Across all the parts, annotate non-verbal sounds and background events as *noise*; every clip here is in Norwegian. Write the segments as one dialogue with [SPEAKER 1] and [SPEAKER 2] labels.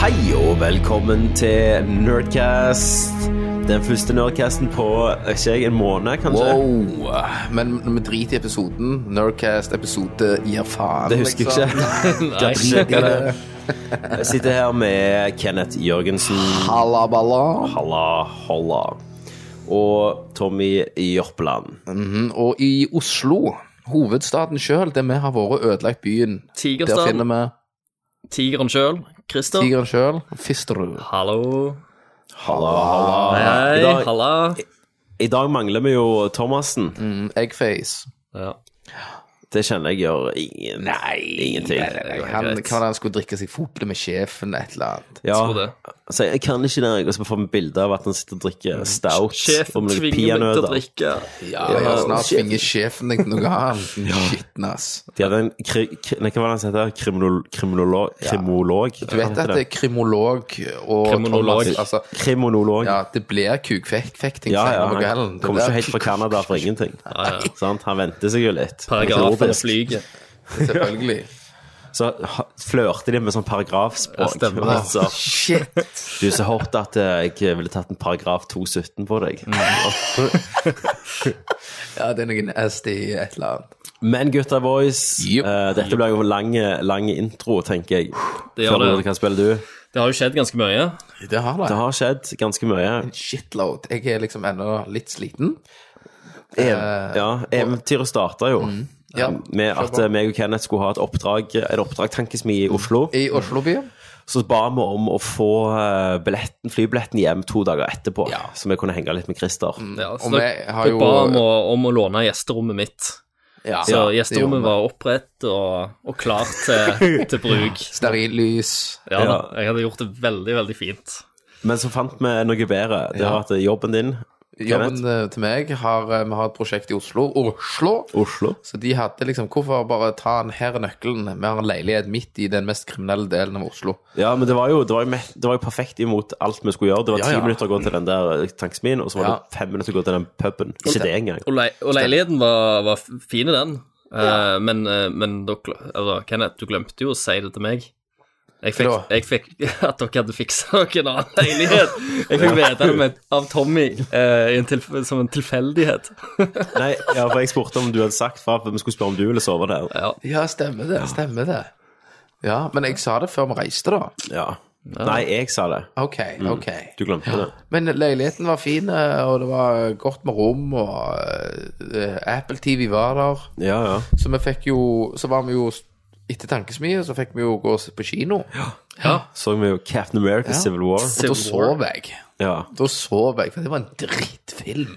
[SPEAKER 1] Hei og velkommen til Nerdcast. Den første Nerdcasten på ikke jeg, en måned, kanskje.
[SPEAKER 2] Wow. Men når vi driter i episoden, Nerdcast-episode gir faen, liksom.
[SPEAKER 1] Det husker jeg
[SPEAKER 2] Sånn.
[SPEAKER 1] *laughs* ikke. Kan ikke sjekke det. Jeg sitter her med Kenneth Jørgensen.
[SPEAKER 2] Halla, balla.
[SPEAKER 1] Halla, holla. Og Tommy Jørpeland.
[SPEAKER 2] Mm, Og i Oslo, hovedstaden sjøl, der vi har vært og ødelagt byen, der
[SPEAKER 3] Tigerstaden,
[SPEAKER 2] finner vi
[SPEAKER 3] tigeren sjøl, Christer.
[SPEAKER 2] tigeren sjøl, Fisterud.
[SPEAKER 3] Hallo.
[SPEAKER 1] Halla, halla. I
[SPEAKER 3] Hei,
[SPEAKER 1] dag-
[SPEAKER 3] halla.
[SPEAKER 1] I dag mangler vi jo Thomassen.
[SPEAKER 2] Mm, Eggface.
[SPEAKER 3] Ja.
[SPEAKER 1] Det kjenner jeg gjør ingen, ingenting.
[SPEAKER 2] Eh, Han,
[SPEAKER 3] greit.
[SPEAKER 2] hva var det han skulle drikke seg fotle med sjefen, et eller annet?
[SPEAKER 1] Ja,
[SPEAKER 3] tror det.
[SPEAKER 1] så jeg kan ikke det. Og så får vi bilde av at han sitter og drikker stout. og
[SPEAKER 3] Mm. Sjefen
[SPEAKER 1] med noen
[SPEAKER 3] tvinger meg til å
[SPEAKER 1] peanøtter.
[SPEAKER 3] drikke.
[SPEAKER 2] Ja,
[SPEAKER 1] ja,
[SPEAKER 2] snart
[SPEAKER 1] sjefen.
[SPEAKER 2] tvinger sjefen deg til noe
[SPEAKER 1] *laughs*
[SPEAKER 2] annet. Skitten, ass.
[SPEAKER 1] De hadde en kri, kri, nei, Hva var det han het? Kriminol, kriminolog? kriminolog?
[SPEAKER 2] Du vet at det er kriminolog og
[SPEAKER 3] Kriminolog.
[SPEAKER 2] Thomas, altså,
[SPEAKER 1] Kriminolog.
[SPEAKER 2] ja, det blir kukfekting
[SPEAKER 1] ja, ja,
[SPEAKER 2] senere på kvelden.
[SPEAKER 1] Han
[SPEAKER 2] Det
[SPEAKER 1] kommer
[SPEAKER 2] blir
[SPEAKER 1] ikke helt fra Canada for
[SPEAKER 3] *laughs*
[SPEAKER 1] ingenting. Sant? Han venter seg jo litt.
[SPEAKER 3] Paragrafen
[SPEAKER 1] Nordisk.
[SPEAKER 3] flyger.
[SPEAKER 2] Selvfølgelig.
[SPEAKER 1] Så ha- flørte de med sånn paragrafspråk.
[SPEAKER 3] Ja, stemmer.
[SPEAKER 1] Og *laughs* så,
[SPEAKER 2] Shit.
[SPEAKER 1] du er så hot at eh, jeg ville tatt en paragraf 217 på deg.
[SPEAKER 3] Mm.
[SPEAKER 2] Ja, det er noen SD i et eller annet.
[SPEAKER 1] Men gutta boys,
[SPEAKER 2] Yep.
[SPEAKER 1] eh, dette blir jo en lang, lang intro, tenker jeg.
[SPEAKER 3] Det
[SPEAKER 1] Før
[SPEAKER 3] gjør det.
[SPEAKER 1] Hva spiller du?
[SPEAKER 3] Det har jo skjedd ganske mye.
[SPEAKER 2] Det har
[SPEAKER 1] Det
[SPEAKER 2] det.
[SPEAKER 1] har skjedd ganske mye.
[SPEAKER 2] Shitload. Jeg er liksom ennå litt sliten.
[SPEAKER 1] Ev ja, eventyret starta jo
[SPEAKER 2] Eh, Mm, Ja,
[SPEAKER 1] med at eh, meg og Kenneth skulle ha et oppdrag, en oppdragtankesmi i Oslo.
[SPEAKER 2] Mm. I Oslo by.
[SPEAKER 1] Så ba vi om å få eh, billetten, flybilletten hjem to dager etterpå,
[SPEAKER 2] Ja. Mm.
[SPEAKER 1] så vi kunne henge litt med Christer.
[SPEAKER 3] Ja, så
[SPEAKER 2] Og
[SPEAKER 3] da-
[SPEAKER 2] vi har
[SPEAKER 3] da
[SPEAKER 2] jo-
[SPEAKER 3] ba om å, om å låne gjesterommet mitt.
[SPEAKER 2] Ja,
[SPEAKER 3] Så
[SPEAKER 2] det gjorde
[SPEAKER 3] gjesterommet
[SPEAKER 2] vi.
[SPEAKER 3] var opprett og, og klart
[SPEAKER 2] *laughs*
[SPEAKER 3] til, til bruk.
[SPEAKER 2] Sterillys.
[SPEAKER 3] Ja da,
[SPEAKER 1] Ja.
[SPEAKER 3] jeg hadde gjort det veldig, veldig fint.
[SPEAKER 1] Men så fant vi noe bedre. Det var at jobben din,
[SPEAKER 2] Jobben eh, til meg har eh, Vi har et prosjekt i Oslo. Oslo.
[SPEAKER 1] Oslo
[SPEAKER 2] Så de hadde liksom Hvorfor bare ta den her nøkkelen? Vi har en leilighet midt i den mest kriminelle delen av Oslo.
[SPEAKER 1] Ja, men det var jo, det var jo, me- det var jo perfekt imot alt vi skulle gjøre. Det var
[SPEAKER 2] Ja,
[SPEAKER 1] ti
[SPEAKER 2] ja.
[SPEAKER 1] minutter å gå til den der eh, tankesmien, og så var
[SPEAKER 2] Ja.
[SPEAKER 1] det fem minutter å gå til den puben. Ikke det engang.
[SPEAKER 3] Og, lei- og leiligheten var, var fin i den, Eh, men, eh, men dere, altså, Kenneth, du glemte jo å si det til meg. Jeg fikk,
[SPEAKER 2] Hva da?
[SPEAKER 3] jeg fikk *laughs* at dere hadde fiksa dere en annen *laughs* leilighet. Jeg fikk vite det med, av Tommy eh, i en tilf som en tilfeldighet.
[SPEAKER 1] Nei, ja, for jeg spurte om du hadde sagt fra, for vi skulle spørre om du ville sove der.
[SPEAKER 3] Ja,
[SPEAKER 2] Ja, stemmer det. Stemmer det. Ja, men jeg sa det før vi reiste, da.
[SPEAKER 1] Ja. Nei, jeg sa det.
[SPEAKER 2] OK, OK.
[SPEAKER 1] Du glemte det.
[SPEAKER 2] Men leiligheten var fin, eh, og det var godt med rom, og eh, Apple TV var der.
[SPEAKER 1] Ja, ja.
[SPEAKER 2] Så vi fikk jo Så var vi jo etter tankesmien, så fikk vi jo gå og se på kino.
[SPEAKER 1] Så vi jo Captain America Civil War.
[SPEAKER 2] Og da sov jeg.
[SPEAKER 1] Ja.
[SPEAKER 2] Da sov jeg, for det var en
[SPEAKER 1] *laughs*
[SPEAKER 2] drittfilm.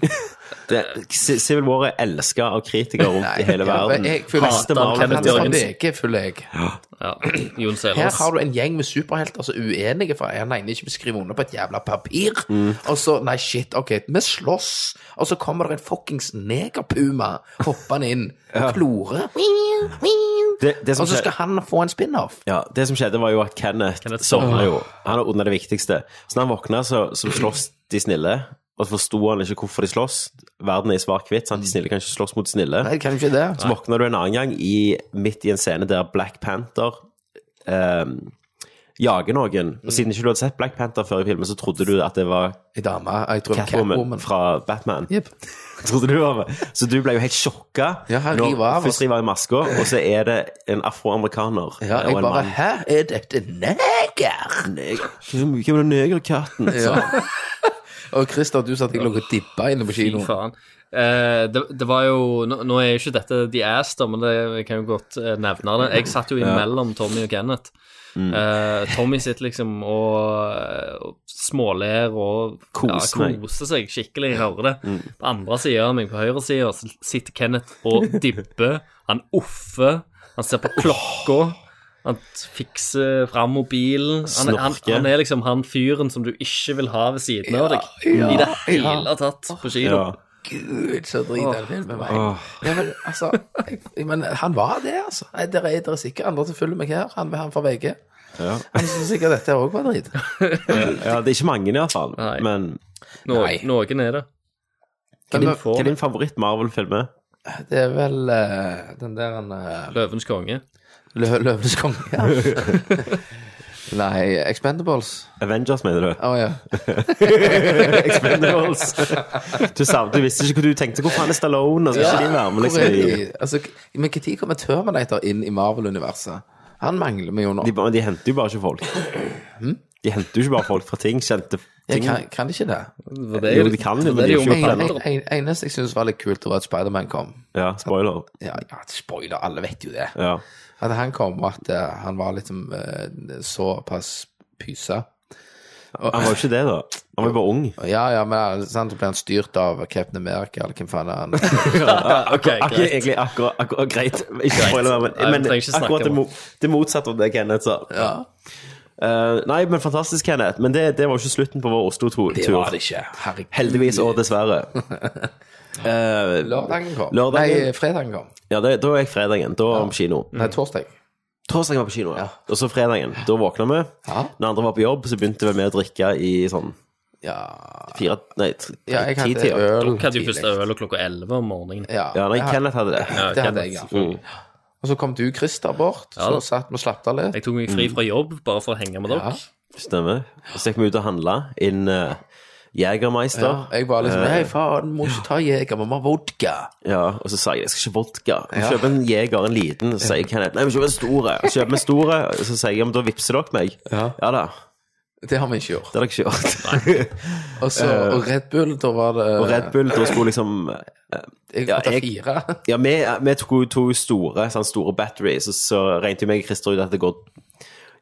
[SPEAKER 1] Det, C- Civil War er elska av kritikere rundt i hele
[SPEAKER 2] ja,
[SPEAKER 1] verden.
[SPEAKER 2] men jeg føler
[SPEAKER 1] Hater
[SPEAKER 3] Hater
[SPEAKER 1] Marvel.
[SPEAKER 3] Kenneth Jørgensen.
[SPEAKER 2] Ikke, føler jeg. *clears throat*
[SPEAKER 3] ja. Jon
[SPEAKER 2] Her
[SPEAKER 3] Selås.
[SPEAKER 2] har du en gjeng med superhelter som er uenige, for han ene ikke vil skrive under på et jævla papir.
[SPEAKER 1] Mm.
[SPEAKER 2] Og så, nei, shit, OK, vi slåss, og så kommer det en fuckings negerpuma hoppende inn
[SPEAKER 1] *laughs*
[SPEAKER 2] og klorer.
[SPEAKER 1] Det, det, som
[SPEAKER 2] Og så
[SPEAKER 1] skje,
[SPEAKER 2] skal han få en spin-off.
[SPEAKER 1] ja, det som skjedde, var jo at Kenneth,
[SPEAKER 3] Kenneth
[SPEAKER 1] sovna
[SPEAKER 3] sovna.
[SPEAKER 1] jo. Han er under det viktigste. Så når han våkna, så, så slåss de snille. Og så forsto han ikke hvorfor de slåss. Verden er i svart-hvitt. sant? De snille kan ikke slåss mot snille.
[SPEAKER 2] Nei, kan du ikke det?
[SPEAKER 1] Så våkner du en annen gang i, midt i en scene der Black Panther eh, jager noen. Og siden ikke du hadde sett Black Panther før i filmen, så trodde du at det var
[SPEAKER 2] Ei dame. Jeg tror det var
[SPEAKER 1] Catwoman,
[SPEAKER 2] Catwoman.
[SPEAKER 1] fra Batman.
[SPEAKER 2] Jep.
[SPEAKER 1] Trodde du var med. *laughs* Så du ble jo helt sjokka.
[SPEAKER 2] Ja, han
[SPEAKER 1] når-
[SPEAKER 2] river av oss.
[SPEAKER 1] Først river han i maska, og så er det en afroamerikaner.
[SPEAKER 2] Ja,
[SPEAKER 1] og
[SPEAKER 2] jeg
[SPEAKER 1] en
[SPEAKER 2] bare
[SPEAKER 1] mann.
[SPEAKER 2] Hæ, er dette neger?
[SPEAKER 1] Neger. Hvem hvem er den
[SPEAKER 2] *laughs*
[SPEAKER 1] negerkatten?
[SPEAKER 2] Ja. og Christer, du sa at jeg lå og dippa inne på
[SPEAKER 3] Fy
[SPEAKER 2] kinoen.
[SPEAKER 3] faen. Eh, det, det var jo Nå, nå er jo ikke dette The Ass, da, men det, jeg kan jo godt eh, nevne det. Jeg satt jo imellom Tommy og Kenneth. Eh, Tommy sitter liksom og, eh, og småler og
[SPEAKER 1] Koser meg.
[SPEAKER 3] koser seg skikkelig. Jeg hører det. På andre sida av meg, på høyre sida, sitter Kenneth og dibber. Han offer. Han ser på klokka. Han fikser fram mobilen. Han, han,
[SPEAKER 1] Snorker.
[SPEAKER 3] han er liksom han fyren som du ikke vil ha ved siden av deg.
[SPEAKER 2] Ja,
[SPEAKER 3] I det
[SPEAKER 2] ja.
[SPEAKER 3] hele tatt på kino.
[SPEAKER 1] Ja.
[SPEAKER 2] Gud, så drit den filmen var. jeg. Ja, men altså jeg, jeg, Men han var det, altså. Nei, Dere er, dere er sikkert andre som følger meg her. Han, han fra VG.
[SPEAKER 1] Ja.
[SPEAKER 2] Han syns sikkert dette òg var drit.
[SPEAKER 1] ja, det er ikke mange, i hvert fall.
[SPEAKER 3] Nei.
[SPEAKER 1] Men
[SPEAKER 3] No,
[SPEAKER 2] Nei.
[SPEAKER 3] noen er det.
[SPEAKER 2] Men,
[SPEAKER 3] Din
[SPEAKER 2] men,
[SPEAKER 1] hva
[SPEAKER 3] får
[SPEAKER 1] er din favoritt Marvel-film? er?
[SPEAKER 2] det er vel eh, den der uh,
[SPEAKER 3] Løvens konge.
[SPEAKER 2] Løvenes konge. Ja. *laughs* Nei, Expendables.
[SPEAKER 1] Avengers, mener
[SPEAKER 2] *laughs*
[SPEAKER 1] du?
[SPEAKER 2] Å ja.
[SPEAKER 1] Expendables. *laughs* Du, savnet, du visste ikke hva du tenkte. Hvor faen er Stallone? Og så er ikke de med, men
[SPEAKER 2] hvor er
[SPEAKER 1] liksom, de,
[SPEAKER 2] de? Altså, men når kommer Terminator inn i Marvel-universet? Han mangler vi jo nå.
[SPEAKER 1] de, bare- de henter jo bare ikke folk. De henter jo ikke bare folk fra ting. Kjente
[SPEAKER 2] Hm? Jeg
[SPEAKER 1] ting.
[SPEAKER 2] kan, kan de ikke det?
[SPEAKER 3] For det er
[SPEAKER 1] Jo, de kan jo, men
[SPEAKER 3] for det er
[SPEAKER 1] de er
[SPEAKER 3] jo
[SPEAKER 1] ikke
[SPEAKER 3] med
[SPEAKER 1] planer.
[SPEAKER 2] En,
[SPEAKER 3] planer.
[SPEAKER 2] en, en, eneste jeg syntes var litt kult, var at Spiderman kom.
[SPEAKER 1] Ja, spoiler.
[SPEAKER 2] Ja, ja, spoiler, alle vet jo det.
[SPEAKER 1] Ja.
[SPEAKER 2] At han kom, og at eh, han var liksom eh, såpass pysa.
[SPEAKER 1] Han var jo ikke det, da. Han var jo bare ung.
[SPEAKER 2] Ja, ja, men altså, sant, så ble han styrt av Captain America, eller hvem faen er han?
[SPEAKER 3] Ok,
[SPEAKER 1] Akkurat,
[SPEAKER 3] greit.
[SPEAKER 1] egentlig akkurat, akkurat greit. Ikke spoiler, men,
[SPEAKER 3] Nei, vi
[SPEAKER 1] men
[SPEAKER 3] trenger ikke snakke
[SPEAKER 1] akkurat det,
[SPEAKER 3] om
[SPEAKER 1] mo- det motsatte av det Kenneth sa. Eh, nei, men fantastisk, Kenneth. Men det, det var jo ikke slutten på vår Oslo-tur.
[SPEAKER 2] Det var det ikke. Herregud.
[SPEAKER 1] Heldigvis og dessverre. Eh,
[SPEAKER 2] Lørdagen kom.
[SPEAKER 1] Lørdagen.
[SPEAKER 2] Nei, fredagen kom.
[SPEAKER 1] ja, det, da gikk fredagen. Da var vi på kino.
[SPEAKER 2] Nei, torsdag.
[SPEAKER 1] Torsdagen var på kino, ja. Og så fredagen. Da våkna vi.
[SPEAKER 2] Ja.
[SPEAKER 1] Når andre var på jobb, så begynte vi med å drikke i sånn
[SPEAKER 2] Ja,
[SPEAKER 1] fire Nei, tre-
[SPEAKER 2] ja jeg hadde
[SPEAKER 1] ti-tida.
[SPEAKER 2] øl
[SPEAKER 3] Dere hadde jo første øl klokka 11 om morgenen.
[SPEAKER 2] Ja,
[SPEAKER 1] Ja, nei,
[SPEAKER 2] jeg hadde-
[SPEAKER 1] Kenneth hadde det.
[SPEAKER 2] det hadde jeg, ja. Og så kom du, Christer, bort.
[SPEAKER 3] Ja.
[SPEAKER 2] Så satt vi og slappet av litt.
[SPEAKER 3] Jeg tok meg fri
[SPEAKER 1] Mm.
[SPEAKER 3] fra jobb bare for å henge med dere.
[SPEAKER 1] Stemmer. Så gikk vi ut og handla inn uh, Jegermeister.
[SPEAKER 2] Jeg var
[SPEAKER 1] Eh.
[SPEAKER 2] liksom Hei, faen, må ikke ta jeger, vi må ha vodka.
[SPEAKER 1] Ja, og så sa jeg jeg skal ikke vodka. Jeg kjøper en Jeger, en liten. Så sier jeg Kenneth nei, vi kjøper en store. Jeg Kjøper en store, og Så sier jeg ja, men da vippser dere meg. Ja, da.
[SPEAKER 2] Det har vi ikke gjort.
[SPEAKER 1] Det har dere ikke gjort.
[SPEAKER 2] Og så og Red Bull, da var det
[SPEAKER 1] Eh. Og Red Bull, da skulle liksom eh,
[SPEAKER 2] Jeg
[SPEAKER 1] ja,
[SPEAKER 2] måtte ta
[SPEAKER 1] jeg-
[SPEAKER 2] fire.
[SPEAKER 1] Ja, vi, vi tok jo to store, sånn store batteries, og så regnet jo meg og Christer ut at det går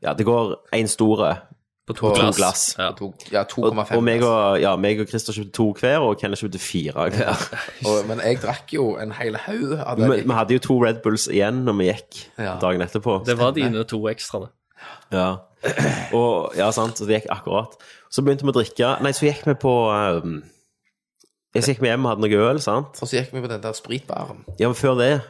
[SPEAKER 1] Ja, det går én store.
[SPEAKER 3] På to
[SPEAKER 1] to
[SPEAKER 3] glass.
[SPEAKER 1] glass.
[SPEAKER 2] *laughs*
[SPEAKER 3] Ja.
[SPEAKER 2] To- Ja, 2,5.
[SPEAKER 1] Og, og meg
[SPEAKER 2] altså.
[SPEAKER 1] og, ja, meg og Christer kjøpte to hver, og Kenneth kjøpte fire hver.
[SPEAKER 2] Og- Men jeg drakk jo en hel haug av
[SPEAKER 1] *laughs* Vi,
[SPEAKER 2] det.
[SPEAKER 1] vi hadde jo to Red Bulls igjen når vi gikk
[SPEAKER 2] Ja.
[SPEAKER 1] dagen etterpå.
[SPEAKER 3] Det var dine to ekstra. det.
[SPEAKER 1] Ja. Og, ja, sant, så det gikk akkurat. Så begynte vi å drikke. Nei, så gikk vi på um, jeg så gikk vi hjem og hadde noe øl, sant?
[SPEAKER 2] Og så gikk vi på den der spritbaren.
[SPEAKER 1] Ja, men før det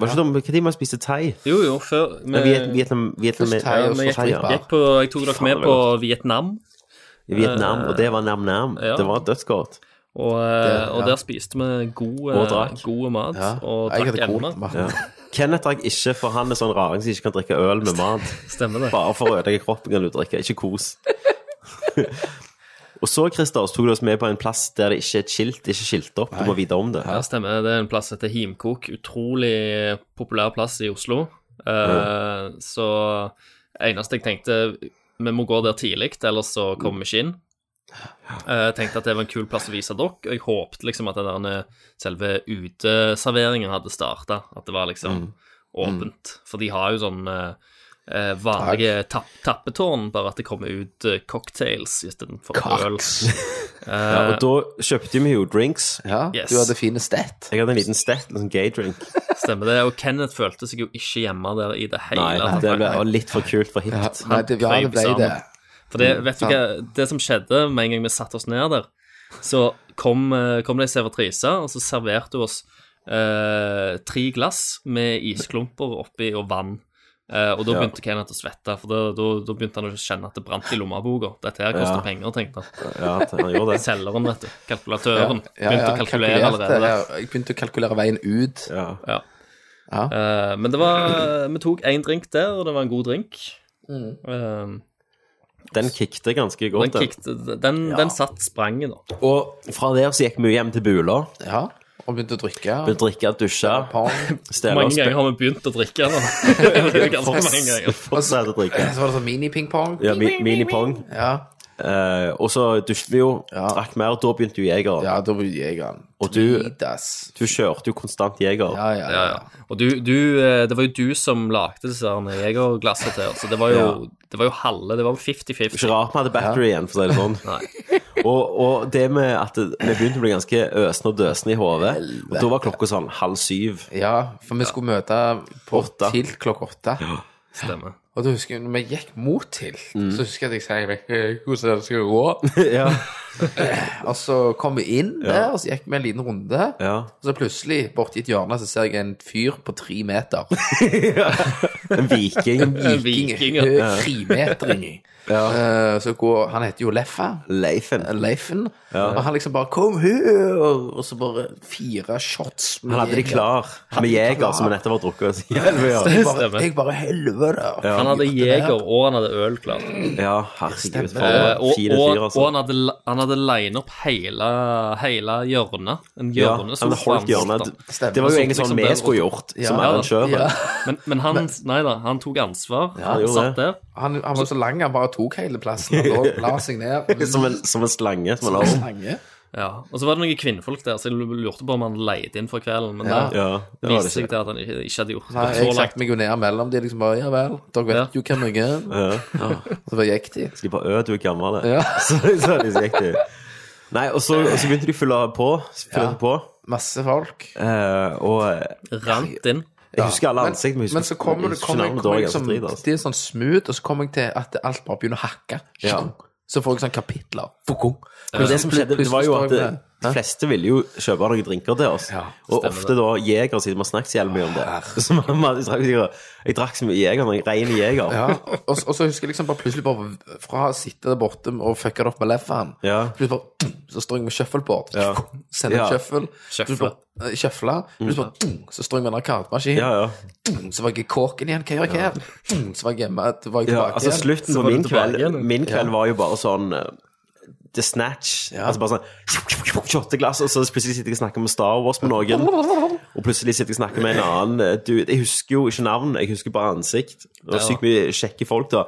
[SPEAKER 1] Var ikke det om Når vi spiste thai?
[SPEAKER 3] Jo, jo, før
[SPEAKER 1] Men
[SPEAKER 3] vi-
[SPEAKER 1] Viet- Vietnam, Vietnam,
[SPEAKER 2] Først thai, og så
[SPEAKER 1] Thai, ja.
[SPEAKER 2] spritbar.
[SPEAKER 3] gikk på, Jeg tok dere
[SPEAKER 1] Faen,
[SPEAKER 3] med
[SPEAKER 1] det
[SPEAKER 3] på
[SPEAKER 1] var
[SPEAKER 3] Vietnam,
[SPEAKER 1] I Vietnam, og det var nam-nam.
[SPEAKER 3] Ja.
[SPEAKER 1] Det var dødsgodt.
[SPEAKER 3] og, eh,
[SPEAKER 2] Det-
[SPEAKER 3] og
[SPEAKER 2] ja.
[SPEAKER 3] der spiste vi god, eh,
[SPEAKER 1] Og drakk.
[SPEAKER 3] god mat. Og
[SPEAKER 2] jeg
[SPEAKER 3] drakk
[SPEAKER 2] hadde
[SPEAKER 3] ennå.
[SPEAKER 2] kort.
[SPEAKER 1] Ja. Kenneth drakk ikke, for han er sånn raring som ikke kan drikke øl med mat.
[SPEAKER 3] Stemmer det.
[SPEAKER 1] Bare for å ødelegge kroppen kan du drikke, ikke kos. og så, Christer, så tok du oss med på en plass der det ikke er et skilt, det er ikke skilt opp, du må vite om det.
[SPEAKER 3] Ja, stemmer. Det er en plass som heter Himkok. Utrolig populær plass i Oslo. Eh, Så eneste jeg tenkte Vi må gå der tidlig, ellers så kommer vi ikke inn. Eh, Jeg tenkte at det var en kul plass å vise dere, og jeg håpte liksom at den derne selve uteserveringen hadde starta. At det var liksom
[SPEAKER 1] Mm.
[SPEAKER 3] åpent. For de har jo sånn eh, eh, vanlige tapp tappetårn, bare at det kommer ut eh, cocktails istedenfor
[SPEAKER 2] *laughs*
[SPEAKER 3] øl.
[SPEAKER 1] Ja, og da kjøpte vi jo drinks.
[SPEAKER 2] Ja,
[SPEAKER 3] Yes.
[SPEAKER 2] Du hadde fine stett.
[SPEAKER 1] Jeg hadde en liten stett, en sånn gay-drink.
[SPEAKER 3] Stemmer det. Og Kenneth følte seg jo ikke hjemme der i det hele
[SPEAKER 1] Nei,
[SPEAKER 3] tatt.
[SPEAKER 1] det ble var litt for kult for hipt.
[SPEAKER 2] Nei, det, ja, det
[SPEAKER 3] krøp
[SPEAKER 2] ble
[SPEAKER 3] sammen.
[SPEAKER 2] det.
[SPEAKER 3] For det,
[SPEAKER 2] Mm,
[SPEAKER 3] vet du hva, det som skjedde med en gang vi satte oss ned der, så kom, eh, kom det ei servitrise, og så serverte hun oss eh, tre glass med isklumper oppi og vann. Eh, og da begynte Kenneth å svette, for da, da, da begynte han å kjenne at det brant i lommeboka. Dette her koster
[SPEAKER 1] Ja.
[SPEAKER 3] penger, tenkte han.
[SPEAKER 1] Ja, han gjorde det.
[SPEAKER 3] Selgeren, vet du. Kalkulatøren.
[SPEAKER 2] Ja,
[SPEAKER 3] begynte
[SPEAKER 2] ja,
[SPEAKER 3] å kalkulere
[SPEAKER 2] kalkulerte,
[SPEAKER 3] allerede.
[SPEAKER 2] ja. Jeg begynte å kalkulere veien ut.
[SPEAKER 1] Ja.
[SPEAKER 3] Ja.
[SPEAKER 2] Ja.
[SPEAKER 3] Eh, men det var Vi tok én drink der, og det var en god drink. Eh,
[SPEAKER 1] Den kickte ganske
[SPEAKER 3] den,
[SPEAKER 1] godt. Den.
[SPEAKER 3] kickte- den, den satt spranget, da.
[SPEAKER 1] Og fra der så gikk vi hjem til Bula.
[SPEAKER 2] Ja, og begynte å drikke.
[SPEAKER 1] Begynte å drikke, dusje,
[SPEAKER 2] Pong. *laughs*
[SPEAKER 1] stelle
[SPEAKER 3] Mange
[SPEAKER 1] oss
[SPEAKER 3] ganger har vi begynt å drikke *laughs* nå. Ganske mange
[SPEAKER 1] *laughs*
[SPEAKER 3] ganger.
[SPEAKER 1] Fortsette å drikke.
[SPEAKER 2] Så var det sånn mini-ping-pong.
[SPEAKER 1] Ja, mi, Minipong.
[SPEAKER 2] Ja.
[SPEAKER 1] Eh, og så dusjet vi jo,
[SPEAKER 2] Ja.
[SPEAKER 1] drakk mer, da begynte jo Jeger.
[SPEAKER 2] ja, da var jegeren.
[SPEAKER 1] Og du-
[SPEAKER 2] Dritas.
[SPEAKER 1] Du kjørte jo konstant Jeger.
[SPEAKER 2] Ja, ja,
[SPEAKER 3] Ja,
[SPEAKER 2] ja.
[SPEAKER 3] ja. Og du, du, eh, det var jo du som lagde disse her jegerglassene til oss. så Det var jo, det var jo halve. Det var jo
[SPEAKER 1] Ikke
[SPEAKER 3] 50-50.
[SPEAKER 1] rart vi hadde battery igjen, for å si det sånn. og, og det med at det- vi begynte å bli ganske øsne og døsne i hodet, og da var klokka sånn halv syv.
[SPEAKER 2] Ja, for vi skulle møte på
[SPEAKER 1] Åtte.
[SPEAKER 2] Tilt klokka åtte.
[SPEAKER 3] Stemmer.
[SPEAKER 2] Og da husker jeg, når vi gikk mot Tilt,
[SPEAKER 1] Mm.
[SPEAKER 2] så husker jeg at jeg sa «Hei, hvordan er det skal
[SPEAKER 1] *laughs*
[SPEAKER 2] gå.
[SPEAKER 1] ja.
[SPEAKER 2] Og så kom vi inn der, og så gikk vi en liten runde.
[SPEAKER 1] Ja.
[SPEAKER 2] Og så plutselig, borti et hjørne, så ser jeg en fyr på tre meter.
[SPEAKER 1] En viking.
[SPEAKER 3] Viking, ja.
[SPEAKER 2] Høy, Trimetering.
[SPEAKER 1] *laughs*
[SPEAKER 2] Eh, så går, han heter jo Leffa.
[SPEAKER 1] Leifen.
[SPEAKER 2] Leifen. Og han liksom bare 'Kom her!' Og så bare fire shots. med
[SPEAKER 1] Han hadde de
[SPEAKER 2] jeger.
[SPEAKER 1] klar med
[SPEAKER 2] de
[SPEAKER 1] Jeger,
[SPEAKER 2] klar.
[SPEAKER 1] som vi nettopp har drukket. oss i hjel med, Ja.
[SPEAKER 2] Jeg bare,
[SPEAKER 3] Stemmer.
[SPEAKER 2] jeg bare helvete!
[SPEAKER 1] Ja.
[SPEAKER 3] Han hadde jeger, og han hadde øl klart.
[SPEAKER 1] Ja, herregud. For
[SPEAKER 3] Eh, og,
[SPEAKER 1] en fin
[SPEAKER 3] og,
[SPEAKER 1] fyr,
[SPEAKER 3] og
[SPEAKER 1] altså.
[SPEAKER 3] han hadde, han hadde line opp hele, hele hjørnet. En
[SPEAKER 1] Ja,
[SPEAKER 3] hjørne
[SPEAKER 1] han holdt hjørnet.
[SPEAKER 2] Stemmer.
[SPEAKER 1] Det var jo
[SPEAKER 3] Så
[SPEAKER 1] egentlig sånn
[SPEAKER 3] liksom
[SPEAKER 1] vi
[SPEAKER 3] der-
[SPEAKER 1] skulle gjort, som
[SPEAKER 2] Ja,
[SPEAKER 1] arrangør.
[SPEAKER 2] Ja.
[SPEAKER 3] Men, men han, nei da, han tok ansvar.
[SPEAKER 1] han
[SPEAKER 3] han
[SPEAKER 1] gjorde
[SPEAKER 3] satt der.
[SPEAKER 2] Han, han var så lang, han bare tok hele plassen. Han lå, la seg ned.
[SPEAKER 1] *laughs*
[SPEAKER 2] Mm.
[SPEAKER 1] Som en, som en slange. Som en
[SPEAKER 2] en *laughs*
[SPEAKER 1] arm.
[SPEAKER 2] slange.
[SPEAKER 3] Ja. Og så var det noen kvinnfolk der, så jeg lurte på om han leide inn for kvelden. Men
[SPEAKER 2] Ja.
[SPEAKER 3] det
[SPEAKER 1] Ja, det var
[SPEAKER 3] viste
[SPEAKER 1] det
[SPEAKER 3] seg
[SPEAKER 1] ikke.
[SPEAKER 3] til at han ikke, ikke hadde gjort
[SPEAKER 2] Nei,
[SPEAKER 3] det
[SPEAKER 2] jeg
[SPEAKER 3] så langt.
[SPEAKER 2] satte meg jo ned mellom de liksom bare Ja vel, dere vet
[SPEAKER 3] Ja.
[SPEAKER 2] jo hvem jeg er.
[SPEAKER 1] Ja.
[SPEAKER 2] Så bare gikk de.
[SPEAKER 1] Så de bare Ø, du er gammel.
[SPEAKER 2] Ja.
[SPEAKER 1] *laughs* Så, så de så gikk de. Nei, og så, og så begynte de å fylle på. Fylle
[SPEAKER 2] Ja.
[SPEAKER 1] på
[SPEAKER 2] Masse folk.
[SPEAKER 1] eh, og
[SPEAKER 3] Rant inn.
[SPEAKER 1] jeg husker alle
[SPEAKER 2] Men-
[SPEAKER 1] ansikt, men jeg husker
[SPEAKER 2] Men så kommer det
[SPEAKER 1] jeg husker
[SPEAKER 2] kommer, kommer,
[SPEAKER 1] navnet, da var jeg
[SPEAKER 2] jeg
[SPEAKER 1] ganske
[SPEAKER 2] som,
[SPEAKER 1] drit, altså.
[SPEAKER 2] Det er sånn smooth, og så kommer jeg til at alt bare begynner å hakke.
[SPEAKER 1] Ja.
[SPEAKER 2] Så får jeg sånne kapitler. Fukum.
[SPEAKER 1] Men det som skjedde, det var jo at det, de
[SPEAKER 2] Hæ?
[SPEAKER 1] fleste ville jo kjøpe noen drinker til oss.
[SPEAKER 2] Ja,
[SPEAKER 1] og ofte da jeger, siden vi har snakket så jævlig mye om det. *laughs* Så man, man, jeg, drakk, sikkert- jeg drakk så mye jeger, når jeg rein jeger.
[SPEAKER 2] Ja, og, og så husker jeg liksom bare plutselig bare fra å sitte der borte og fucke det opp med leffaen
[SPEAKER 1] Ja.
[SPEAKER 2] Plutselig bare Så står jeg med shuffleboard.
[SPEAKER 1] Ja.
[SPEAKER 2] Sender
[SPEAKER 1] Ja.
[SPEAKER 2] en
[SPEAKER 1] Mm.
[SPEAKER 2] shuffle.
[SPEAKER 3] Shuffle.
[SPEAKER 2] Plutselig bare- eh, Shuffle. Plutselig bare Så står jeg med en arkadmaskin.
[SPEAKER 1] Ja, ja.
[SPEAKER 2] Så var jeg i kåken igjen. Hva gjør jeg her? Mm, Så var jeg hjemme. Da var jeg
[SPEAKER 1] ja
[SPEAKER 2] tilbake
[SPEAKER 1] altså
[SPEAKER 2] igjen.
[SPEAKER 1] slutten på
[SPEAKER 3] var du
[SPEAKER 1] min
[SPEAKER 3] tilbake
[SPEAKER 1] kveld
[SPEAKER 3] igjen.
[SPEAKER 1] Min kveld var jo bare sånn eh, The Snatch. Altså bare sånn Shotteglass, og så plutselig sitter jeg og snakker med Star Wars med noen. Og plutselig sitter jeg og snakker med en annen eh, dude. Jeg husker jo ikke navn, jeg husker bare ansikt. Det var sykt mye kjekke folk da.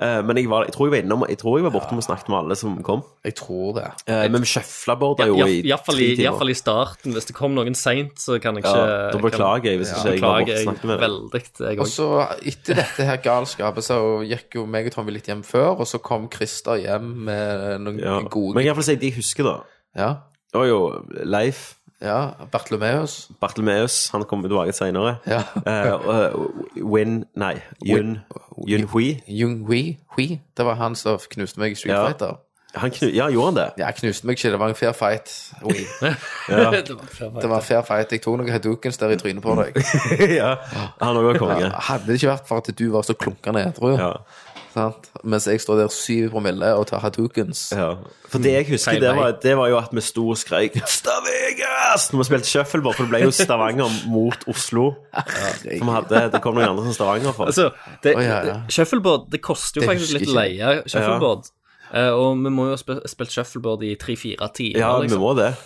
[SPEAKER 1] Eh, Men jeg, var, jeg tror jeg var innom Jeg tror jeg var bortom og snakket med alle som kom.
[SPEAKER 2] Jeg tror det.
[SPEAKER 1] Eh, Men vi sjøflaborda jo i
[SPEAKER 3] Iallfall i,
[SPEAKER 1] tre timer.
[SPEAKER 3] iallfall i starten. Hvis det kom noen seint, så kan jeg
[SPEAKER 1] Ja,
[SPEAKER 3] ikke
[SPEAKER 1] da beklager jeg hvis ikke jeg var borte og
[SPEAKER 3] Beklager jeg
[SPEAKER 1] snakket med deg.
[SPEAKER 3] veldig, jeg
[SPEAKER 2] Og
[SPEAKER 3] òg.
[SPEAKER 2] så etter dette her galskapet så gikk jo meg og Tommy litt hjem før, og så kom Christer hjem med noen
[SPEAKER 1] Ja. Men
[SPEAKER 2] gode
[SPEAKER 1] jeg kan iallfall si de jeg husker, da.
[SPEAKER 2] Ja,
[SPEAKER 1] Det var jo Leif
[SPEAKER 2] ja Bartlomeus.
[SPEAKER 1] Bartlemeus, han kom tilbake senere.
[SPEAKER 2] Ja.
[SPEAKER 1] Eh, og- Win Nei, Yun Yun Hui.
[SPEAKER 2] Jung Hui. Hui. Det var han som knuste meg i Street
[SPEAKER 1] Ja.
[SPEAKER 2] Fighter.
[SPEAKER 1] Han knu, ja, gjorde han det?
[SPEAKER 2] Ja, jeg knuste meg ikke, det var en fair fight. Hui. *laughs* Det var en fair fight. Jeg tok noen Hadoukens der i trynet på
[SPEAKER 1] *laughs*
[SPEAKER 2] deg.
[SPEAKER 1] ja. Han òg var konge.
[SPEAKER 2] Hadde det ikke vært for at du var så klunkende edru,
[SPEAKER 1] Ja,
[SPEAKER 2] sant? mens jeg står der syv promille og tar Hadoukens
[SPEAKER 1] ja. For det jeg husker,
[SPEAKER 3] Feil
[SPEAKER 1] det var,
[SPEAKER 3] vei.
[SPEAKER 1] det var jo at vi sto og skrek 'Stavegas!' når vi spilte shuffleboard, for det ble jo Stavanger mot Oslo. Som hadde, det kom noen andre som Stavanger for.
[SPEAKER 3] Altså, det,
[SPEAKER 2] Å, ja, ja.
[SPEAKER 3] shuffleboard det koster jo
[SPEAKER 2] Det
[SPEAKER 3] faktisk
[SPEAKER 2] husker
[SPEAKER 3] litt
[SPEAKER 2] ikke.
[SPEAKER 3] leie. Shuffleboard. Eh, og vi må jo ha spe- spilt shuffleboard i tre-fire timer.
[SPEAKER 1] Ja, vi
[SPEAKER 3] liksom.
[SPEAKER 1] må det.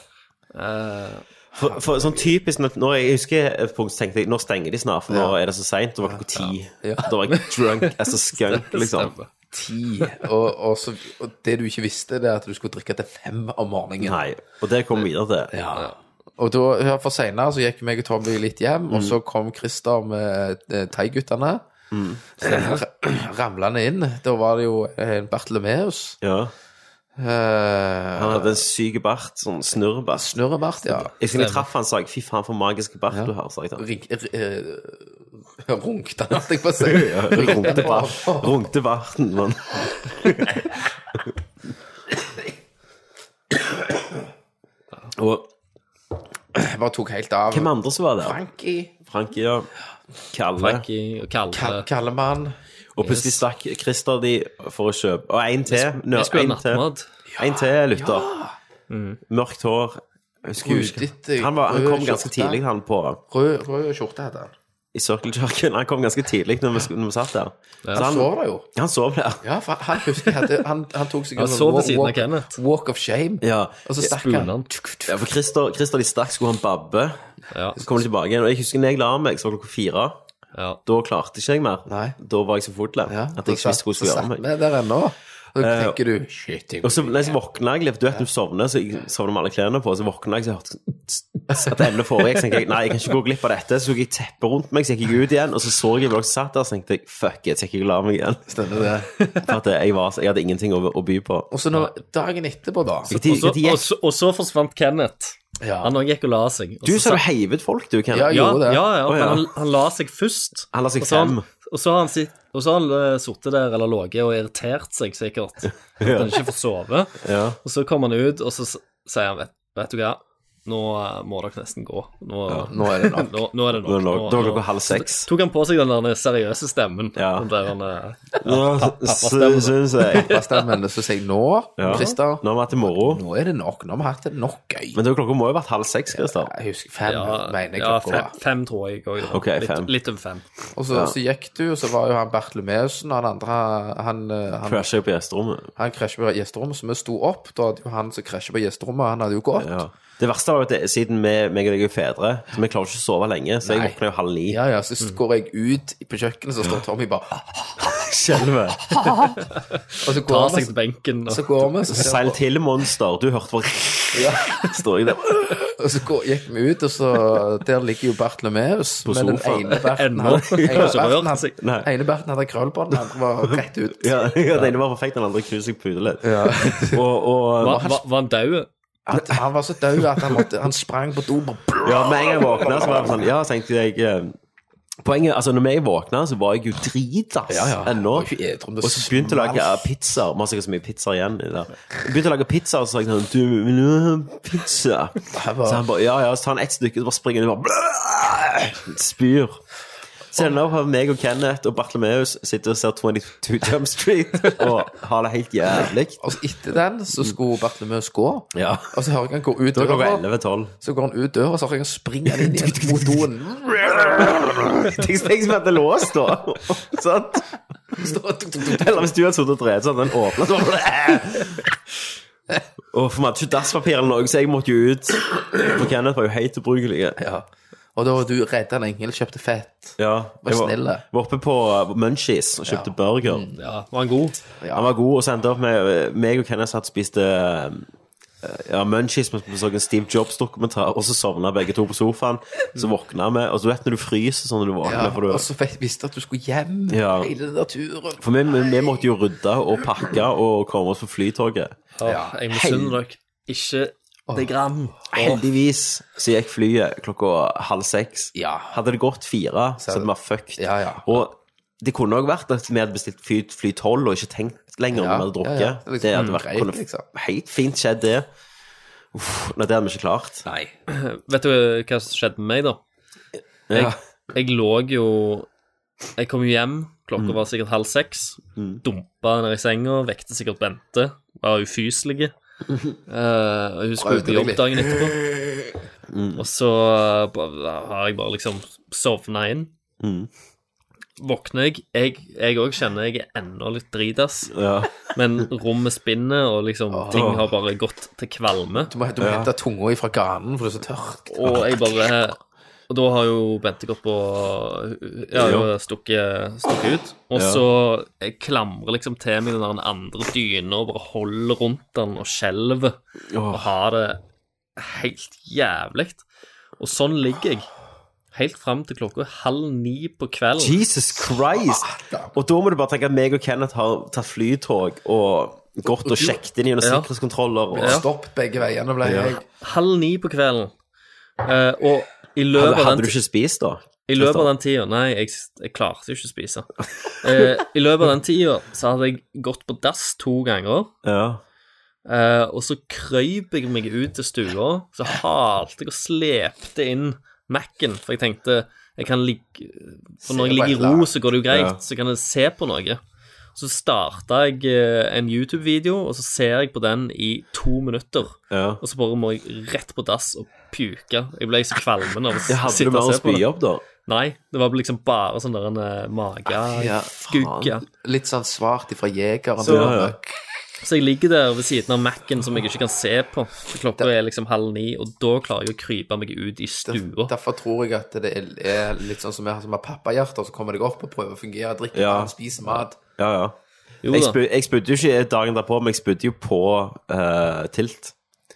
[SPEAKER 3] Eh,
[SPEAKER 1] For, for sånn typisk når når Jeg husker et punkt så tenkte jeg Nå stenger de snart, for nå er det så seint. Da var klokka ti.
[SPEAKER 2] Ja.
[SPEAKER 1] Da var jeg drunk as a skunk, liksom.
[SPEAKER 3] stemmer.
[SPEAKER 2] ti. Og, og, så, og det du ikke visste, det er at du skulle drikke til fem om morgenen.
[SPEAKER 1] Nei. Og det kom vi videre til.
[SPEAKER 2] Ja. Og da, her for senere så gikk meg og Tommy litt hjem,
[SPEAKER 1] Mm.
[SPEAKER 2] og så kom Christer med eh, Thai-guttene.
[SPEAKER 1] Mm.
[SPEAKER 2] *clears throat* Ra- Ramlende inn. Da var det jo en Bartlemeus.
[SPEAKER 1] Ja.
[SPEAKER 2] Eh,
[SPEAKER 1] Han hadde en syk bart, sånn snurrebart.
[SPEAKER 2] Snurrebart, ja.
[SPEAKER 1] Jeg husker jeg traff han sa jeg, 'fy faen, for magisk bart du har', sa
[SPEAKER 2] *laughs*
[SPEAKER 1] jeg til han.
[SPEAKER 2] Ring- r- eh, Runkte han, holdt jeg på å
[SPEAKER 1] *laughs*
[SPEAKER 2] si.
[SPEAKER 1] Runkte bart- Runkte barten, men Og
[SPEAKER 2] Jeg bare tok helt av.
[SPEAKER 1] hvem andre som var der?
[SPEAKER 2] Frankie.
[SPEAKER 1] Frankie, ja. Kalle.
[SPEAKER 3] Frankie og Kalle.
[SPEAKER 2] Kall- Kallemann.
[SPEAKER 1] Og plutselig stakk Christer de for å kjøpe Og en til. Nå,
[SPEAKER 3] Vi skulle ha
[SPEAKER 1] en til.
[SPEAKER 3] nattmat.
[SPEAKER 1] En til lytter. Mørkt hår. Jeg husker-
[SPEAKER 2] Brudete,
[SPEAKER 1] Han, var, han
[SPEAKER 2] rød
[SPEAKER 1] kom ganske
[SPEAKER 2] skjorte.
[SPEAKER 1] tidlig, han på
[SPEAKER 2] Rød, rød skjorte hadde han.
[SPEAKER 1] i Circle *laughs* Jerken. Han kom ganske tidlig når vi, sk- når vi satt der. Så
[SPEAKER 2] Han
[SPEAKER 1] han,
[SPEAKER 2] sover jo.
[SPEAKER 1] han sov der.
[SPEAKER 2] Ja, for han husker jeg hadde, han, han tok seg
[SPEAKER 3] Han
[SPEAKER 2] en sånn
[SPEAKER 3] sov ved
[SPEAKER 2] walk-
[SPEAKER 3] siden av
[SPEAKER 2] walk-
[SPEAKER 3] Kenneth.
[SPEAKER 2] Walk of shame.
[SPEAKER 1] Ja.
[SPEAKER 2] Og så stakk
[SPEAKER 3] Spooner
[SPEAKER 2] han.
[SPEAKER 3] han.
[SPEAKER 1] ja for Christer, Christer de stakk, skulle han babbe.
[SPEAKER 3] Ja,
[SPEAKER 1] Så kom de tilbake igjen. Og jeg husker når jeg la meg, så var klokka fire.
[SPEAKER 3] ja.
[SPEAKER 1] Da klarte ikke jeg mer.
[SPEAKER 2] Nei.
[SPEAKER 1] Da var jeg så fotlem
[SPEAKER 2] Ja,
[SPEAKER 1] at jeg ikke visste hvordan jeg
[SPEAKER 2] Så
[SPEAKER 1] skulle gjøre meg. Eh,
[SPEAKER 2] satt vi der ennå. Og så tenker du Shit, jeg
[SPEAKER 1] Og så, nei, så våkna jeg litt, du vet du sovner, så jeg sovner med alle klærne på, så våkna jeg, så jeg hørte sånn tss, tss, at emnet foregikk, så tenkte jeg, nei, jeg kan ikke gå glipp av dette, så tok jeg teppet rundt meg, så gikk jeg ut igjen, og så så jeg hvor dere satt der, så tenkte jeg, fuck it, så gikk jeg og la meg igjen,
[SPEAKER 2] stemmer det.
[SPEAKER 1] for at jeg, var, så- jeg hadde ingenting å, å by på.
[SPEAKER 2] Og så når, dagen etterpå, da
[SPEAKER 1] Hva tid-
[SPEAKER 3] Og så,
[SPEAKER 1] hva tid
[SPEAKER 3] og,
[SPEAKER 1] gikk-
[SPEAKER 3] så, og så forsvant Kenneth.
[SPEAKER 2] Ja.
[SPEAKER 3] Han òg gikk og la seg. Og
[SPEAKER 1] Du sa
[SPEAKER 3] så sa-
[SPEAKER 1] du heivet folk, du, Ken.
[SPEAKER 2] Ja,
[SPEAKER 3] ja,
[SPEAKER 2] gjorde det.
[SPEAKER 3] ja, ja,
[SPEAKER 1] Å,
[SPEAKER 3] men
[SPEAKER 1] ja.
[SPEAKER 3] han, han la seg først.
[SPEAKER 1] Han la seg
[SPEAKER 3] og så har
[SPEAKER 1] fem.
[SPEAKER 3] Og så har han, sitt, og så har han eh, sittet der eller ligget og irritert seg
[SPEAKER 1] *laughs*
[SPEAKER 3] sikkert. At han ikke får sove.
[SPEAKER 1] Ja.
[SPEAKER 3] Og så kommer han ut, og så s- sier han vet, vet du hva, nå eh, må dere nesten gå. Nå,
[SPEAKER 2] Nå er det nok.
[SPEAKER 3] nå, nå er det nok.
[SPEAKER 1] Det var nok- det var
[SPEAKER 3] Nå-
[SPEAKER 1] klokka halv seks.
[SPEAKER 3] Tok han på seg den der seriøse stemmen?
[SPEAKER 1] Ja.
[SPEAKER 3] Den der,
[SPEAKER 2] *laughs*
[SPEAKER 3] eh,
[SPEAKER 1] Så syns jeg.
[SPEAKER 2] Hva stemmer det? Så sier jeg nå,
[SPEAKER 1] Ja.
[SPEAKER 2] Christer,
[SPEAKER 1] Nå har vi hatt det moro.
[SPEAKER 2] nå er det nok. Nå har vi hatt det nok gøy.
[SPEAKER 1] Men det er jo klokka må jo ha vært halv seks, Christer.
[SPEAKER 2] Jeg husker fem,
[SPEAKER 3] ja,
[SPEAKER 2] mener jeg.
[SPEAKER 3] ja
[SPEAKER 2] klokka
[SPEAKER 3] fem,
[SPEAKER 2] var.
[SPEAKER 3] fem, tror jeg. Og,
[SPEAKER 1] Ok, fem.
[SPEAKER 3] Litt, litt over fem.
[SPEAKER 2] Og så, så gikk du, og så var jo han Bertlomeusen og han andre Han, eh, han,
[SPEAKER 1] Crasher jo på gjesterommet.
[SPEAKER 2] han krasjet på gjesterommet, så vi sto opp. Da hadde jo han som krasjet på gjesterommet, han hadde jo gått.
[SPEAKER 1] Ja. Det verste var jo at det, siden vi, meg og deg er fedre, så vi klarer ikke å sove lenge. Så jeg
[SPEAKER 2] Nei.
[SPEAKER 1] våkner jo halv ni. *laughs*
[SPEAKER 2] Ja, ja, så
[SPEAKER 3] Mm.
[SPEAKER 2] går jeg ut på kjøkkenet, så står Tommy bare
[SPEAKER 3] Ah,
[SPEAKER 1] Skjelver.
[SPEAKER 2] Og så
[SPEAKER 3] Tar
[SPEAKER 2] går vi,
[SPEAKER 3] seg til benken
[SPEAKER 2] så
[SPEAKER 3] og
[SPEAKER 2] går vi, så ser
[SPEAKER 1] Seil til, monster. Du hørte bare *laughs* Står jeg der.
[SPEAKER 2] Og så går, gikk vi ut, og så Der ligger jo Bartlomeus med den
[SPEAKER 1] sofaen.
[SPEAKER 2] ene berten.
[SPEAKER 3] Ennå.
[SPEAKER 2] Han,
[SPEAKER 3] Jeg har *laughs* ikke
[SPEAKER 2] ene
[SPEAKER 3] rørt
[SPEAKER 2] berten,
[SPEAKER 3] seg.
[SPEAKER 1] Nei.
[SPEAKER 2] han, ene berten hadde krøllbånd, den andre var rett ut.
[SPEAKER 1] Ja, ja, Den ene var perfekt, den andre knuste seg på hodet litt. Og, og
[SPEAKER 3] Var, var, var han død?
[SPEAKER 2] At han var så død at han, måtte, han sprang på do. bare-
[SPEAKER 1] ja, med en gang jeg våkna, så var det sånn Ja, så tenkte jeg eh, Poenget, altså når jeg våkna, så var jeg jo dritass ennå.
[SPEAKER 2] Jeg var ikke edru, men det
[SPEAKER 1] Og så begynte jeg å lage eh, pizzaer. Vi har sikkert så mye pizzaer igjen. i det. Begynte å lage pizzaer, og så sa jeg sånn Du, vil du ha pizza? Så han bare Ja, ja. Så tar han ett stykke, og så bare springer han ut og bare blæh, Spyr. Så ender jeg opp med meg og Kenneth og Bartlemeus sitter og ser 22 Jump Street og har det helt jævlig.
[SPEAKER 2] Og så etter den så skulle Bartlomeus gå,
[SPEAKER 1] Ja.
[SPEAKER 2] og så hører jeg han gå ut
[SPEAKER 1] Da er klokka
[SPEAKER 2] døra.
[SPEAKER 1] 11-12.
[SPEAKER 2] Så går han ut døra, så hører jeg han springe han inn igjen mot doen.
[SPEAKER 1] Tenk tenk som at det er låst, da. *laughs* Sant?
[SPEAKER 2] Står og tuk, tuk, tuk.
[SPEAKER 1] Eller hvis du hadde sittet og drevet sånn, den åpnet så bare Og for vi hadde ikke dasspapir eller noe, så jeg måtte jo ut. For Kenneth var jo helt ubrukelig.
[SPEAKER 2] Ja. Og da var du redda en engel, kjøpte fett.
[SPEAKER 1] Ja, jeg
[SPEAKER 2] snille.
[SPEAKER 1] var oppe på uh, Munchies og kjøpte
[SPEAKER 2] Ja. Mm,
[SPEAKER 1] burger.
[SPEAKER 3] Ja, var han god?
[SPEAKER 2] Ja.
[SPEAKER 1] Han var god, og så endte jeg opp med meg og Kenneth satt og spiste uh, ja, Munchies mens vi så en Steve Jobs-dokumentar, og så sovna begge to på sofaen. Så våkna vi, og så vet du når du fryser sånn når du våkner
[SPEAKER 2] Ja,
[SPEAKER 1] for du,
[SPEAKER 2] og så fikk- visste at du skulle hjem
[SPEAKER 1] Ja.
[SPEAKER 2] hele den der turen.
[SPEAKER 1] For vi, vi, vi måtte jo rydde og pakke og komme oss på flytoget.
[SPEAKER 3] Ja, jeg misunner dere ikke det gram.
[SPEAKER 1] Heldigvis så gikk flyet klokka halv seks.
[SPEAKER 2] Ja.
[SPEAKER 1] Hadde det gått fire, så hadde vi vært fucked.
[SPEAKER 2] Ja, ja.
[SPEAKER 1] Og det kunne òg vært at vi hadde bestilt fly, fly 12 og ikke tenkt lenger om
[SPEAKER 2] Ja,
[SPEAKER 1] vi hadde drukket.
[SPEAKER 2] ja, ja. Det er liksom
[SPEAKER 1] det hadde vært,
[SPEAKER 2] greit,
[SPEAKER 1] kunne
[SPEAKER 2] liksom.
[SPEAKER 1] helt fint skjedd, det. Uff, nei, det hadde vi ikke klart.
[SPEAKER 2] Nei.
[SPEAKER 3] Vet du hva som skjedde med meg, da?
[SPEAKER 1] Ja.
[SPEAKER 3] Jeg lå jo Jeg kom jo hjem, klokka
[SPEAKER 1] Mm.
[SPEAKER 3] var sikkert halv seks. Dumpa ned i senga, vekte sikkert Bente. Var
[SPEAKER 1] *laughs*
[SPEAKER 3] ufyselig. Eh, og hun skulle ut på jobb
[SPEAKER 2] Prøvde
[SPEAKER 3] dagen etterpå.
[SPEAKER 1] Mm.
[SPEAKER 3] Og så eh, bare- har jeg bare liksom sovna inn.
[SPEAKER 1] Mm.
[SPEAKER 3] Våkner jeg. Jeg òg kjenner jeg er ennå litt dritass.
[SPEAKER 1] Ja.
[SPEAKER 3] Men rommet spinner, og liksom ting har bare gått til kvalme.
[SPEAKER 2] Du må, du må hente tunga ifra ganen, for det er så tørt.
[SPEAKER 3] Og jeg bare Og da har jo Bente gått på Ja, jo, stukket, stukket ut. Og
[SPEAKER 1] Ja.
[SPEAKER 3] så jeg klamrer liksom til meg den der andre dyna og bare holder rundt den og skjelver. Og
[SPEAKER 1] Åh,
[SPEAKER 3] har det helt jævlig. Og sånn ligger jeg. Helt fram til klokka halv ni på kvelden.
[SPEAKER 1] Jesus Christ! Og da må du bare tenke at meg og Kenneth har tatt flytog og gått og sjekket inn gjennom
[SPEAKER 3] Ja.
[SPEAKER 1] sikkerhetskontroller. Og...
[SPEAKER 3] Ja.
[SPEAKER 2] Stopp begge veiene, ble jeg.
[SPEAKER 3] Halv ni på kvelden. Eh, og i løpet
[SPEAKER 1] Hadde,
[SPEAKER 3] av den
[SPEAKER 1] hadde du ikke spist, da?
[SPEAKER 3] I løpet av den tida Nei, jeg, jeg klarte jo ikke å spise. Eh, I løpet av den tida så hadde jeg gått på dass to ganger,
[SPEAKER 1] Ja.
[SPEAKER 3] eh, og så krøyp jeg meg ut til stua, så halte jeg og slepte inn Mac-en, for jeg tenkte jeg kan ligge For når jeg ligger i ro, så går det jo greit,
[SPEAKER 1] Ja.
[SPEAKER 3] så kan jeg se på noe. Så starta jeg eh, en YouTube-video, og så ser jeg på den i to minutter.
[SPEAKER 1] ja.
[SPEAKER 3] Og så bare må jeg rett på dass og puke. Jeg ble så kvalmen av å s-
[SPEAKER 1] Ja, Hadde du
[SPEAKER 3] sitte
[SPEAKER 1] mer
[SPEAKER 3] og
[SPEAKER 1] å
[SPEAKER 3] se på
[SPEAKER 1] spy
[SPEAKER 3] det.
[SPEAKER 1] opp, da?
[SPEAKER 3] Nei, det var liksom bare sånn der en eh,
[SPEAKER 1] Ja,
[SPEAKER 3] mageskugge.
[SPEAKER 1] Ah, faen.
[SPEAKER 2] Litt sånn svart ifra jegeren.
[SPEAKER 1] Så- ja, ja.
[SPEAKER 3] Så jeg ligger der ved siden av Mac-en som jeg ikke kan se på. Så Klokka er liksom halv ni, og da klarer jeg å krype meg ut i stua.
[SPEAKER 2] Derfor tror jeg at det er- er litt sånn som jeg som har pappahjerter, så kommer deg opp og prøver å fungere, drikker
[SPEAKER 1] Ja.
[SPEAKER 2] vann, spiser mat.
[SPEAKER 1] Ja, ja.
[SPEAKER 3] Jo
[SPEAKER 1] Jeg,
[SPEAKER 3] da.
[SPEAKER 1] spyd, jeg spydde jo ikke dagen derpå, men jeg spydde jo på eh, tilt.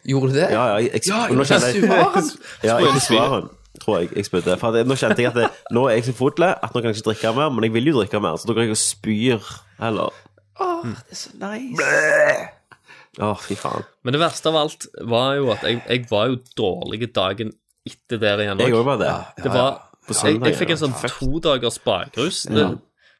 [SPEAKER 2] Gjorde du det?
[SPEAKER 1] Ja, ja, jeg, jeg,
[SPEAKER 2] Ja,
[SPEAKER 1] og nå kjenner jeg
[SPEAKER 2] svaren!
[SPEAKER 1] *laughs* Ja, jeg svaren, tror jeg. jeg spydde. For at, jeg- nå kjente jeg at det, nå er jeg så fotle at nå kan jeg ikke drikke mer, men jeg vil jo drikke mer, så da går jeg og spyr heller.
[SPEAKER 2] det er så nice.
[SPEAKER 1] Å, fy faen.
[SPEAKER 3] Men det verste av alt var jo at jeg, jeg var jo dårlig dagen etter der igjen
[SPEAKER 1] Jeg
[SPEAKER 3] òg.
[SPEAKER 1] òg var det.
[SPEAKER 3] Det var
[SPEAKER 1] På
[SPEAKER 3] jeg,
[SPEAKER 1] søndag,
[SPEAKER 3] jeg fikk en sånn to dagers bakrus. Det,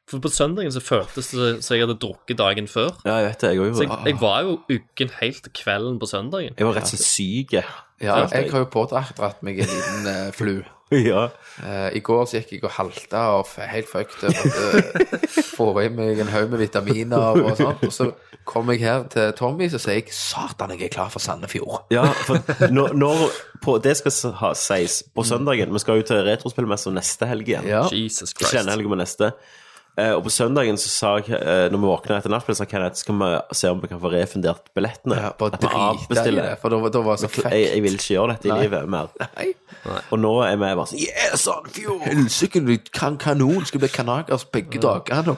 [SPEAKER 3] For på søndagen så føltes det som jeg hadde drukket dagen før.
[SPEAKER 1] Ja, jeg vet det, jeg
[SPEAKER 3] Så
[SPEAKER 1] òg.
[SPEAKER 3] jeg, jeg var jo uggen helt til kvelden på søndagen.
[SPEAKER 1] Jeg var rett og slett syk. jeg.
[SPEAKER 2] Ja, jeg har jo pådratt meg en liten eh, flu.
[SPEAKER 1] Ja.
[SPEAKER 2] Eh, I går så gikk jeg og halta og f helt fucked over at uh, får i meg en haug med vitaminer og sånt. Og så kom jeg her til Tommy, så sier jeg 'Satan, jeg er klar for Sandefjord'.
[SPEAKER 1] ja, for når, når på, Det skal s- ha, sies på søndagen. Vi skal jo til retrospillmessa neste helg igjen.
[SPEAKER 2] Mm. Ja.
[SPEAKER 3] Jesus
[SPEAKER 1] Ikke
[SPEAKER 3] Christ.
[SPEAKER 1] denne helgen, men neste. Eh, og på søndagen så sa jeg, eh, når vi våkna etter nattspill, sa Kenneth skal vi se om vi kan få refundert billettene.
[SPEAKER 2] Ja, bare
[SPEAKER 1] At vi
[SPEAKER 2] drita i
[SPEAKER 1] avbestiller.
[SPEAKER 2] det, for da, da var jeg så
[SPEAKER 1] Jeg,
[SPEAKER 2] fucked.
[SPEAKER 1] jeg vil ikke gjøre dette i livet mer.
[SPEAKER 2] *laughs* Nei.
[SPEAKER 1] Og nå er vi bare sånn Yeah, Sandefjord!
[SPEAKER 2] Helsike, du kan kanon skal bli kanakers begge dagene.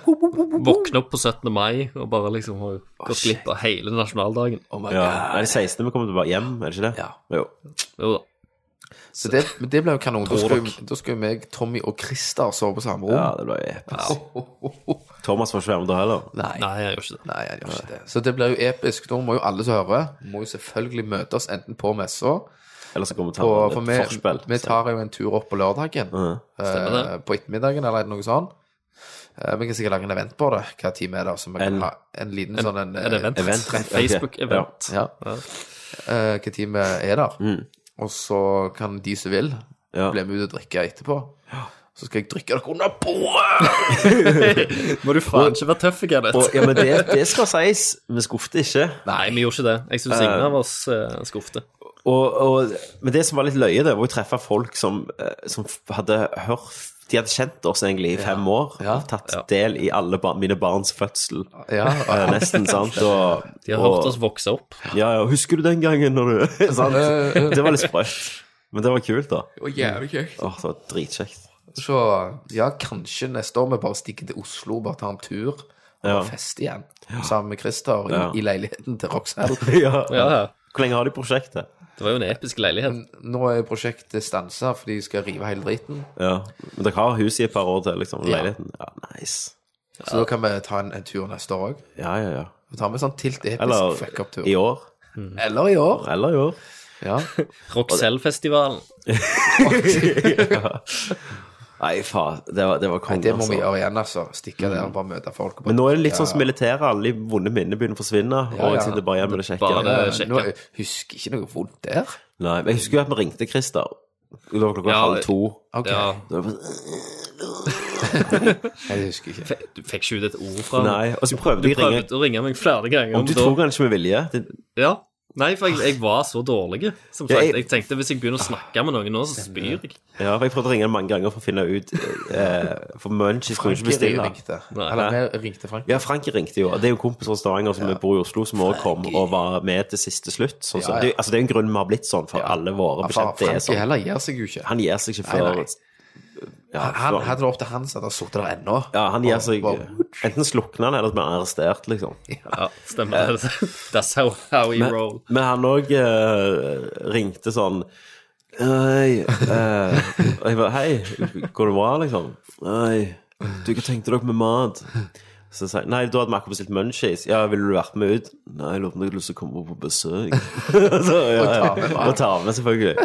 [SPEAKER 3] Våkne opp på 17. mai og bare liksom har gått glipp av hele nasjonaldagen.
[SPEAKER 2] Oh my
[SPEAKER 1] Ja.
[SPEAKER 2] God.
[SPEAKER 1] Er det 16. vi kommer tilbake hjem, er det ikke det?
[SPEAKER 2] Ja.
[SPEAKER 1] Jo.
[SPEAKER 3] Jo da.
[SPEAKER 2] Så det, men det ble jo kanon. Da
[SPEAKER 3] Tror
[SPEAKER 2] skulle, da skulle meg, Tommy og Christer sove på samme
[SPEAKER 1] ja,
[SPEAKER 2] rom.
[SPEAKER 1] det ble episk.
[SPEAKER 2] Ho, ho, ho.
[SPEAKER 1] Thomas var ikke med da heller.
[SPEAKER 2] Nei.
[SPEAKER 3] Nei, jeg gjør ikke det.
[SPEAKER 2] Nei, han gjør ikke det. Så det blir jo episk. Da må jo alle som hører, må jo selvfølgelig møte oss enten på messa
[SPEAKER 1] Eller så
[SPEAKER 2] og
[SPEAKER 1] kommer vi til
[SPEAKER 2] For
[SPEAKER 1] å ta
[SPEAKER 2] vi,
[SPEAKER 1] et forspill.
[SPEAKER 2] vi tar jo en tur opp på lørdagen.
[SPEAKER 3] Stemmer det.
[SPEAKER 2] eh, på ettermiddagen eller noe sånt. Eh, Vi kan sikkert lage en event på det. Hva time er det? Så vi kan
[SPEAKER 1] En-
[SPEAKER 2] ha en liten sånn en,
[SPEAKER 3] Er det event?
[SPEAKER 1] Event.
[SPEAKER 3] Facebook-event.
[SPEAKER 2] Ja. Eh, Hva time er der? Og så kan de som vil,
[SPEAKER 1] Ja.
[SPEAKER 2] bli med ut og drikke etterpå. Så skal jeg drikke dere under bordet!
[SPEAKER 3] Må du faen ikke være tøff, Kenneth.
[SPEAKER 1] Og, ja, men det, det skal sies. Vi skuffet ikke.
[SPEAKER 3] Nei, vi gjorde ikke det. Jeg syns ingen av oss eh, skuffet.
[SPEAKER 1] Og, og, men det som var litt løye, det var å treffe folk som, eh, som hadde hørt De hadde kjent oss egentlig i fem år.
[SPEAKER 2] Ja.
[SPEAKER 1] Og tatt
[SPEAKER 3] Ja.
[SPEAKER 1] del i alle bar mine barns fødsel.
[SPEAKER 2] *laughs* Ja,
[SPEAKER 1] Eh, nesten,
[SPEAKER 3] *laughs*
[SPEAKER 1] sant? Og,
[SPEAKER 3] De har
[SPEAKER 1] og,
[SPEAKER 3] hørt oss vokse opp.
[SPEAKER 1] Ja, ja, husker du den gangen når du *laughs* Sant?
[SPEAKER 2] Eh, eh.
[SPEAKER 1] Det var litt sprøtt. Men det var kult, da.
[SPEAKER 2] og jævlig kjekt.
[SPEAKER 1] Åh, det var dritkjekt.
[SPEAKER 2] Så ja, kanskje neste år vi bare stikker til Oslo, bare tar en tur og
[SPEAKER 1] Ja.
[SPEAKER 2] fester igjen. Sammen med Christer i,
[SPEAKER 1] Ja.
[SPEAKER 2] i leiligheten til Roxhall.
[SPEAKER 1] *laughs* Ja.
[SPEAKER 3] Ja, ja.
[SPEAKER 1] Hvor lenge har de prosjektet?
[SPEAKER 3] Det var jo en episk
[SPEAKER 1] Mm.
[SPEAKER 3] leilighet.
[SPEAKER 2] Nå er prosjektet stansa, for de skal rive hele driten.
[SPEAKER 1] Ja. Men dere har huset i et par år til, liksom? Leiligheten? Ja, nice.
[SPEAKER 2] Så da kan vi ta en, en tur neste år òg.
[SPEAKER 1] Ja, ja, ja.
[SPEAKER 2] Vi tar med sånn tilt episk
[SPEAKER 1] Eller
[SPEAKER 2] fuck-up-tur.
[SPEAKER 1] i år.
[SPEAKER 2] Eller i år.
[SPEAKER 1] Eller i år. *laughs*
[SPEAKER 2] Ja.
[SPEAKER 3] Roxelle-festivalen.
[SPEAKER 1] *laughs* Nei, faen. Det var, det var konge,
[SPEAKER 2] Det må vi gjøre igjen, altså. Stikke der og bare møte folk. og
[SPEAKER 1] Men
[SPEAKER 2] Bare.
[SPEAKER 1] nå er det litt sånn som militæret. Alle de vonde minnene begynner å forsvinne. Og jeg sitter bare igjen med det kjekke.
[SPEAKER 3] Bare
[SPEAKER 2] Eh,
[SPEAKER 3] sjekke.
[SPEAKER 2] Nå, jeg husker ikke noe vondt der.
[SPEAKER 1] Nei, men Jeg husker jo at vi ringte Christer. Det var klokka
[SPEAKER 3] Ja,
[SPEAKER 1] halv to.
[SPEAKER 2] Ok,
[SPEAKER 3] Ja.
[SPEAKER 1] Det var bare,
[SPEAKER 2] Jeg husker ikke.
[SPEAKER 3] Fe- Du fikk ikke ut et ord fra ham.
[SPEAKER 1] nei, Og så prøvde
[SPEAKER 3] Du
[SPEAKER 1] de å ringe.
[SPEAKER 3] prøvde å ringe meg flere ganger.
[SPEAKER 1] Om du
[SPEAKER 3] da-
[SPEAKER 1] tror han ikke med vilje det-
[SPEAKER 3] Ja. Nei, for jeg, jeg var så dårlig. Som
[SPEAKER 1] Ja,
[SPEAKER 3] sagt,
[SPEAKER 1] jeg-
[SPEAKER 3] jeg tenkte hvis jeg begynner å snakke med noen nå, så spyr jeg.
[SPEAKER 1] Ja, for jeg prøvde å ringe han mange ganger for å finne ut eh, For Munchies kunne ikke bestille.
[SPEAKER 2] ringte.
[SPEAKER 3] Nei.
[SPEAKER 2] Eller vi ringte Frank.
[SPEAKER 1] Ja, Frankie ringte jo. og Det er jo en kompis fra Stavanger som bor i Oslo, som også kom og var med til siste slutt. Sånn,
[SPEAKER 2] Ja,
[SPEAKER 1] som-
[SPEAKER 2] ja.
[SPEAKER 1] Det, altså, det er jo en grunn vi har blitt sånn, for alle våre
[SPEAKER 2] Fra-
[SPEAKER 1] bekjente er
[SPEAKER 2] Frank
[SPEAKER 1] sånn.
[SPEAKER 2] heller gir seg jo ikke.
[SPEAKER 1] Han gir seg ikke
[SPEAKER 2] Nei,
[SPEAKER 1] før
[SPEAKER 2] nei.
[SPEAKER 1] ja,
[SPEAKER 2] Han
[SPEAKER 1] før-
[SPEAKER 2] hadde det opp til han, så hadde han sittet der ennå.
[SPEAKER 1] Ja, han gir seg
[SPEAKER 2] Bare-
[SPEAKER 1] Enten slukner han, eller så blir han
[SPEAKER 2] *laughs*
[SPEAKER 1] arrestert, liksom.
[SPEAKER 3] Ja, stemmer det. That's how, how we roll.
[SPEAKER 1] Men han òg ringte sånn Hei, eh, og jeg bare, hei, går det bra, liksom? Nei, du, hva tenkte dere med mat? Så sa jeg, nei, da hadde vi akkurat bestilt munchies. Ja, ville du vært med ut? Nei, jeg lurer på om jeg hadde lyst til å komme på besøk. *laughs* så, ja,
[SPEAKER 2] Og ta med
[SPEAKER 1] ja.
[SPEAKER 2] mat.
[SPEAKER 1] Og ta med, selvfølgelig.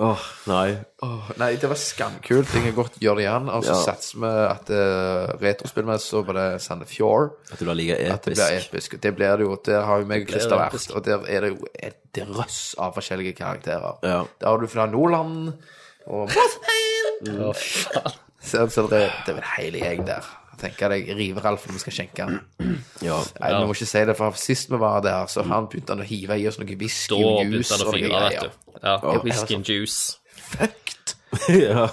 [SPEAKER 1] Åh, nei.
[SPEAKER 2] Åh, nei, det var skamkult. Jeg kan godt gjøre det igjen. Og så
[SPEAKER 1] Ja.
[SPEAKER 2] satser vi at uh, retrospillmessig var det Sandefjord.
[SPEAKER 1] At du var like
[SPEAKER 2] At det blir
[SPEAKER 1] episk.
[SPEAKER 2] episk. Det blir det jo. Der har jo meg og Christer vært.
[SPEAKER 3] episk.
[SPEAKER 2] Og der er det jo et drøss av forskjellige karakterer.
[SPEAKER 1] Ja.
[SPEAKER 2] Der har du fra Nordland
[SPEAKER 1] *laughs*
[SPEAKER 2] og Mm.
[SPEAKER 3] Å, faen.
[SPEAKER 2] Så, så det, det er en hel gjeng der. Tenker deg Rive-Ralf når vi skal skjenke han.
[SPEAKER 1] Ja.
[SPEAKER 2] Nei, vi må ikke si det, for sist vi var der, så han begynte han å hive i oss noe whisky
[SPEAKER 3] Da
[SPEAKER 2] og
[SPEAKER 3] begynte
[SPEAKER 2] juice
[SPEAKER 3] han å
[SPEAKER 2] og noe
[SPEAKER 3] fyre,
[SPEAKER 2] greier.
[SPEAKER 3] vet du. Ja,
[SPEAKER 1] Ja.
[SPEAKER 3] Whisky and juice.
[SPEAKER 2] Fucked!
[SPEAKER 1] *laughs* ja.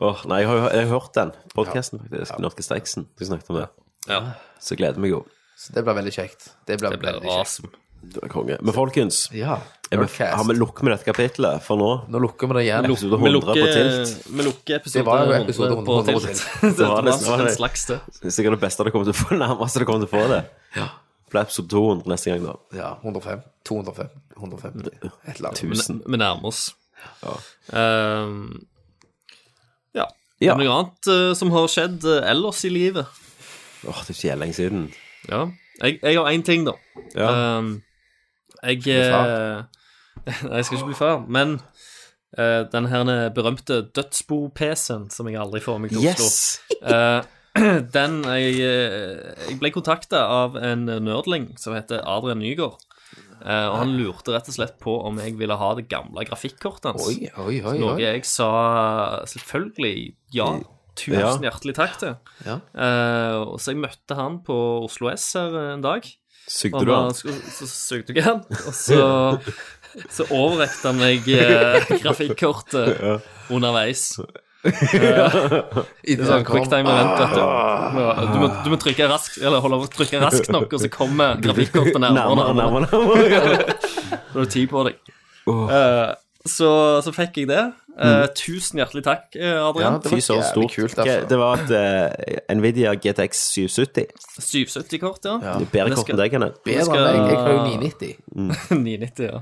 [SPEAKER 1] Åh, nei, jeg har, jeg har hørt den podcasten faktisk. Norske Steiksen, du snakket om det.
[SPEAKER 3] Ja,
[SPEAKER 1] Så gleder jeg meg jo.
[SPEAKER 2] Så det blir veldig kjekt. Det blir
[SPEAKER 3] det ble
[SPEAKER 2] veldig kjekt.
[SPEAKER 3] awesome.
[SPEAKER 1] Det var konge. Men folkens,
[SPEAKER 2] Ja.
[SPEAKER 1] er vi,
[SPEAKER 2] Nerdcast.
[SPEAKER 1] har vi lukket med dette kapitlet for nå?
[SPEAKER 2] Nå lukker vi det igjen.
[SPEAKER 1] Luk- Episode
[SPEAKER 3] Vi
[SPEAKER 1] 100 på
[SPEAKER 3] lukker,
[SPEAKER 1] tilt.
[SPEAKER 3] vi lukker episode
[SPEAKER 2] Det var jo
[SPEAKER 3] 100
[SPEAKER 2] episode
[SPEAKER 3] på
[SPEAKER 2] 100 på
[SPEAKER 3] tilt.
[SPEAKER 1] Det var
[SPEAKER 3] *laughs* Det
[SPEAKER 1] det som var
[SPEAKER 3] var en
[SPEAKER 1] det.
[SPEAKER 3] slags det.
[SPEAKER 1] Det er sikkert det beste det kommer til å få, nærmeste det kommer til å få det. Flaps opp 200 neste gang, da.
[SPEAKER 2] Ja, 105. 205. 150. Et eller annet.
[SPEAKER 1] 1000.
[SPEAKER 3] Vi nærmer oss. Ehm, ja.
[SPEAKER 1] Ja.
[SPEAKER 3] Er det noe annet eh, som har skjedd eh, ellers i livet?
[SPEAKER 1] Åh, det er ikke helt lenge siden.
[SPEAKER 3] Ja. Jeg, jeg har én ting, da.
[SPEAKER 1] Ja.
[SPEAKER 3] Ehm, jeg eh, *laughs* Nei, jeg skal ikke bli far, men eh, den her berømte dødsbo-PC-en som jeg aldri får meg til å slå
[SPEAKER 1] Yes!
[SPEAKER 3] Eh, den Jeg, eh, jeg ble kontakta av en nerdling som heter Adrian Nygaard. Eh, og han lurte rett og slett på om jeg ville ha det gamle grafikkortet hans.
[SPEAKER 2] Oi, oi, oi.
[SPEAKER 3] Noe
[SPEAKER 2] oi. Eh,
[SPEAKER 3] jeg sa selvfølgelig ja. Tusen
[SPEAKER 1] Ja.
[SPEAKER 3] hjertelig takk til.
[SPEAKER 2] Ja.
[SPEAKER 3] Eh, og så jeg møtte han på Oslo S her en dag.
[SPEAKER 1] Sugde
[SPEAKER 3] Og
[SPEAKER 1] du
[SPEAKER 3] da
[SPEAKER 1] han?
[SPEAKER 3] skulle- så søkte jeg han, og så,
[SPEAKER 2] *laughs*
[SPEAKER 3] så overrekte han meg eh, grafikkortet underveis.
[SPEAKER 2] Innen
[SPEAKER 3] Det er
[SPEAKER 2] han
[SPEAKER 3] sånn
[SPEAKER 2] kom.
[SPEAKER 3] quicktime event, vet du.
[SPEAKER 2] ah.
[SPEAKER 3] Ja, Du må, du må trykke raskt, eller holde over å trykke raskt nok, og så kommer grafikkortet nærmere. og
[SPEAKER 1] Nærmere,
[SPEAKER 3] nærmere.
[SPEAKER 1] nærmere, nærmere.
[SPEAKER 3] Da har du tid på deg. Eh, så, så fikk jeg det. Eh, tusen hjertelig takk, eh,
[SPEAKER 2] Mm. Ja,
[SPEAKER 3] Adrian.
[SPEAKER 2] det
[SPEAKER 1] Fy
[SPEAKER 2] var
[SPEAKER 1] søren,
[SPEAKER 2] jævlig
[SPEAKER 1] stort.
[SPEAKER 2] kult,
[SPEAKER 1] Ok,
[SPEAKER 2] altså.
[SPEAKER 1] Det var et eh, Nvidia GTX 770.
[SPEAKER 3] 770-kort, ja. *laughs*
[SPEAKER 2] Ja.
[SPEAKER 1] Det er Bedre
[SPEAKER 3] Det
[SPEAKER 1] kort
[SPEAKER 3] skal-
[SPEAKER 1] enn deg, kan jeg.
[SPEAKER 2] Bedre
[SPEAKER 3] skal-
[SPEAKER 2] enn meg. Jeg har jo 990.
[SPEAKER 3] 990, ja.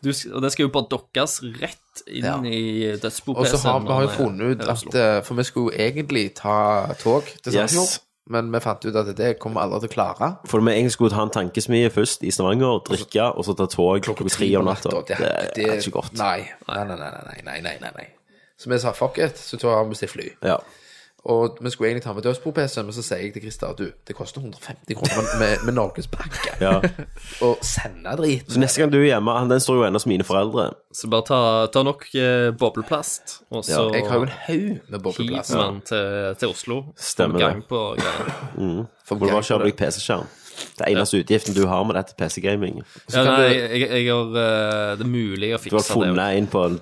[SPEAKER 3] Du, sk- og det skal jo bare dokkes rett inn
[SPEAKER 2] Ja.
[SPEAKER 3] i dødsbo-PC-en.
[SPEAKER 2] Og så har vi har jo funnet ut at eh, For vi skulle jo egentlig ta tog til
[SPEAKER 1] Yes.
[SPEAKER 2] Sandefjord, men vi fant ut at det kommer vi aldri til å klare.
[SPEAKER 1] For vi egentlig skulle ta en tankesmie først i Stavanger, drikke, og så ta tog klokka tre om natta.
[SPEAKER 2] Det,
[SPEAKER 1] Det er ikke godt.
[SPEAKER 2] Nei. Nei, nei, nei, nei, nei, nei, nei, nei. Så vi sa fuck it, så tar vi bestilt fly.
[SPEAKER 1] Ja.
[SPEAKER 2] Og vi skulle egentlig ta med dødsbo-PC-en, men så sier jeg til Christer at du, det koster 150 kroner med, med norgespakke
[SPEAKER 1] ja.
[SPEAKER 2] å sende drit.
[SPEAKER 1] Så neste gang du er hjemme han- Den står jo ennå hos mine foreldre.
[SPEAKER 3] Så bare ta, ta nok eh, bobleplast, og så
[SPEAKER 2] Jeg har jo en haug med bobleplass.
[SPEAKER 3] hiver man til, til Oslo.
[SPEAKER 1] Stemmer
[SPEAKER 3] Kom i gang
[SPEAKER 1] det.
[SPEAKER 3] På, greier.
[SPEAKER 2] For
[SPEAKER 1] Hvor du bare
[SPEAKER 2] gang-
[SPEAKER 1] kjøper deg PC-skjerm. Det er eneste utgiften du har med dette PC-gaming.
[SPEAKER 3] ja,
[SPEAKER 2] kan
[SPEAKER 3] nei,
[SPEAKER 2] du-
[SPEAKER 3] jeg, jeg har eh, Det er mulig
[SPEAKER 1] Du
[SPEAKER 3] å
[SPEAKER 1] har
[SPEAKER 3] fikse det.
[SPEAKER 1] funnet en på en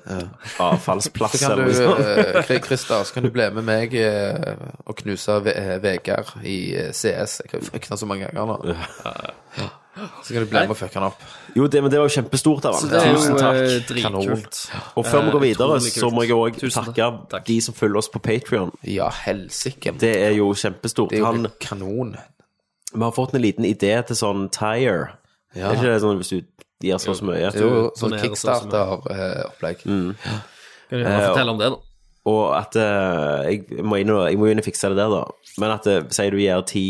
[SPEAKER 1] avfallsplass
[SPEAKER 2] Så kan
[SPEAKER 1] eller
[SPEAKER 2] du,
[SPEAKER 1] noe sånt.
[SPEAKER 2] eh, Kri- Christer, så kan du bli med meg eh, og knuse Ve- eh, Vegard i eh, CS. Jeg har jo fucket han så mange ganger nå. Ja. Så kan du bli med og fucke han opp.
[SPEAKER 1] Jo, det, men det var jo kjempestort av
[SPEAKER 3] Så
[SPEAKER 1] han.
[SPEAKER 3] det er
[SPEAKER 1] Tusen
[SPEAKER 3] jo
[SPEAKER 1] takk.
[SPEAKER 3] eh,
[SPEAKER 2] Kanon.
[SPEAKER 3] dritkult.
[SPEAKER 1] Og før vi
[SPEAKER 3] eh,
[SPEAKER 1] går videre,
[SPEAKER 3] utrolig
[SPEAKER 1] så
[SPEAKER 3] kult.
[SPEAKER 1] må jeg òg
[SPEAKER 3] Tusen
[SPEAKER 1] takke
[SPEAKER 3] takk.
[SPEAKER 1] de som følger oss på Patrion.
[SPEAKER 2] Ja, helsike. Det,
[SPEAKER 1] Det er jo kjempestort.
[SPEAKER 2] er jo
[SPEAKER 1] Han,
[SPEAKER 2] helt kanon.
[SPEAKER 1] vi har fått en liten idé til sånn tire.
[SPEAKER 2] Ja.
[SPEAKER 1] Er ikke det sånn hvis du gir så mye?
[SPEAKER 2] Det er jo sånn eh,
[SPEAKER 3] Sånn er det sånn som
[SPEAKER 2] kickstarter-opplegg.
[SPEAKER 3] Kan du
[SPEAKER 1] Eh,
[SPEAKER 3] gjerne fortelle om det, da?
[SPEAKER 1] Og at eh, jeg, må inn og, jeg må jo inn og fikse det der, da. Men at eh, sier du gir ti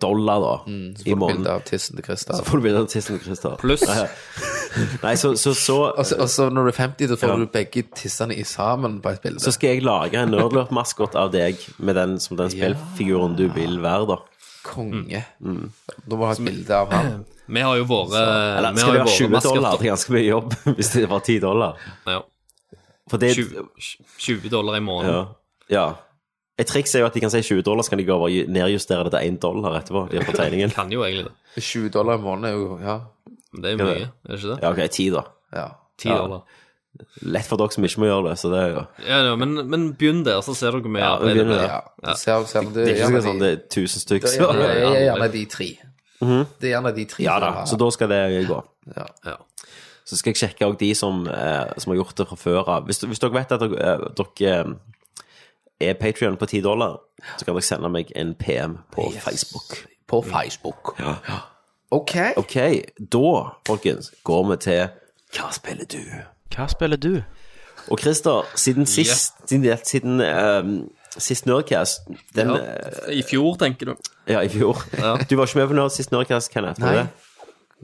[SPEAKER 1] dollar, da,
[SPEAKER 3] Mm,
[SPEAKER 1] i måneden.
[SPEAKER 2] Bilde av tissen til Christer.
[SPEAKER 1] Får du bilde av tissen til Christer?
[SPEAKER 3] Pluss Altså-
[SPEAKER 1] Nei, så, så, så,
[SPEAKER 2] Og så- og så Altså, når du er 50, så får du begge tissene i sammen på et bilde.
[SPEAKER 1] så skal jeg lage en nerdlurt-maskot av deg med den som den spillfiguren du vil være, da.
[SPEAKER 2] Konge.
[SPEAKER 1] Mm.
[SPEAKER 2] Da må du ha et bilde av
[SPEAKER 1] *clears throat*
[SPEAKER 2] han.
[SPEAKER 3] Vi har jo våre
[SPEAKER 1] Eller
[SPEAKER 3] vi
[SPEAKER 1] skal det være
[SPEAKER 3] har jo våre
[SPEAKER 1] 20 dollar?
[SPEAKER 3] maskotter.
[SPEAKER 1] Det er ganske mye jobb *laughs* hvis det var 10 dollar.
[SPEAKER 3] Ja,
[SPEAKER 1] For det
[SPEAKER 3] 20, 20 dollar i måneden.
[SPEAKER 1] ja, ja. Et triks er jo at de kan si 20 dollar, så kan de gå over og nedjustere det til 1 dollar etterpå. De har fått tegningen.
[SPEAKER 3] *laughs* Kan jo egentlig det.
[SPEAKER 2] 20 dollar i måneden er jo Ja.
[SPEAKER 3] Men det er jo mye, er det ikke det?
[SPEAKER 1] Ja, OK, 10, da.
[SPEAKER 2] ja.
[SPEAKER 3] 10 dollar.
[SPEAKER 1] Lett for dere som ikke må gjøre det, så det er jo
[SPEAKER 3] Ja, ja, men, men begynn der, så ser dere hvor mye
[SPEAKER 1] Ja,
[SPEAKER 3] arbeid det
[SPEAKER 1] begynn
[SPEAKER 3] blir.
[SPEAKER 1] der.
[SPEAKER 2] ja. Ser, ser, det,
[SPEAKER 1] Det er
[SPEAKER 2] ja,
[SPEAKER 1] ikke
[SPEAKER 2] men
[SPEAKER 1] sikkert
[SPEAKER 2] de-
[SPEAKER 1] sånn det er 1000 stykker,
[SPEAKER 2] Det er
[SPEAKER 1] *laughs* så Mhm.
[SPEAKER 2] gjerne- det er gjerne de tre. Det er gjerne de tre.
[SPEAKER 1] Ja
[SPEAKER 2] som
[SPEAKER 1] da,
[SPEAKER 2] har-
[SPEAKER 1] så da skal det gå.
[SPEAKER 2] ja.
[SPEAKER 3] Ja.
[SPEAKER 1] Så skal jeg sjekke òg de som, eh, som har gjort det fra før av. Hvis, hvis dere vet at dere, eh, dere eh, er Patrion på 10 dollar, så kan dere sende meg en PM på
[SPEAKER 2] Yes.
[SPEAKER 1] Facebook.
[SPEAKER 2] På Facebook.
[SPEAKER 1] Mm. Ja.
[SPEAKER 2] OK.
[SPEAKER 1] Ok, da, folkens, går vi til Hva spiller du?
[SPEAKER 4] Hva spiller du?
[SPEAKER 1] Og Christer, siden sist Siden, siden eh, sist Nerdcast den,
[SPEAKER 3] Ja.
[SPEAKER 1] eh,
[SPEAKER 3] I fjor, tenker du?
[SPEAKER 1] ja, i fjor. Du var ikke med på Nerd sist Nerdcast, Kenneth? var
[SPEAKER 2] Nei.
[SPEAKER 1] det?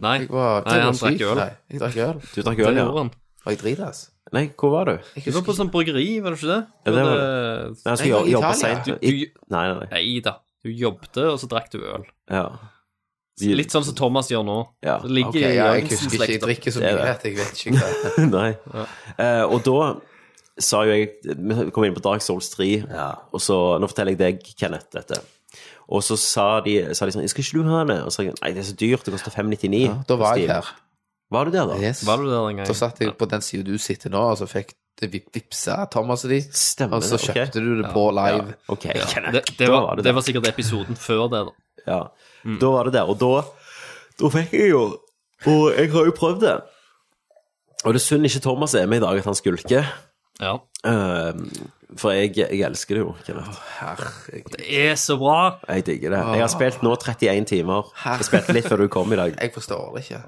[SPEAKER 3] Nei,
[SPEAKER 2] Jeg var,
[SPEAKER 3] Nei han
[SPEAKER 2] syk.
[SPEAKER 3] drakk øl.
[SPEAKER 2] Nei, jeg drakk øl.
[SPEAKER 1] Du drakk
[SPEAKER 3] Det
[SPEAKER 1] øl,
[SPEAKER 3] gjorde
[SPEAKER 1] ja?
[SPEAKER 3] han.
[SPEAKER 2] Og jeg driter, ass.
[SPEAKER 1] Nei, hvor var du?
[SPEAKER 2] Jeg
[SPEAKER 3] Du var
[SPEAKER 2] husker
[SPEAKER 3] på sånn bryggeri, var det ikke det?
[SPEAKER 1] Ja, det var Nei, altså,
[SPEAKER 3] det.
[SPEAKER 1] jeg
[SPEAKER 2] Nei,
[SPEAKER 1] skal jo-
[SPEAKER 2] i
[SPEAKER 1] jobbe
[SPEAKER 2] Italia.
[SPEAKER 1] sent.
[SPEAKER 3] Du,
[SPEAKER 1] I-
[SPEAKER 3] du,
[SPEAKER 1] Nei, nei, nei.
[SPEAKER 3] nei da. Du jobbet, og så drakk du øl.
[SPEAKER 1] Ja.
[SPEAKER 3] Litt sånn som Thomas gjør nå.
[SPEAKER 1] Ja.
[SPEAKER 3] Det ligger
[SPEAKER 2] Ok, ja,
[SPEAKER 3] i
[SPEAKER 2] jeg husker ikke. Jeg
[SPEAKER 3] Jørgensen-slekta.
[SPEAKER 2] drikker så
[SPEAKER 1] Det er
[SPEAKER 2] mye
[SPEAKER 1] det.
[SPEAKER 2] at jeg vet ikke
[SPEAKER 1] *laughs*
[SPEAKER 2] hva
[SPEAKER 1] Nei. Eh, og da sa jo jeg Vi kom inn på Dark Souls 3, og så Nå forteller jeg deg, Kenneth, dette. Og så sa de, sa de sånn 'Skal ikke du ha den?' Og så sa jeg nei, det er så dyrt, det koster 599.
[SPEAKER 2] Da var jeg
[SPEAKER 1] Steam.
[SPEAKER 2] her.
[SPEAKER 1] Var du der, da?
[SPEAKER 2] Yes.
[SPEAKER 3] Var du der den gangen?
[SPEAKER 2] Da satt jeg på den siden du sitter nå, og så fikk det vip- vipsa Thomas og de.
[SPEAKER 1] Stemmer
[SPEAKER 2] Og så
[SPEAKER 1] det, ok.
[SPEAKER 2] kjøpte du det på live.
[SPEAKER 1] Ok,
[SPEAKER 3] Altså, Ja.
[SPEAKER 1] Kenneth.
[SPEAKER 3] Det, det,
[SPEAKER 1] da
[SPEAKER 3] var,
[SPEAKER 1] var det
[SPEAKER 3] det
[SPEAKER 1] der.
[SPEAKER 3] var Mm. sikkert episoden før det, da.
[SPEAKER 1] Ja. Da var det der. Og da, da fikk jeg jo Og jeg har jo prøvd det. Og det er synd ikke Thomas er med i dag, at han skulker.
[SPEAKER 3] Ja.
[SPEAKER 1] Eh, for jeg, jeg elsker det jo, Kenneth.
[SPEAKER 2] Herregud.
[SPEAKER 3] Det er så bra!
[SPEAKER 1] Jeg digger det. Jeg har spilt nå 31 timer. Jeg spilte litt før du kom i dag.
[SPEAKER 2] Jeg forstår det ikke.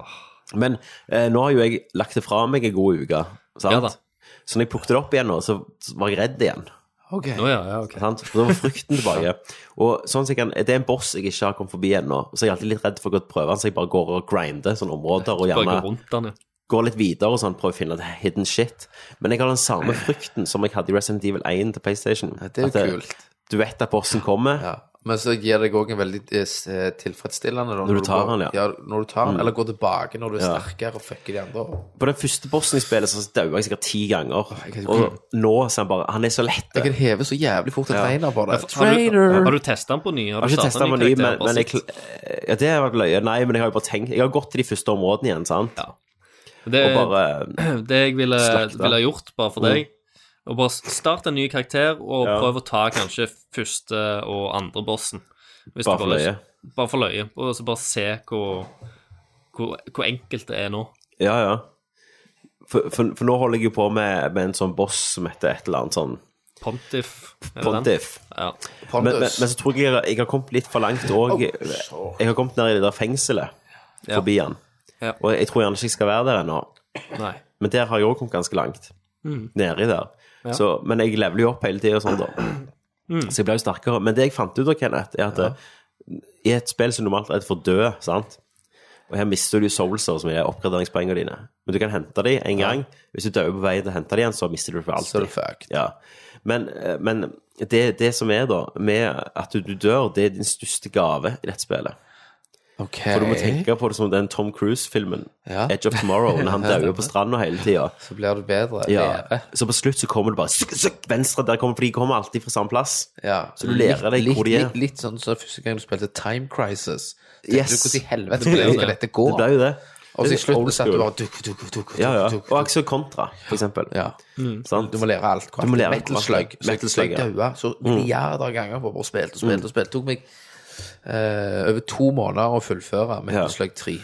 [SPEAKER 1] Men eh, nå har jo jeg lagt det fra meg en god uke. Sant?
[SPEAKER 3] Ja da.
[SPEAKER 1] så når jeg plukket det opp igjen nå, så så var jeg redd igjen.
[SPEAKER 2] OK.
[SPEAKER 3] Å ja, ja, ok.
[SPEAKER 1] Sant? For da var frykten tilbake. Og sånn som jeg kan, Det er en boss jeg ikke har kommet forbi ennå, så jeg er alltid litt redd for å gå og prøve den, så jeg bare går og grinder sånne områder og
[SPEAKER 3] Bare
[SPEAKER 1] gjerne
[SPEAKER 3] gå rundt den, ja.
[SPEAKER 1] går litt videre og sånn, prøver å finne det hidden shit. Men jeg har den samme frykten som jeg hadde i Resident Evil 1 til PlayStation.
[SPEAKER 2] det er jo
[SPEAKER 1] At
[SPEAKER 2] kult.
[SPEAKER 1] Du Du vet at bossen kommer.
[SPEAKER 2] Ja. Men så gir det òg en veldig eh, s- eh, tilfredsstillende da,
[SPEAKER 1] du tar
[SPEAKER 2] går,
[SPEAKER 1] han, ja. Mm.
[SPEAKER 2] Når du tar han, eller går tilbake når du er
[SPEAKER 1] Ja.
[SPEAKER 2] sterkere og fucker de andre. opp.
[SPEAKER 1] På den første bossen i spillet så daua jeg sikkert ti ganger.
[SPEAKER 2] jeg kan-
[SPEAKER 1] Og nå så er han bare Han er så lett.
[SPEAKER 2] Jeg kan heve så jævlig fort en trainer på det.
[SPEAKER 3] Har du, har du testa den på ny?
[SPEAKER 1] Jeg har ikke testa meny, men, men jeg, ja, det var løye. Nei, men jeg har jo bare tenkt Jeg har gått til de første områdene igjen, sant?
[SPEAKER 3] Altså, det,
[SPEAKER 1] Og bare eh,
[SPEAKER 3] *clears throat* det jeg ville,
[SPEAKER 1] Slakta.
[SPEAKER 3] ville gjort, bare for deg og bare start en ny karakter og
[SPEAKER 1] Ja.
[SPEAKER 3] prøv å ta kanskje første og andre bossen. Hvis
[SPEAKER 1] Bare
[SPEAKER 3] du
[SPEAKER 1] for løye.
[SPEAKER 3] lyst. Bare for løye. Og så bare se hvor, hvor, hvor enkelt det er nå.
[SPEAKER 1] Ja, ja. For, for, for nå holder jeg jo på med, med en sånn boss som heter et eller annet sånn
[SPEAKER 3] Pontiff. er det den?
[SPEAKER 1] Pontiff.
[SPEAKER 3] Ja.
[SPEAKER 1] Men, men, men
[SPEAKER 2] Pontus.
[SPEAKER 1] så tror jeg jeg, jeg har kommet litt for langt òg.
[SPEAKER 2] så.
[SPEAKER 1] Jeg har kommet ned i det der fengselet forbi han.
[SPEAKER 3] Ja.
[SPEAKER 1] Og jeg tror gjerne ikke jeg skal være der ennå.
[SPEAKER 3] Nei.
[SPEAKER 1] Men der har jeg òg kommet ganske langt.
[SPEAKER 2] Mm.
[SPEAKER 1] Nedi der. Så, men jeg leveler jo opp hele tida, sånn da.
[SPEAKER 2] Mm.
[SPEAKER 1] Så jeg ble jo sterkere. Men det jeg fant ut av, Kenneth, er at eh, i et spill som normalt er redd for å dø, sant og her mister du jo soulser, som er oppgraderingspoengene dine. Men du kan hente de en gang. Hvis du dør på veien til å hente de igjen, så mister du det for alltid.
[SPEAKER 2] Så er du fucked.
[SPEAKER 1] Ja. Men, eh, men det, det som er, da, med at du, du dør, det er din største gave i dette spillet.
[SPEAKER 2] Ok.
[SPEAKER 1] For du må tenke på det som den Tom Cruise-filmen,
[SPEAKER 2] Ja.
[SPEAKER 1] Edge of Tomorrow,
[SPEAKER 2] *laughs*
[SPEAKER 1] når han dauer på stranda hele tida.
[SPEAKER 2] Så blir du bedre.
[SPEAKER 1] Ja.
[SPEAKER 2] Leve.
[SPEAKER 1] Så på slutt så kommer det bare sukk, sukk, venstre, der kommer, for de kommer alltid fra samme plass.
[SPEAKER 2] Ja.
[SPEAKER 1] Så du lærer deg
[SPEAKER 2] litt,
[SPEAKER 1] hvor de er.
[SPEAKER 2] Litt, litt sånn som første gang du spilte Time Crisis.
[SPEAKER 1] Yes.
[SPEAKER 2] Du, hvordan i helvete
[SPEAKER 1] *laughs*
[SPEAKER 2] ble det, skal dette gå?
[SPEAKER 1] Det ble jo det.
[SPEAKER 2] Og så i
[SPEAKER 1] Det er old
[SPEAKER 2] slutten satt du
[SPEAKER 1] school.
[SPEAKER 2] bare duk, duk, duk, duk,
[SPEAKER 1] Ja, ja.
[SPEAKER 2] duk,
[SPEAKER 1] Og Axel Contra, for eksempel.
[SPEAKER 2] Ja.
[SPEAKER 1] Sant?
[SPEAKER 2] Du må lære alt.
[SPEAKER 1] Du må lære
[SPEAKER 2] Metal
[SPEAKER 1] alt.
[SPEAKER 2] Slug. Så-
[SPEAKER 1] Metal
[SPEAKER 2] Så
[SPEAKER 1] Slug,
[SPEAKER 2] jeg
[SPEAKER 1] ja. Mm.
[SPEAKER 2] daua så milliarder av ganger på å bare spilte og spilte og spilte. Det tok meg eh, over to måneder å fullføre
[SPEAKER 1] Ja.
[SPEAKER 2] Metal Slug 3.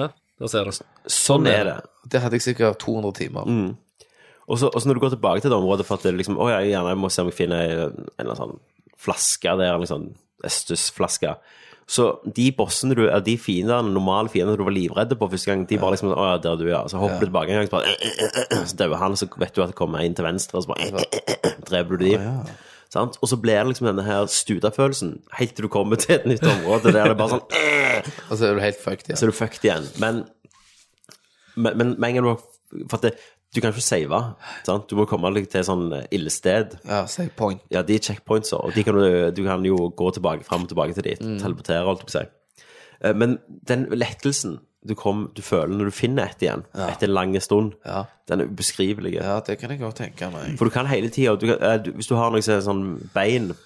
[SPEAKER 3] Ja, da ser du.
[SPEAKER 1] Sånn er det. Mm.
[SPEAKER 2] Det hadde jeg sikkert 200 timer.
[SPEAKER 1] Og så og så når du går tilbake til det området for at det liksom, å ja, jeg gjerne må se om jeg finner en eller annen sånn flaske der, en sånn Estus-flaske. Så de bossene du, er de fiendene, normale fiendene du var livredd på første gang, de bare liksom sånn, å ja, der du er. Så hopper du tilbake en gang, så bare eh, eh, eh, eh, Så dauer han, så vet du at det kommer en til venstre, og så bare eh, eh, eh, eh, dreper du de. Sant? Og så blir det liksom denne her studafølelsen helt til du kommer til et nytt område der det er bare sånn
[SPEAKER 2] Og så er du helt fucked
[SPEAKER 1] så
[SPEAKER 2] igjen.
[SPEAKER 1] er du fucked igjen. Men men, men med en gang du har For at det, du kan ikke save. Sant? Du må komme deg til et sånn ildested.
[SPEAKER 2] Ja, save point.
[SPEAKER 1] Ja, de er checkpoints, og de kan du, du kan jo gå tilbake, fram og tilbake til dit.
[SPEAKER 2] Mm.
[SPEAKER 1] Teleportere, holdt jeg på å si. Eh, Men den lettelsen du, kom, du føler når du finner et igjen, etter en lang stund,
[SPEAKER 2] Ja.
[SPEAKER 1] den er ubeskrivelig.
[SPEAKER 2] Ja, det kan jeg godt tenke meg.
[SPEAKER 1] For du kan hele tida du kan- eh, du- Hvis du har noen sånn bein,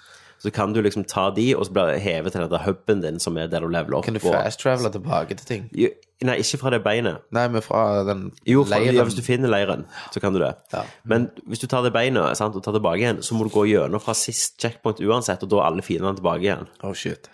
[SPEAKER 1] så kan du liksom ta de, og så blir det hevet til den der huben din, som er der du leveler opp.
[SPEAKER 2] Kan du
[SPEAKER 1] og-
[SPEAKER 2] fast-travele tilbake til ting?
[SPEAKER 1] Jo, Nei, ikke fra det beinet.
[SPEAKER 2] Nei, men fra den
[SPEAKER 1] Jo, for,
[SPEAKER 2] leiren
[SPEAKER 1] ja, hvis du finner leiren, så kan du det.
[SPEAKER 2] Ja.
[SPEAKER 1] Men hvis du tar det beinet sant, og tar tilbake igjen, så må du gå gjennom fra sist checkpoint uansett, og da er alle fiendene tilbake igjen.
[SPEAKER 2] Oh, shit.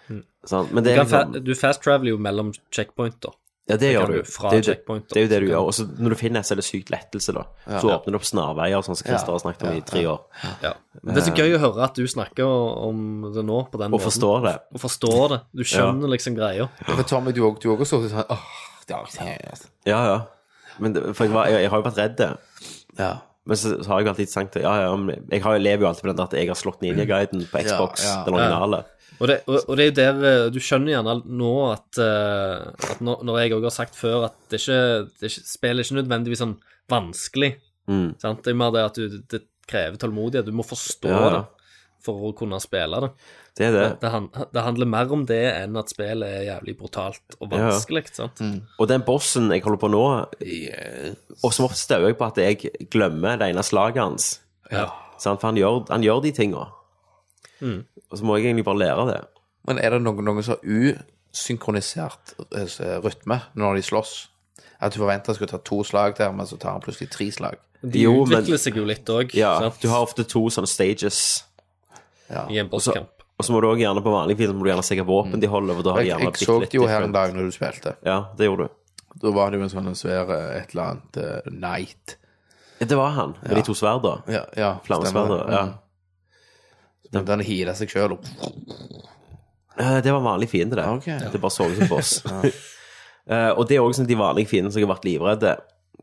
[SPEAKER 1] Sant? Men det
[SPEAKER 3] Du
[SPEAKER 1] er
[SPEAKER 3] kan fa-
[SPEAKER 1] liksom
[SPEAKER 3] Du fast-traveler jo mellom checkpointer.
[SPEAKER 1] Ja, det gjør
[SPEAKER 3] kan
[SPEAKER 1] du.
[SPEAKER 3] du fra
[SPEAKER 1] det, er jo det,
[SPEAKER 3] checkpoint, da.
[SPEAKER 1] det er jo det du gjør. Og så når du finner, så er det sykt lettelse, da. Så åpner det opp snarveier, sånn som Christer har snakket om i tre år.
[SPEAKER 3] Ja. Men Det er så gøy å høre at du snakker om det nå på den
[SPEAKER 1] Eh. Og forstår det.
[SPEAKER 3] Og forstår det. Du skjønner liksom greia.
[SPEAKER 2] For Tommy, du òg har stått sånn Åh, det har jeg ikke
[SPEAKER 1] Ja, ja. Men det, for jeg, var, jeg, jeg har jo vært redd det.
[SPEAKER 2] Ja.
[SPEAKER 1] Men så, så har jeg jo alltid tenkt ja, ja, men jeg har, jeg lever jo alltid på den der at jeg har slått Ninja-guiden på Xbox,
[SPEAKER 2] Mm. Ja, ja.
[SPEAKER 1] den originale.
[SPEAKER 3] Og det, og, og det er jo der eh, Du skjønner gjerne nå at, eh, at når, når jeg òg har sagt før at det er ikke, det er ikke, spillet er ikke nødvendigvis sånn vanskelig.
[SPEAKER 1] Mm.
[SPEAKER 3] Sant? Det er mer det at du, det krever tålmodighet. Du må forstå
[SPEAKER 1] Ja, ja.
[SPEAKER 3] det for å kunne spille det.
[SPEAKER 1] Det er det.
[SPEAKER 3] Det, han, det handler mer om det enn at spillet er jævlig brutalt og
[SPEAKER 1] Ja, ja.
[SPEAKER 3] vanskelig. Sant?
[SPEAKER 1] Og den bossen jeg holder på nå, og som ofte stauer jeg på at jeg glemmer det ene slaget hans.
[SPEAKER 3] Ja.
[SPEAKER 1] Sant? For han gjør, han gjør de tinga.
[SPEAKER 2] Mm.
[SPEAKER 1] Og så må jeg egentlig bare lære det.
[SPEAKER 2] Men er det noen, noen som har usynkronisert eh, rytme når de slåss? At du forventer skulle ta to slag der, men så tar han plutselig tre slag.
[SPEAKER 3] De
[SPEAKER 1] Jo, men-
[SPEAKER 3] utvikler seg jo litt òg
[SPEAKER 1] Ja, Du har ofte to sånne stages.
[SPEAKER 3] i en bosskamp.
[SPEAKER 1] Og så må du også gjerne på vanlig film må du gjerne se hva våpen de holder. Og da har de
[SPEAKER 2] Mm. Jeg,
[SPEAKER 1] gjerne
[SPEAKER 2] jeg så
[SPEAKER 1] litt
[SPEAKER 2] det jo her en
[SPEAKER 1] different.
[SPEAKER 2] dag når du spilte.
[SPEAKER 1] Ja, det gjorde du.
[SPEAKER 2] Da var det jo en sånn svær eh, et eller annet eh, Knight.
[SPEAKER 1] Ja, det var han, med de to sverda.
[SPEAKER 2] Ja, ja
[SPEAKER 1] Flammesverda.
[SPEAKER 2] stemmer. Mm.
[SPEAKER 1] Ja.
[SPEAKER 2] Den, den healer seg sjøl opp.
[SPEAKER 1] Eh, Det var en vanlig fiende, det.
[SPEAKER 2] Ok.
[SPEAKER 1] Det bare så ut som boss. *laughs* Eh, og det er også sånn de vanlige fiendene som jeg har vært livredde.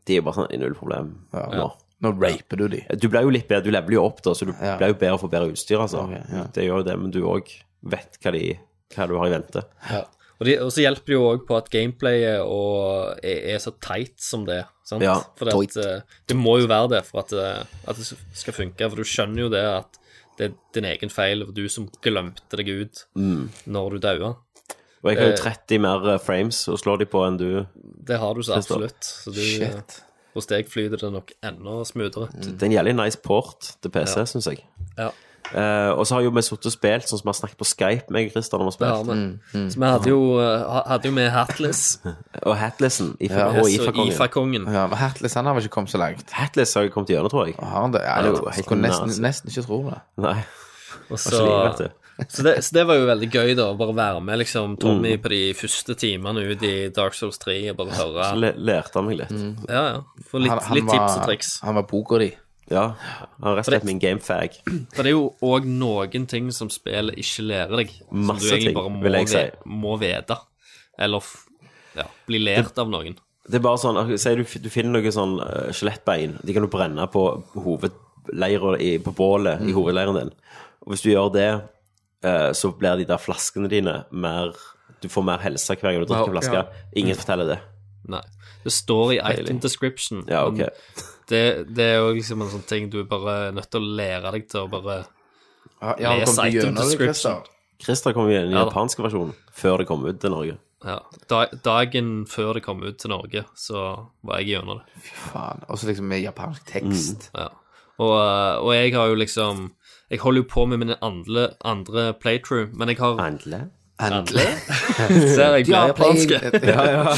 [SPEAKER 1] De er jo bare sånn null problem. Nå.
[SPEAKER 2] Nå raper du de.
[SPEAKER 1] Du blir jo litt bedre, du leveler jo opp, da, så du
[SPEAKER 2] Ja.
[SPEAKER 1] blir jo bedre for bedre utstyr. altså.
[SPEAKER 2] Ok, ja.
[SPEAKER 1] Det gjør jo det, men du òg vet hva, de, hva du har i vente.
[SPEAKER 3] Ja. Og, de, og så hjelper det jo òg på at gameplayet og er, er så tight som det er. Sant?
[SPEAKER 1] Ja,
[SPEAKER 3] for det, at, eh, det må jo være det for at, eh, at det skal funke, for du skjønner jo det at det er din egen feil, og du som glemte deg ut
[SPEAKER 1] Mm.
[SPEAKER 3] når du daua.
[SPEAKER 1] Og jeg har jo 30 mer eh, frames å slå de på enn du.
[SPEAKER 3] Det har du så
[SPEAKER 1] Forstår.
[SPEAKER 3] absolutt. Så du, eh,
[SPEAKER 2] Shit.
[SPEAKER 3] Hos deg flyter det nok enda smoothere.
[SPEAKER 1] Det er en jævlig nice port til PC, synes syns jeg.
[SPEAKER 3] Ja.
[SPEAKER 1] Eh, og så har jo vi sittet og spilt sånn som vi har snakket på Skype med Christer når vi har
[SPEAKER 3] Det
[SPEAKER 1] spilt.
[SPEAKER 3] har vi.
[SPEAKER 1] mm,
[SPEAKER 3] Så vi hadde jo, eh, hadde jo med Hatless
[SPEAKER 1] *laughs* Og Hatlesen IFA,
[SPEAKER 2] Ja.
[SPEAKER 1] og
[SPEAKER 3] og
[SPEAKER 1] IFA-kongen.
[SPEAKER 3] Ifa-kongen.
[SPEAKER 2] Ja, men Hertles han har vel ikke kommet så langt.
[SPEAKER 1] Hatless har jeg kommet gjennom, tror jeg.
[SPEAKER 2] Har han det? Ja,
[SPEAKER 1] er jo
[SPEAKER 2] jeg
[SPEAKER 1] helt
[SPEAKER 2] kunne
[SPEAKER 1] nær, altså.
[SPEAKER 2] nesten, nesten ikke tro det.
[SPEAKER 1] Nei,
[SPEAKER 3] Og
[SPEAKER 1] så lenge, vet
[SPEAKER 3] så,
[SPEAKER 1] du.
[SPEAKER 3] *laughs* så, det, så det var jo veldig gøy, da. å Bare være med
[SPEAKER 1] Mm.
[SPEAKER 3] liksom Tommy på de første timene ut i Dark Souls 3 og bare høre.
[SPEAKER 1] Le lærte han meg litt.
[SPEAKER 3] Ja, ja. Få litt, litt tips og triks.
[SPEAKER 2] Han var poker de.
[SPEAKER 1] Ja. Han er rett og slett min gamefag.
[SPEAKER 3] For det er jo òg noen ting som spillet ikke lærer deg. som du
[SPEAKER 1] Masse
[SPEAKER 3] egentlig
[SPEAKER 1] ting,
[SPEAKER 3] bare må,
[SPEAKER 1] vil jeg si.
[SPEAKER 3] ve- må vite. Eller f- ja, bli lært av noen.
[SPEAKER 1] Det er bare sånn, ok, Si du, f- du finner noe sånn eh, skjelettbein. De kan du brenne på hovedleira i- på bålet i hovedleiren din. Og hvis du gjør det, eh, så blir de der flaskene dine mer Du får mer helse hver gang du drikker
[SPEAKER 2] Ja,
[SPEAKER 1] flaske. Ingen forteller det.
[SPEAKER 3] Nei. Det står i item description.
[SPEAKER 1] Ja, ok.
[SPEAKER 3] men Det, det er jo liksom en sånn ting du er bare nødt til å lære deg til å bare
[SPEAKER 2] Ja, ja, han
[SPEAKER 3] Les
[SPEAKER 2] kom til
[SPEAKER 3] item
[SPEAKER 2] gjennom det,
[SPEAKER 3] description.
[SPEAKER 2] Christer.
[SPEAKER 1] Christer kom jo i den
[SPEAKER 3] Ja da.
[SPEAKER 1] japanske versjonen før det kom ut til Norge.
[SPEAKER 3] ja. Da- Dagen før det kom ut til Norge, så var jeg gjennom det.
[SPEAKER 2] Faen. Og så liksom med japansk tekst.
[SPEAKER 1] Mm.
[SPEAKER 3] Ja. Og, eh, og jeg har jo liksom Jeg holder jo på med min andre, andre playthrough, men jeg har
[SPEAKER 1] Handle?
[SPEAKER 3] Endelig? *laughs* Ser jeg blir japansk.
[SPEAKER 2] Ja,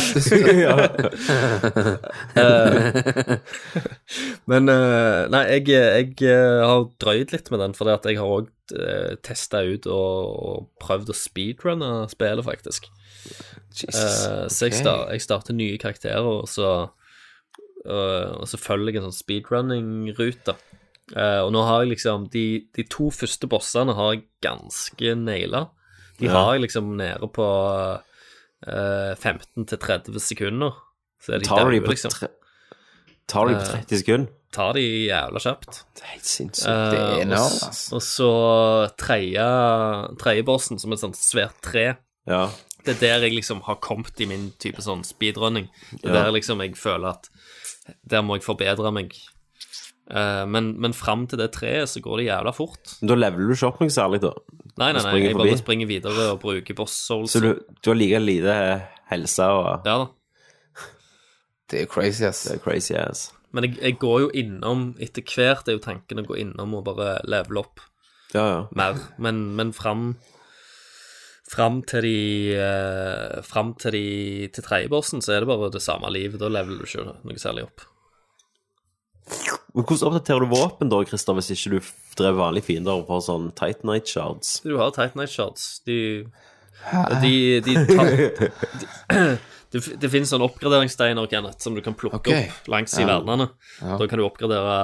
[SPEAKER 2] ja.
[SPEAKER 3] *laughs* Eh, Men eh, nei, jeg, jeg eh, har drøyd litt med den, fordi at jeg har òg uh, testa ut og, og prøvd å speedrunne spillet, faktisk. Eh, så jeg,
[SPEAKER 2] ok.
[SPEAKER 3] star, jeg starter nye karakterer, og så, eh, og så følger jeg en sånn speedrunning-rute. Eh, og nå har jeg liksom De, de to første bossene har jeg ganske naila. De
[SPEAKER 1] Ja.
[SPEAKER 3] har jeg liksom nede på eh, 15 til 30 sekunder. Så er de
[SPEAKER 1] Tar de
[SPEAKER 3] daue,
[SPEAKER 1] på,
[SPEAKER 3] liksom.
[SPEAKER 1] tre... Tar de på 30 sekunder?
[SPEAKER 3] Tar de jævla kjapt.
[SPEAKER 1] Det er helt sinnssykt.
[SPEAKER 2] Det er
[SPEAKER 3] Eh,
[SPEAKER 2] altså.
[SPEAKER 3] og
[SPEAKER 2] enormt,
[SPEAKER 3] s-
[SPEAKER 2] ass.
[SPEAKER 3] Og så tredje tredje bossen, som et sånt svært tre.
[SPEAKER 1] Ja.
[SPEAKER 3] Det er der jeg liksom har kommet i min type sånn speedrunning. Det er
[SPEAKER 1] Ja.
[SPEAKER 3] der liksom jeg føler at der må jeg forbedre meg. Eh, men men fram til det treet så går det jævla fort.
[SPEAKER 1] Men da leveler du ikke opp noe særlig, da.
[SPEAKER 3] Nei, nei,
[SPEAKER 1] Du
[SPEAKER 3] nei,
[SPEAKER 1] springer
[SPEAKER 3] jeg
[SPEAKER 1] forbi.
[SPEAKER 3] bare springer videre og bruker boss souls.
[SPEAKER 1] Så du, du har like lite helse og
[SPEAKER 3] Ja da.
[SPEAKER 2] Det er crazy, ass.
[SPEAKER 1] Det er crazy ass.
[SPEAKER 3] Men jeg, jeg går jo innom etter hvert, er jo tanken å gå innom og bare levele opp.
[SPEAKER 1] Ja, ja.
[SPEAKER 3] mer. Men, men fram Fram til de eh, Fram til de til tredjebossen, så er det bare det samme livet. Da leveler du ikke noe særlig opp.
[SPEAKER 1] Men hvordan oppdaterer du våpen da, Christer, hvis ikke du f- drev vanlige fiender og får sånn Titanite shards?
[SPEAKER 3] Du har Titanite Shards. De De, de tar de, det, f- det finnes sånne oppgraderingssteiner Kenneth, som du kan plukke
[SPEAKER 2] Ok.
[SPEAKER 3] opp langs i verdenene. Da kan du oppgradere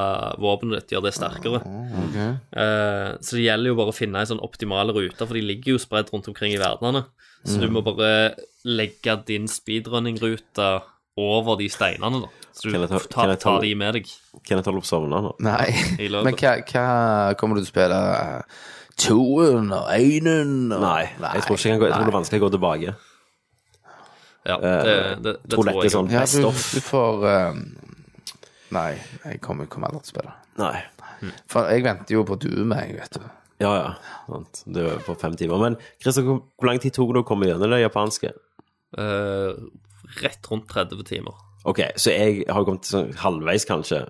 [SPEAKER 3] våpenet ditt, gjøre det sterkere.
[SPEAKER 2] Ok.
[SPEAKER 3] Eh, så det gjelder jo bare å finne en sånn optimal rute, for de ligger jo spredt rundt omkring i verdenene. Så
[SPEAKER 2] Mm.
[SPEAKER 3] du må bare legge din speedrunning-rute over de steinene, da. Så
[SPEAKER 1] Kan
[SPEAKER 3] du
[SPEAKER 1] jeg ta-
[SPEAKER 3] tar
[SPEAKER 1] kan jeg ta-
[SPEAKER 3] tar de med deg.
[SPEAKER 1] Kan jeg ta opp sovna nå? *laughs*
[SPEAKER 2] Nei.
[SPEAKER 3] I løpet.
[SPEAKER 2] Men hva, hva kommer du til å spille? Toen og einen og
[SPEAKER 1] Nei, jeg tror ikke jeg, kan gå, jeg tror det er vanskelig å gå tilbake.
[SPEAKER 3] Ja, det, det, det
[SPEAKER 1] tror
[SPEAKER 3] tror
[SPEAKER 1] dette er
[SPEAKER 3] jeg.
[SPEAKER 1] sånn
[SPEAKER 2] Ja,
[SPEAKER 1] best
[SPEAKER 2] du,
[SPEAKER 1] off.
[SPEAKER 2] du får eh, Nei, jeg kommer, kommer aldri til å spille.
[SPEAKER 1] Nei.
[SPEAKER 2] For jeg venter jo på du med, jeg, vet du.
[SPEAKER 1] Ja, ja. Sant. Det er jo på fem timer. Men Christer, hvor hvor lang tid tok det å komme gjennom det japanske?
[SPEAKER 3] Eh, rett rundt 30 timer.
[SPEAKER 1] Ok, så jeg har kommet sånn halvveis, kanskje,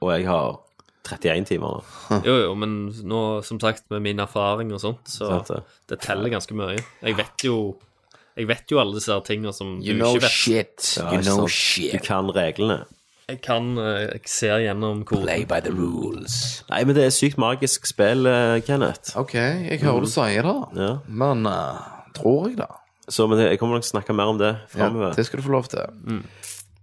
[SPEAKER 1] og jeg har 31 timer nå.
[SPEAKER 3] Jo, jo, men nå, som sagt, med min erfaring og sånt, så
[SPEAKER 1] Sant det.
[SPEAKER 3] det teller ganske mye. Jeg vet jo jeg vet jo alle disse her tingene som du
[SPEAKER 2] You know
[SPEAKER 3] ikke vet.
[SPEAKER 2] shit.
[SPEAKER 1] Ja,
[SPEAKER 2] you
[SPEAKER 1] ikke
[SPEAKER 2] know
[SPEAKER 1] sant? Du
[SPEAKER 2] shit.
[SPEAKER 1] kan reglene.
[SPEAKER 3] Jeg kan eh, Jeg ser gjennom koden.
[SPEAKER 2] Play by the rules.
[SPEAKER 1] Nei, men det er sykt magisk spill, eh, Kenneth.
[SPEAKER 2] OK, jeg hører du sier det,
[SPEAKER 1] Ja.
[SPEAKER 2] Mm. men eh, tror jeg det?
[SPEAKER 1] Så men jeg kommer nok til å snakke mer om det
[SPEAKER 2] Ja,
[SPEAKER 1] framover.
[SPEAKER 2] det skal du få lov til.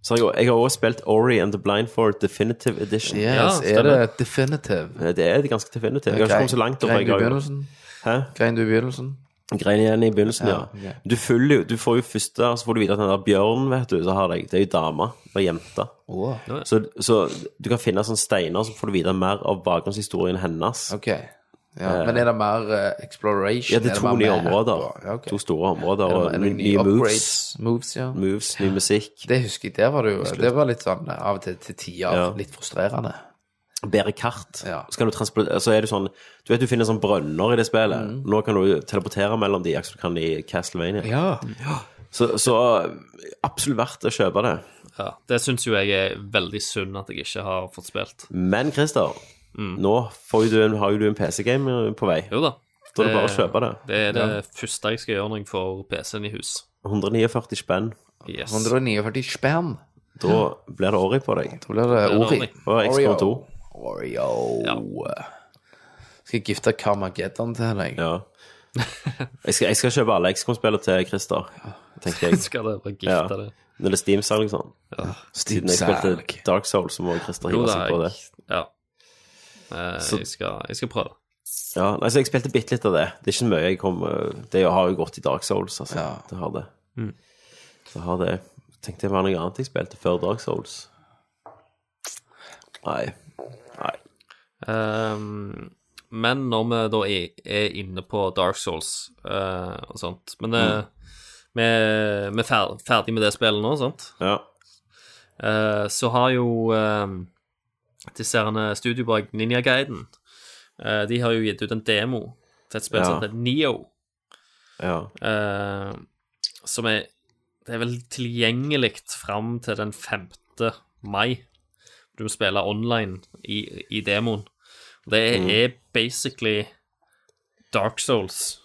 [SPEAKER 1] Så har jeg, jeg har også spilt Ori and the Blindfold Definitive Edition. Eh,
[SPEAKER 2] Yes, er
[SPEAKER 3] stemmer.
[SPEAKER 2] det definitive?
[SPEAKER 1] Det er det ganske definitivt. Jeg har ikke kommet så langt.
[SPEAKER 2] Grein du i
[SPEAKER 1] over
[SPEAKER 2] begynnelsen?
[SPEAKER 1] Hæ?
[SPEAKER 2] Grein du i begynnelsen?
[SPEAKER 1] Grein igjen i begynnelsen, ja.
[SPEAKER 2] ok.
[SPEAKER 1] Du, følger, jo- du får jo først der, så får du vite at den der bjørnen, vet du, så har deg, det er jo dama og jenta.
[SPEAKER 2] Wow.
[SPEAKER 1] Så, så du kan finne sånne steiner, så får du vite mer av bakgrunnshistorien hennes.
[SPEAKER 2] Ok. Ja, men er det mer eh, exploration?
[SPEAKER 1] Ja, det er to
[SPEAKER 2] mer
[SPEAKER 1] nye
[SPEAKER 2] map
[SPEAKER 1] områder.
[SPEAKER 2] og- Ja, ok.
[SPEAKER 1] To store områder,
[SPEAKER 2] Er det-
[SPEAKER 1] og
[SPEAKER 2] er det
[SPEAKER 1] nye, nye moves. Mm.
[SPEAKER 2] upgrades, moves, ja.
[SPEAKER 1] Moves, ny musikk.
[SPEAKER 2] Det husker jeg. Det var, det jo, det var litt sånn eh, av og til til tider
[SPEAKER 1] Ja.
[SPEAKER 2] litt frustrerende.
[SPEAKER 1] bedre kart.
[SPEAKER 2] Ja.
[SPEAKER 1] Så, kan du transpor- så er det sånn Du vet du finner sånn brønner i det spillet. Nå kan du teleportere mellom de, akkurat som du kan i Castlevania.
[SPEAKER 2] Ja.
[SPEAKER 1] Så, så absolutt verdt å kjøpe det.
[SPEAKER 3] Ja, det syns jo jeg er veldig synd at jeg ikke har fått spilt.
[SPEAKER 1] Men Christer, nå får jo du en, har jo du en PC-game eh, på vei.
[SPEAKER 3] Jo da.
[SPEAKER 1] Da er det bare å kjøpe det.
[SPEAKER 3] Eh, Det er det første jeg skal gjøre når jeg får PC-en i hus.
[SPEAKER 1] 149 spenn.
[SPEAKER 3] Yes.
[SPEAKER 2] 149 spenn.
[SPEAKER 1] Da blir det Ori på deg.
[SPEAKER 2] Da blir det
[SPEAKER 3] Ori.
[SPEAKER 2] Ori.
[SPEAKER 1] Og
[SPEAKER 2] Oreo.
[SPEAKER 1] X-Con 2.
[SPEAKER 2] Oreo. Skal jeg gifte Karmageddon til deg?
[SPEAKER 1] Ja. Jeg skal, jeg skal kjøpe alle X-Con-spillene til Christer, tenker jeg.
[SPEAKER 3] *laughs* Skal det bare
[SPEAKER 1] Ja.
[SPEAKER 3] gifte det?
[SPEAKER 1] Når det er Steam-salg og sånn. Siden jeg
[SPEAKER 2] Steam-salg.
[SPEAKER 1] spilte Dark Souls, så må Christer
[SPEAKER 3] Jo
[SPEAKER 1] hive
[SPEAKER 3] da,
[SPEAKER 1] seg på det.
[SPEAKER 3] jeg, ja. Eh, jeg, skal, jeg skal prøve.
[SPEAKER 1] Ja, nei, så jeg spilte bitte litt av det. Det er ikke mye jeg kom eh, Det har jo gått i Dark Souls, altså.
[SPEAKER 2] Ja.
[SPEAKER 1] Det har det.
[SPEAKER 3] Mm.
[SPEAKER 1] Det har det. Tenkte jeg var noe annet jeg spilte før Dark Souls. Nei. Nei.
[SPEAKER 3] Ehm, men når vi da er, er inne på Dark Souls eh, og sånt Men eh, vi, vi er fer, ferdig med det spillet nå, sant?
[SPEAKER 1] Ja.
[SPEAKER 3] Eh, så har jo eh, disse herne studio bak Ninja Guiden eh, De har jo gitt ut en demo til et spill
[SPEAKER 1] Ja.
[SPEAKER 3] som heter Neo.
[SPEAKER 1] ja.
[SPEAKER 3] eh, som er Det er vel tilgjengelig fram til den 5. mai. Du må spille online i, i demoen. Det er, er basically Dark Souls,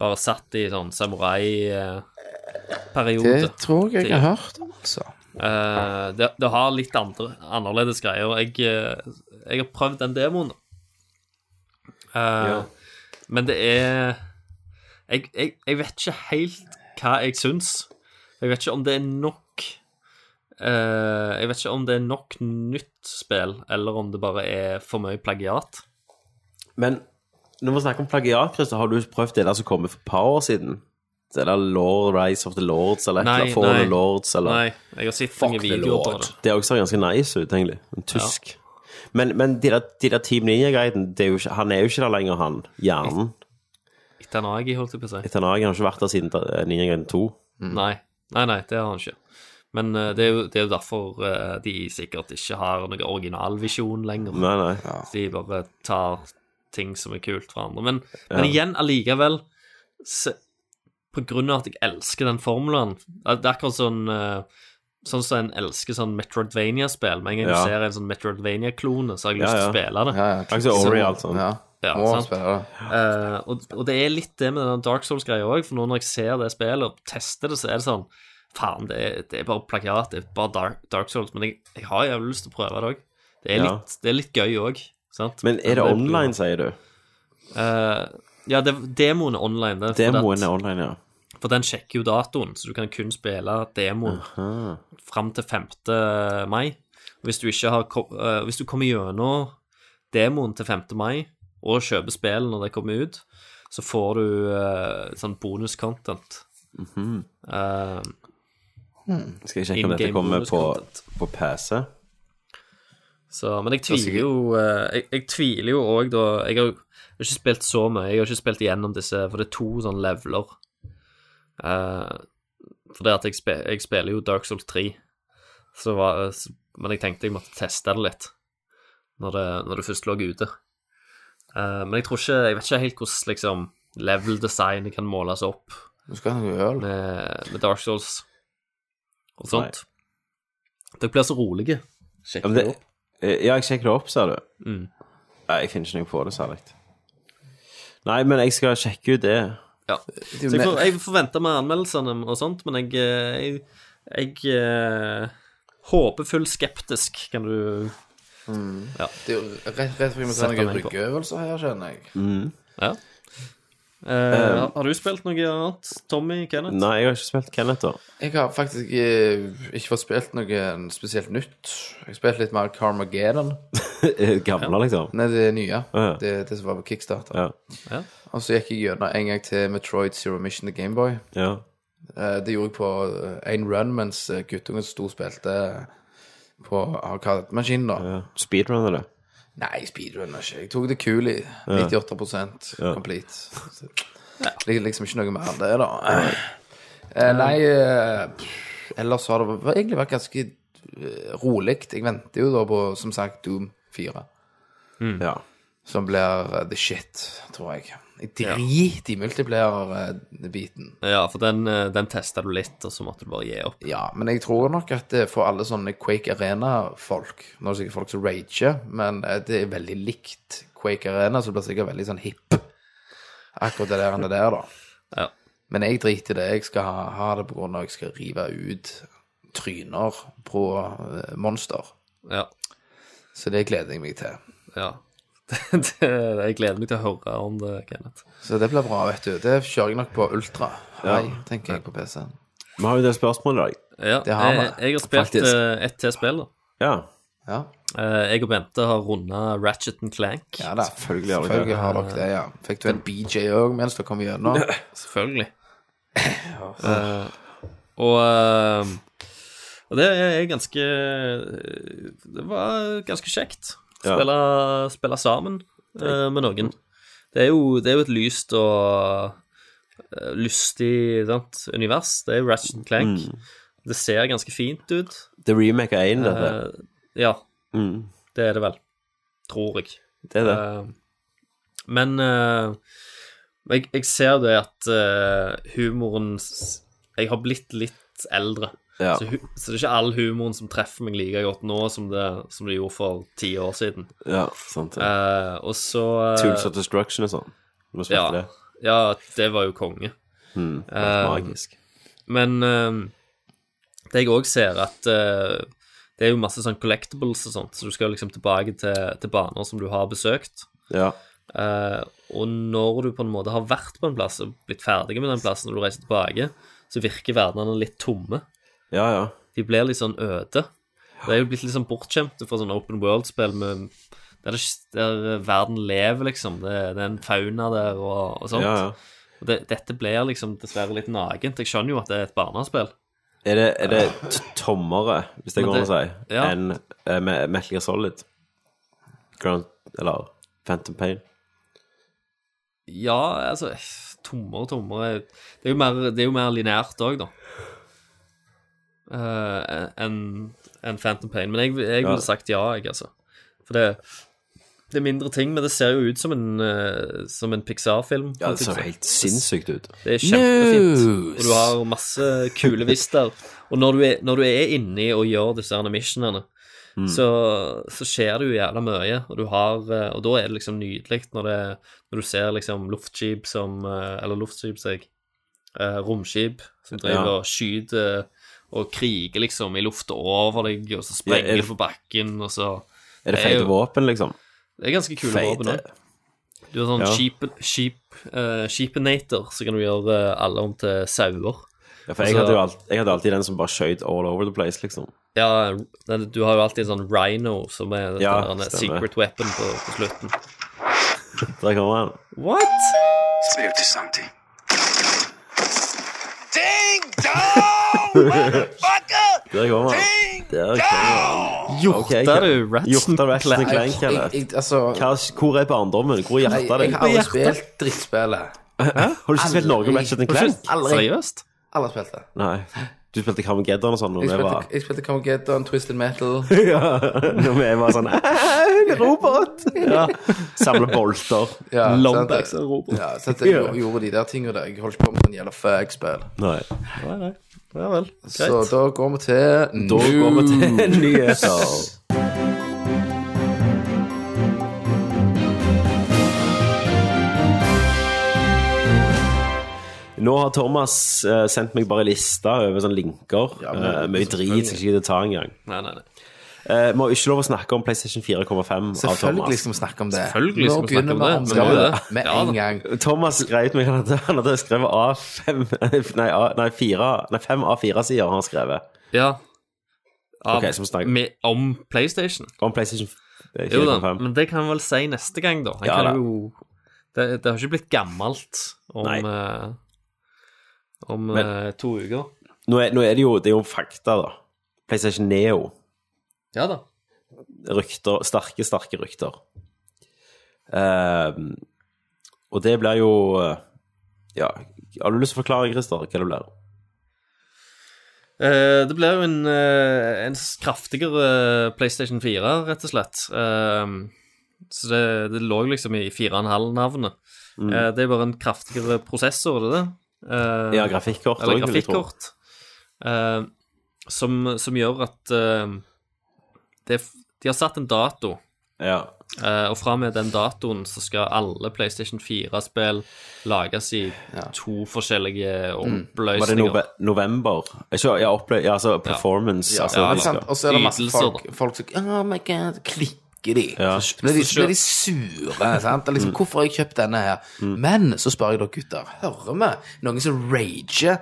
[SPEAKER 3] bare satt i sånn eh, samurai-periode.
[SPEAKER 2] Det tror jeg jeg har hørt, altså.
[SPEAKER 3] Eh, det, det har litt andre, annerledes greier. Jeg, eh, jeg har prøvd den demoen. Eh, Men det er jeg, jeg, jeg vet ikke helt hva jeg syns. Jeg vet ikke om det er nok eh, Jeg vet ikke om det er nok nytt spill, eller om det bare er for mye plagiat.
[SPEAKER 1] Men når vi snakker om plagiat, Christer, har du prøvd det der som kom for et par år siden? Det der Lord Rise of the Lords, eller et
[SPEAKER 3] Nei,
[SPEAKER 1] eller annet Fall
[SPEAKER 3] nei.
[SPEAKER 1] of Lords, eller
[SPEAKER 3] Nei, jeg har sett mange
[SPEAKER 2] the
[SPEAKER 3] videoer på
[SPEAKER 2] Lord.
[SPEAKER 3] det.
[SPEAKER 1] Det også ser ganske nice ut, egentlig. En tysk. Men, men de, der, de der Team Ninja-guiden, det er jo ikke- han er jo ikke der lenger, han. Hjernen.
[SPEAKER 3] Itanagi, holdt jeg på å si.
[SPEAKER 1] Etter han har ikke vært der siden eh, Ninja Gaiden 2.
[SPEAKER 3] Nei. nei, nei, det har han ikke. Men eh, det, er jo, det er jo derfor eh, de sikkert ikke har noen originalvisjon lenger.
[SPEAKER 1] Nei, nei.
[SPEAKER 3] De bare tar ting som er kult fra andre. Men, men igjen, allikevel se, På grunn av at jeg elsker den formelen Det er akkurat sånn eh, Sånn som en elsker sånn Metroidvania-spill. Med en gang
[SPEAKER 1] Ja.
[SPEAKER 3] du ser en sånn Metroidvania-klone, så har jeg lyst til
[SPEAKER 1] Ja,
[SPEAKER 3] å spille det.
[SPEAKER 2] Ja, ja.
[SPEAKER 1] Altså Ori og alt sånt.
[SPEAKER 2] Ja.
[SPEAKER 3] Ja,
[SPEAKER 2] Må
[SPEAKER 3] sant.
[SPEAKER 2] spille det.
[SPEAKER 3] Eh, og, og det er litt det med den Dark Souls-greia òg, for nå når jeg ser det spillet og tester det, så er det sånn Faen, det, er- det er bare plagiat, det er bare Dark, Dark Souls, men jeg, jeg har jævlig lyst til å prøve det òg. Det, er
[SPEAKER 1] Ja.
[SPEAKER 3] litt- det er litt gøy òg, sant?
[SPEAKER 1] Men er det online, sier du?
[SPEAKER 3] Eh, ja, det, demoen er online. Det, er
[SPEAKER 1] Demoen
[SPEAKER 3] fordi
[SPEAKER 1] er
[SPEAKER 3] at-
[SPEAKER 1] online, ja.
[SPEAKER 3] For den sjekker jo datoen, så du kan kun spille demoen fram til 5. mai. Og Hvis du, ikke har, kom- eh, hvis du kommer gjennom demoen til 5. mai og kjøper spillet når det kommer ut, så får du eh, sånn bonus-content. Eh,
[SPEAKER 1] Skal jeg sjekke om dette
[SPEAKER 3] In-game
[SPEAKER 1] kommer
[SPEAKER 3] bonus
[SPEAKER 1] på,
[SPEAKER 3] content.
[SPEAKER 1] på PC?
[SPEAKER 3] så, men jeg tviler jo eh, Jeg, jeg tviler jo òg da Jeg har jo ikke spilt så mye. Jeg har ikke spilt igjennom disse, for det er to sånne leveler. Eh, for det at jeg, spe, jeg spiller jo Dark Souls 3, så var, så, men jeg tenkte jeg måtte teste det litt når det, når det først lå ute. Eh, men jeg tror ikke Jeg vet ikke helt hvordan liksom, level-designet kan måles opp
[SPEAKER 2] Du skal ha noe øl.
[SPEAKER 3] med, med Dark Souls og sånt. Dere blir så rolige.
[SPEAKER 1] Ja, men det, eh, ja, jeg sjekker det opp, sa du.
[SPEAKER 3] Mm.
[SPEAKER 1] Nei, jeg finner ikke noe på det særlig. Nei, men jeg skal sjekke ut det.
[SPEAKER 3] Ja. Så jeg, får, jeg forventer med anmeldelsene og sånt, men jeg, eh, jeg, jeg eh, håpefull skeptisk, kan du
[SPEAKER 2] Det er jo rett rett fordi vi tar
[SPEAKER 3] Setter
[SPEAKER 2] noen
[SPEAKER 3] meg på.
[SPEAKER 2] ryggeøvelser her, skjønner jeg.
[SPEAKER 3] Ja. Eh,
[SPEAKER 2] Eh,
[SPEAKER 3] har du spilt noe annet, Tommy, Kenneth?
[SPEAKER 1] Nei, jeg har ikke spilt Kenneth, da. *laughs*
[SPEAKER 2] Jeg har faktisk eh, ikke fått spilt noe eh, spesielt nytt. Jeg har spilt litt mer Carmageddon.
[SPEAKER 1] Gamle, liksom.
[SPEAKER 2] Nei, det er nye.
[SPEAKER 1] ja.
[SPEAKER 2] Det, det som var på Kickstarter.
[SPEAKER 1] Ja.
[SPEAKER 2] Og så gikk jeg gjennom en gang til Metroid Zero Mission til Gameboy.
[SPEAKER 1] ja.
[SPEAKER 2] Eh, Det gjorde jeg på eh, en run mens eh, guttungen sto og spilte på arkademaskinen, da.
[SPEAKER 1] ja. Speedrunner det.
[SPEAKER 2] Nei, speedrunner ikke. Jeg tok det kul i 98 complete. Så, Det er liksom ikke noe mer enn det, da. Eh, Nei, eh, pff, ellers har det egentlig vært ganske eh, rolig. Jeg venter jo da på, som sagt, Doom 4.
[SPEAKER 1] Ja.
[SPEAKER 2] som blir eh, the shit, tror jeg. Jeg driter i eh, multiplier-biten.
[SPEAKER 3] Ja, for den, eh, den testa du litt, og så måtte du bare gi opp.
[SPEAKER 2] Ja, men jeg tror nok at eh, for alle sånne Quake Arena-folk Nå er det sikkert folk som rager, men eh, det er veldig likt Quake Arena, så det blir sikkert veldig sånn hipp. Akkurat det der enn det der, da.
[SPEAKER 3] Ja.
[SPEAKER 2] Men jeg driter i det. Jeg skal ha, ha det på grunn av at jeg skal rive ut tryner på eh, monster.
[SPEAKER 3] Ja.
[SPEAKER 2] Så det gleder jeg meg til.
[SPEAKER 3] ja. *laughs* Det, det, jeg gleder meg til å høre om det, Kenneth.
[SPEAKER 2] Så det blir bra, vet du. Det kjører jeg nok på ultra. Hei, tenker jeg på PC-en.
[SPEAKER 1] Vi har jo en del spørsmål i dag.
[SPEAKER 3] Ja, eh,
[SPEAKER 2] Det har vi,
[SPEAKER 3] jeg, jeg har spilt
[SPEAKER 2] faktisk.
[SPEAKER 3] eh, ett til spill, da.
[SPEAKER 1] Ja.
[SPEAKER 2] Ja,
[SPEAKER 3] Eh, jeg og Bente har runda Ratchet and Clank.
[SPEAKER 2] ja da.
[SPEAKER 1] Selvfølgelig har dere
[SPEAKER 2] Selvfølgelig har dere det, ja. Fikk du en BJ òg mens dere kom gjennom?
[SPEAKER 3] Selvfølgelig. Eh, og eh, og det er ganske Det var ganske kjekt.
[SPEAKER 1] Ja.
[SPEAKER 3] Spille, spille sammen eh, med noen. Det er, jo, det er jo et lyst og eh, lystig sant, univers. Det er jo Ratchet and Clank. Det ser ganske fint ut.
[SPEAKER 1] Mm. Det er remake av 1, dette.
[SPEAKER 3] Eh, ja,
[SPEAKER 1] Mm.
[SPEAKER 3] det er det vel. Tror jeg.
[SPEAKER 1] Det er det.
[SPEAKER 3] Eh, men eh, jeg, jeg ser det at eh, humoren s- Jeg har blitt litt eldre.
[SPEAKER 1] Ja.
[SPEAKER 3] eh, Så, hu, så det er ikke all humoren som treffer meg like godt nå som det, som det gjorde for ti år siden.
[SPEAKER 1] ja sant. det.
[SPEAKER 3] Eh, og så eh,
[SPEAKER 1] Tools of Destruction og sånn. Du må
[SPEAKER 3] ja,
[SPEAKER 1] spille det.
[SPEAKER 3] ja, det var jo konge.
[SPEAKER 1] Mm. Det er
[SPEAKER 3] Eh,
[SPEAKER 1] magisk.
[SPEAKER 3] Men eh, det jeg òg ser, at eh, det er jo masse sånn collectibles og sånt, så du skal liksom tilbake til, til baner som du har besøkt.
[SPEAKER 1] Ja.
[SPEAKER 3] Eh, og når du på en måte har vært på en plass og blitt ferdig med den plassen, og du reiser tilbake, så virker verdenene litt tomme.
[SPEAKER 1] Ja, ja.
[SPEAKER 3] De blir litt sånn øde. Det er jo blitt litt sånn bortskjemte fra sånne open world-spill med der, det, der verden lever, liksom. Det, det er en fauna der og, og sånt.
[SPEAKER 1] ja, ja.
[SPEAKER 3] Og det, dette blir liksom dessverre litt nagent. Jeg skjønner jo at det er et barnespill.
[SPEAKER 1] Er det, er det t- tommere, hvis det
[SPEAKER 3] Men
[SPEAKER 1] går an å
[SPEAKER 3] det-
[SPEAKER 1] si,
[SPEAKER 3] ja.
[SPEAKER 1] enn eh, Me- Metal Gear Solid? Ground, eller Phantom Pain?
[SPEAKER 3] Ja, altså Tommere og tommere Det er jo mer, det er jo mer lineært òg, da. Eh, Enn enn Phantom Pain. Men jeg, jeg
[SPEAKER 1] Ja.
[SPEAKER 3] ville sagt ja, jeg, altså. For det, det er mindre ting, men det ser jo ut som en, eh, som en Pixar-film.
[SPEAKER 1] Ja, det ser jo helt sinnssykt ut.
[SPEAKER 3] Det er kjempefint.
[SPEAKER 2] News.
[SPEAKER 3] Og du har masse kule vister. Og når du er, når du er inni og gjør disse her missionene,
[SPEAKER 1] Mm.
[SPEAKER 3] så, så skjer det jo jævla mye. Og, du har, eh, og da er det liksom nydelig når, det, når du ser liksom luftskip som eh, Eller luftskip, sier jeg. eh, Romskip som driver
[SPEAKER 1] Ja.
[SPEAKER 3] og skyter eh, og kriger liksom i lufta over deg, og så sprenger
[SPEAKER 1] Ja, er
[SPEAKER 3] de
[SPEAKER 1] det-
[SPEAKER 3] på bakken, og så
[SPEAKER 1] Er det
[SPEAKER 3] Det er
[SPEAKER 1] feite
[SPEAKER 3] jo-
[SPEAKER 1] våpen, liksom?
[SPEAKER 3] Det er ganske kule
[SPEAKER 1] Feite.
[SPEAKER 3] våpen òg. Du har sånn
[SPEAKER 1] eh, Ja.
[SPEAKER 3] sheep, sheep, eh, sheepenator, så kan du gjøre eh, alle om til sauer.
[SPEAKER 1] Ja, for jeg
[SPEAKER 3] Altså-
[SPEAKER 1] hadde jo alt, jeg hadde alltid den som bare skjøt all over the place, liksom.
[SPEAKER 3] Ja, den, du har jo alltid en sånn rhino som er den
[SPEAKER 1] Ja,
[SPEAKER 3] der
[SPEAKER 1] stemmer.
[SPEAKER 3] secret weapon på, på slutten.
[SPEAKER 1] Der kommer han.
[SPEAKER 3] What?!
[SPEAKER 4] Spooky something.
[SPEAKER 1] Der kommer han. Der kommer han. Hjorta
[SPEAKER 3] du, Ratchet
[SPEAKER 1] Hjorta Ratchet and
[SPEAKER 3] Clank.
[SPEAKER 1] Clank,
[SPEAKER 2] jeg,
[SPEAKER 1] eller?
[SPEAKER 2] jeg, altså,
[SPEAKER 1] Hva- Hvor er barndommen? Hvor er
[SPEAKER 2] nei,
[SPEAKER 1] hjertet
[SPEAKER 2] jeg
[SPEAKER 1] ditt?
[SPEAKER 2] har aldri
[SPEAKER 3] Hjertet.
[SPEAKER 2] spilt drittspillet.
[SPEAKER 1] Har du ikke spilt Norge om Ratchet and Clank?
[SPEAKER 2] Aldri.
[SPEAKER 3] Seriøst?
[SPEAKER 2] Aldri spilt det.
[SPEAKER 1] Nei. Du spilte Carmageddon og sånn når
[SPEAKER 2] Jeg
[SPEAKER 1] vi
[SPEAKER 2] spilte,
[SPEAKER 1] var
[SPEAKER 2] jeg spilte Carmageddon, Twisted Metal
[SPEAKER 1] Ja, når vi var sånn «Æ, Robot! Ja. Samle bolter.
[SPEAKER 2] ja,
[SPEAKER 3] Lombex
[SPEAKER 2] sant?
[SPEAKER 3] og robot.
[SPEAKER 2] Ja, så at jeg gjorde- gjorde de der tingene der. Jeg holdt ikke på med sånn jævla fag-spill.
[SPEAKER 1] Nei.
[SPEAKER 3] Nei, nei. Ja vel.
[SPEAKER 2] Så
[SPEAKER 3] Greit.
[SPEAKER 2] da går vi til Mm,
[SPEAKER 1] Da går vi til nyheter. Nå har Thomas eh, sendt meg bare en liste over sånne linker.
[SPEAKER 2] Ja, men-
[SPEAKER 1] Eh, mye drit som ikke gidder ta engang.
[SPEAKER 3] Nei, nei, nei.
[SPEAKER 1] Eh, vi har ikke lov å snakke om PlayStation 4,5 av
[SPEAKER 2] Selvfølgelig liksom.
[SPEAKER 1] Thomas.
[SPEAKER 2] skal vi snakke om det.
[SPEAKER 3] Selvfølgelig skal
[SPEAKER 2] Nå
[SPEAKER 3] vi snakke
[SPEAKER 2] begynner
[SPEAKER 3] om det,
[SPEAKER 2] vi
[SPEAKER 3] men
[SPEAKER 2] skal
[SPEAKER 3] vi gjør
[SPEAKER 2] det
[SPEAKER 3] det.
[SPEAKER 2] med
[SPEAKER 3] Ja da.
[SPEAKER 2] en gang.
[SPEAKER 1] Thomas skrev til meg at han hadde skrevet A5 *laughs* Nei, A, nei, 4, nei 5 A4-sider har han skrevet
[SPEAKER 3] Ja.
[SPEAKER 1] Ok,
[SPEAKER 3] Av,
[SPEAKER 1] så vi snakker-
[SPEAKER 3] med, om PlayStation.
[SPEAKER 1] om PlayStation
[SPEAKER 3] Jo da,
[SPEAKER 1] 4,5.
[SPEAKER 3] men det kan han vel si neste gang, da. Han
[SPEAKER 1] Ja, da.
[SPEAKER 3] kan jo det, det har ikke blitt gammelt om
[SPEAKER 1] Nei.
[SPEAKER 3] eh, om
[SPEAKER 1] Men-
[SPEAKER 3] eh, to uker.
[SPEAKER 1] Nå, er- nå er det jo, det er jo fakta, da. PlayStation Neo.
[SPEAKER 3] Ja da.
[SPEAKER 1] rykter, sterke, sterke rykter. Ehm, og det blir jo eh, Ja, har du lyst til å forklare, Christer, hva det blir?
[SPEAKER 3] Eh, Det ble jo en, eh, en kraftigere PlayStation 4, rett og slett. Eh, Så det, det lå liksom i 4,5-navnet.
[SPEAKER 1] Mm.
[SPEAKER 3] Eh, det er bare en kraftigere prosessor, er det det? Eh,
[SPEAKER 1] Ja, grafikkort
[SPEAKER 3] eller
[SPEAKER 1] også, vil jeg tro.
[SPEAKER 3] grafikkort. eh, som, som gjør at eh, det, er f- De har satt en dato,
[SPEAKER 1] Ja.
[SPEAKER 3] eh, og fra og med den datoen så skal alle PlayStation 4-spill lages i to forskjellige
[SPEAKER 1] Mm. Var det
[SPEAKER 3] oppløsninger.
[SPEAKER 1] nove november? Ikke, ja, opple ja, altså performance.
[SPEAKER 2] Ja,
[SPEAKER 1] altså,
[SPEAKER 2] men sant? Og så er det masse
[SPEAKER 3] Ytelser,
[SPEAKER 2] folk, folk som Oh my god, klikker de.
[SPEAKER 1] Ja. Mm.
[SPEAKER 2] Så blir de, så blir de sure.
[SPEAKER 1] *laughs*
[SPEAKER 2] Sant? Og Liksom, Hvorfor har jeg kjøpt denne her? Men så spør jeg dere gutter, hører vi noen som rager?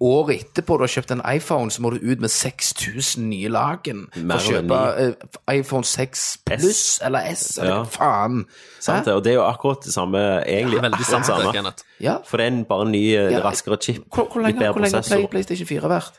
[SPEAKER 2] Året etterpå du har kjøpt en iPhone, så må du ut med 6000 nye lagen for
[SPEAKER 1] Mer
[SPEAKER 2] å
[SPEAKER 1] enn
[SPEAKER 2] kjøpe eh, iPhone 6 pluss eller S, eller
[SPEAKER 1] Ja.
[SPEAKER 2] hva faen.
[SPEAKER 1] sant, det? Og det er jo akkurat det samme, egentlig.
[SPEAKER 3] Det er veldig
[SPEAKER 1] akkurat
[SPEAKER 3] sant, det,
[SPEAKER 1] samme.
[SPEAKER 3] Kenneth.
[SPEAKER 2] Ja.
[SPEAKER 1] For det er en bare en ny, eh,
[SPEAKER 2] Ja.
[SPEAKER 1] raskere chip.
[SPEAKER 2] Hvor, hvor
[SPEAKER 1] litt
[SPEAKER 2] lenge,
[SPEAKER 1] bedre
[SPEAKER 2] hvor lenge har Play,
[SPEAKER 1] prosessor.
[SPEAKER 2] PlayStation 4 vært?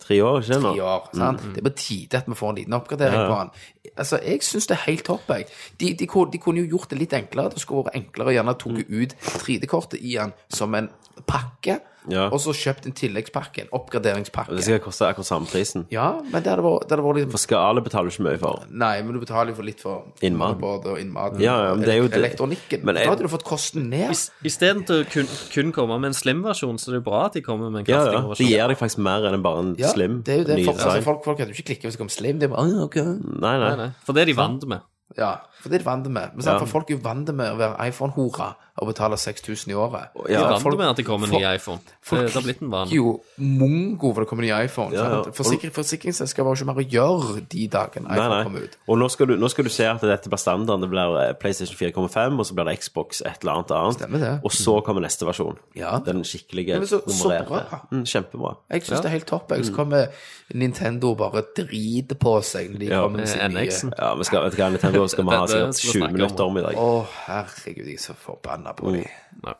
[SPEAKER 1] Tre år, ikke
[SPEAKER 2] i
[SPEAKER 1] sant?
[SPEAKER 2] år. Sant? Det er på tide at vi får en liten oppgradering på den. Altså, jeg syns det er helt topp. Jeg. De, de, kunne- de kunne jo gjort det litt enklere. Det skulle vært enklere å gjerne tatt
[SPEAKER 1] Mm.
[SPEAKER 2] ut 3D-kortet i den som en pakke,
[SPEAKER 1] Ja.
[SPEAKER 2] og så kjøpt en tilleggspakke, en oppgraderingspakke.
[SPEAKER 1] Det skal koste akkurat samme prisen.
[SPEAKER 2] Ja, men det hadde vært, det hadde vært litt
[SPEAKER 1] For skala betaler du ikke mye for.
[SPEAKER 2] Nei, men du betaler jo for litt for
[SPEAKER 1] Innmaten.
[SPEAKER 2] motherboard og innmaten.
[SPEAKER 1] Ja, ja, men det er jo det.
[SPEAKER 2] Elektronikken.
[SPEAKER 1] Men jeg-
[SPEAKER 2] Da hadde du fått kosten ned.
[SPEAKER 3] Istedenfor å kun, kun komme med en slim-versjon, så det er jo bra at de kommer med en
[SPEAKER 1] Ja,
[SPEAKER 3] kraftig
[SPEAKER 1] ja. Det
[SPEAKER 3] versjon.
[SPEAKER 1] gir deg faktisk mer enn bare en
[SPEAKER 2] Ja,
[SPEAKER 1] slim.
[SPEAKER 2] det er jo det.
[SPEAKER 1] ny
[SPEAKER 2] Folk, altså,
[SPEAKER 1] design.
[SPEAKER 2] folk, folk hadde jo ikke klikket hvis det kom slim. Det er bare, ah, ok.
[SPEAKER 1] Nei, nei.
[SPEAKER 3] Nei, nei. For det er de vant med.
[SPEAKER 2] Ja, for det er de vant med. Men sant, for folk er jo vant med å være iPhone-hora og betale 6000 i året.
[SPEAKER 1] Ja,
[SPEAKER 3] de er
[SPEAKER 2] folk-
[SPEAKER 3] vant med at det kommer en ny iPhone. Det, det har blitt en vane.
[SPEAKER 2] Jo, mongo for det kommer ny iPhone.
[SPEAKER 1] Ja, ja.
[SPEAKER 2] sant? Forsikring, forsikringsselskapet har jo ikke mer å gjøre de dagene iPhone
[SPEAKER 1] Nei,
[SPEAKER 2] kommer
[SPEAKER 1] nei.
[SPEAKER 2] ut.
[SPEAKER 1] Og nå skal, du, nå skal du se at dette blir standarden. Det blir eh, PlayStation 4,5, og så blir det Xbox et eller annet annet.
[SPEAKER 2] Stemmer det.
[SPEAKER 1] Og så kommer neste versjon.
[SPEAKER 2] Ja.
[SPEAKER 1] Den skikkelige,
[SPEAKER 2] Ja, men så- så
[SPEAKER 1] nummererte.
[SPEAKER 2] bra.
[SPEAKER 1] Mm, kjempebra.
[SPEAKER 2] Jeg syns det er helt topp.
[SPEAKER 1] Mm.
[SPEAKER 2] Jeg så kommer Nintendo og bare driter på seg når de
[SPEAKER 1] Ja,
[SPEAKER 3] Eh,
[SPEAKER 2] kommer med sin
[SPEAKER 3] NX-en.
[SPEAKER 2] nye
[SPEAKER 1] Ja, vi skal, vet du hva, Nintendo skal vi ha
[SPEAKER 3] Dette
[SPEAKER 1] sikkert
[SPEAKER 3] skal vi
[SPEAKER 1] 20
[SPEAKER 3] snakke
[SPEAKER 1] minutter om i dag.
[SPEAKER 2] Å, herregud, jeg er så forbanna
[SPEAKER 1] Mm.
[SPEAKER 2] på dem.
[SPEAKER 3] Nei.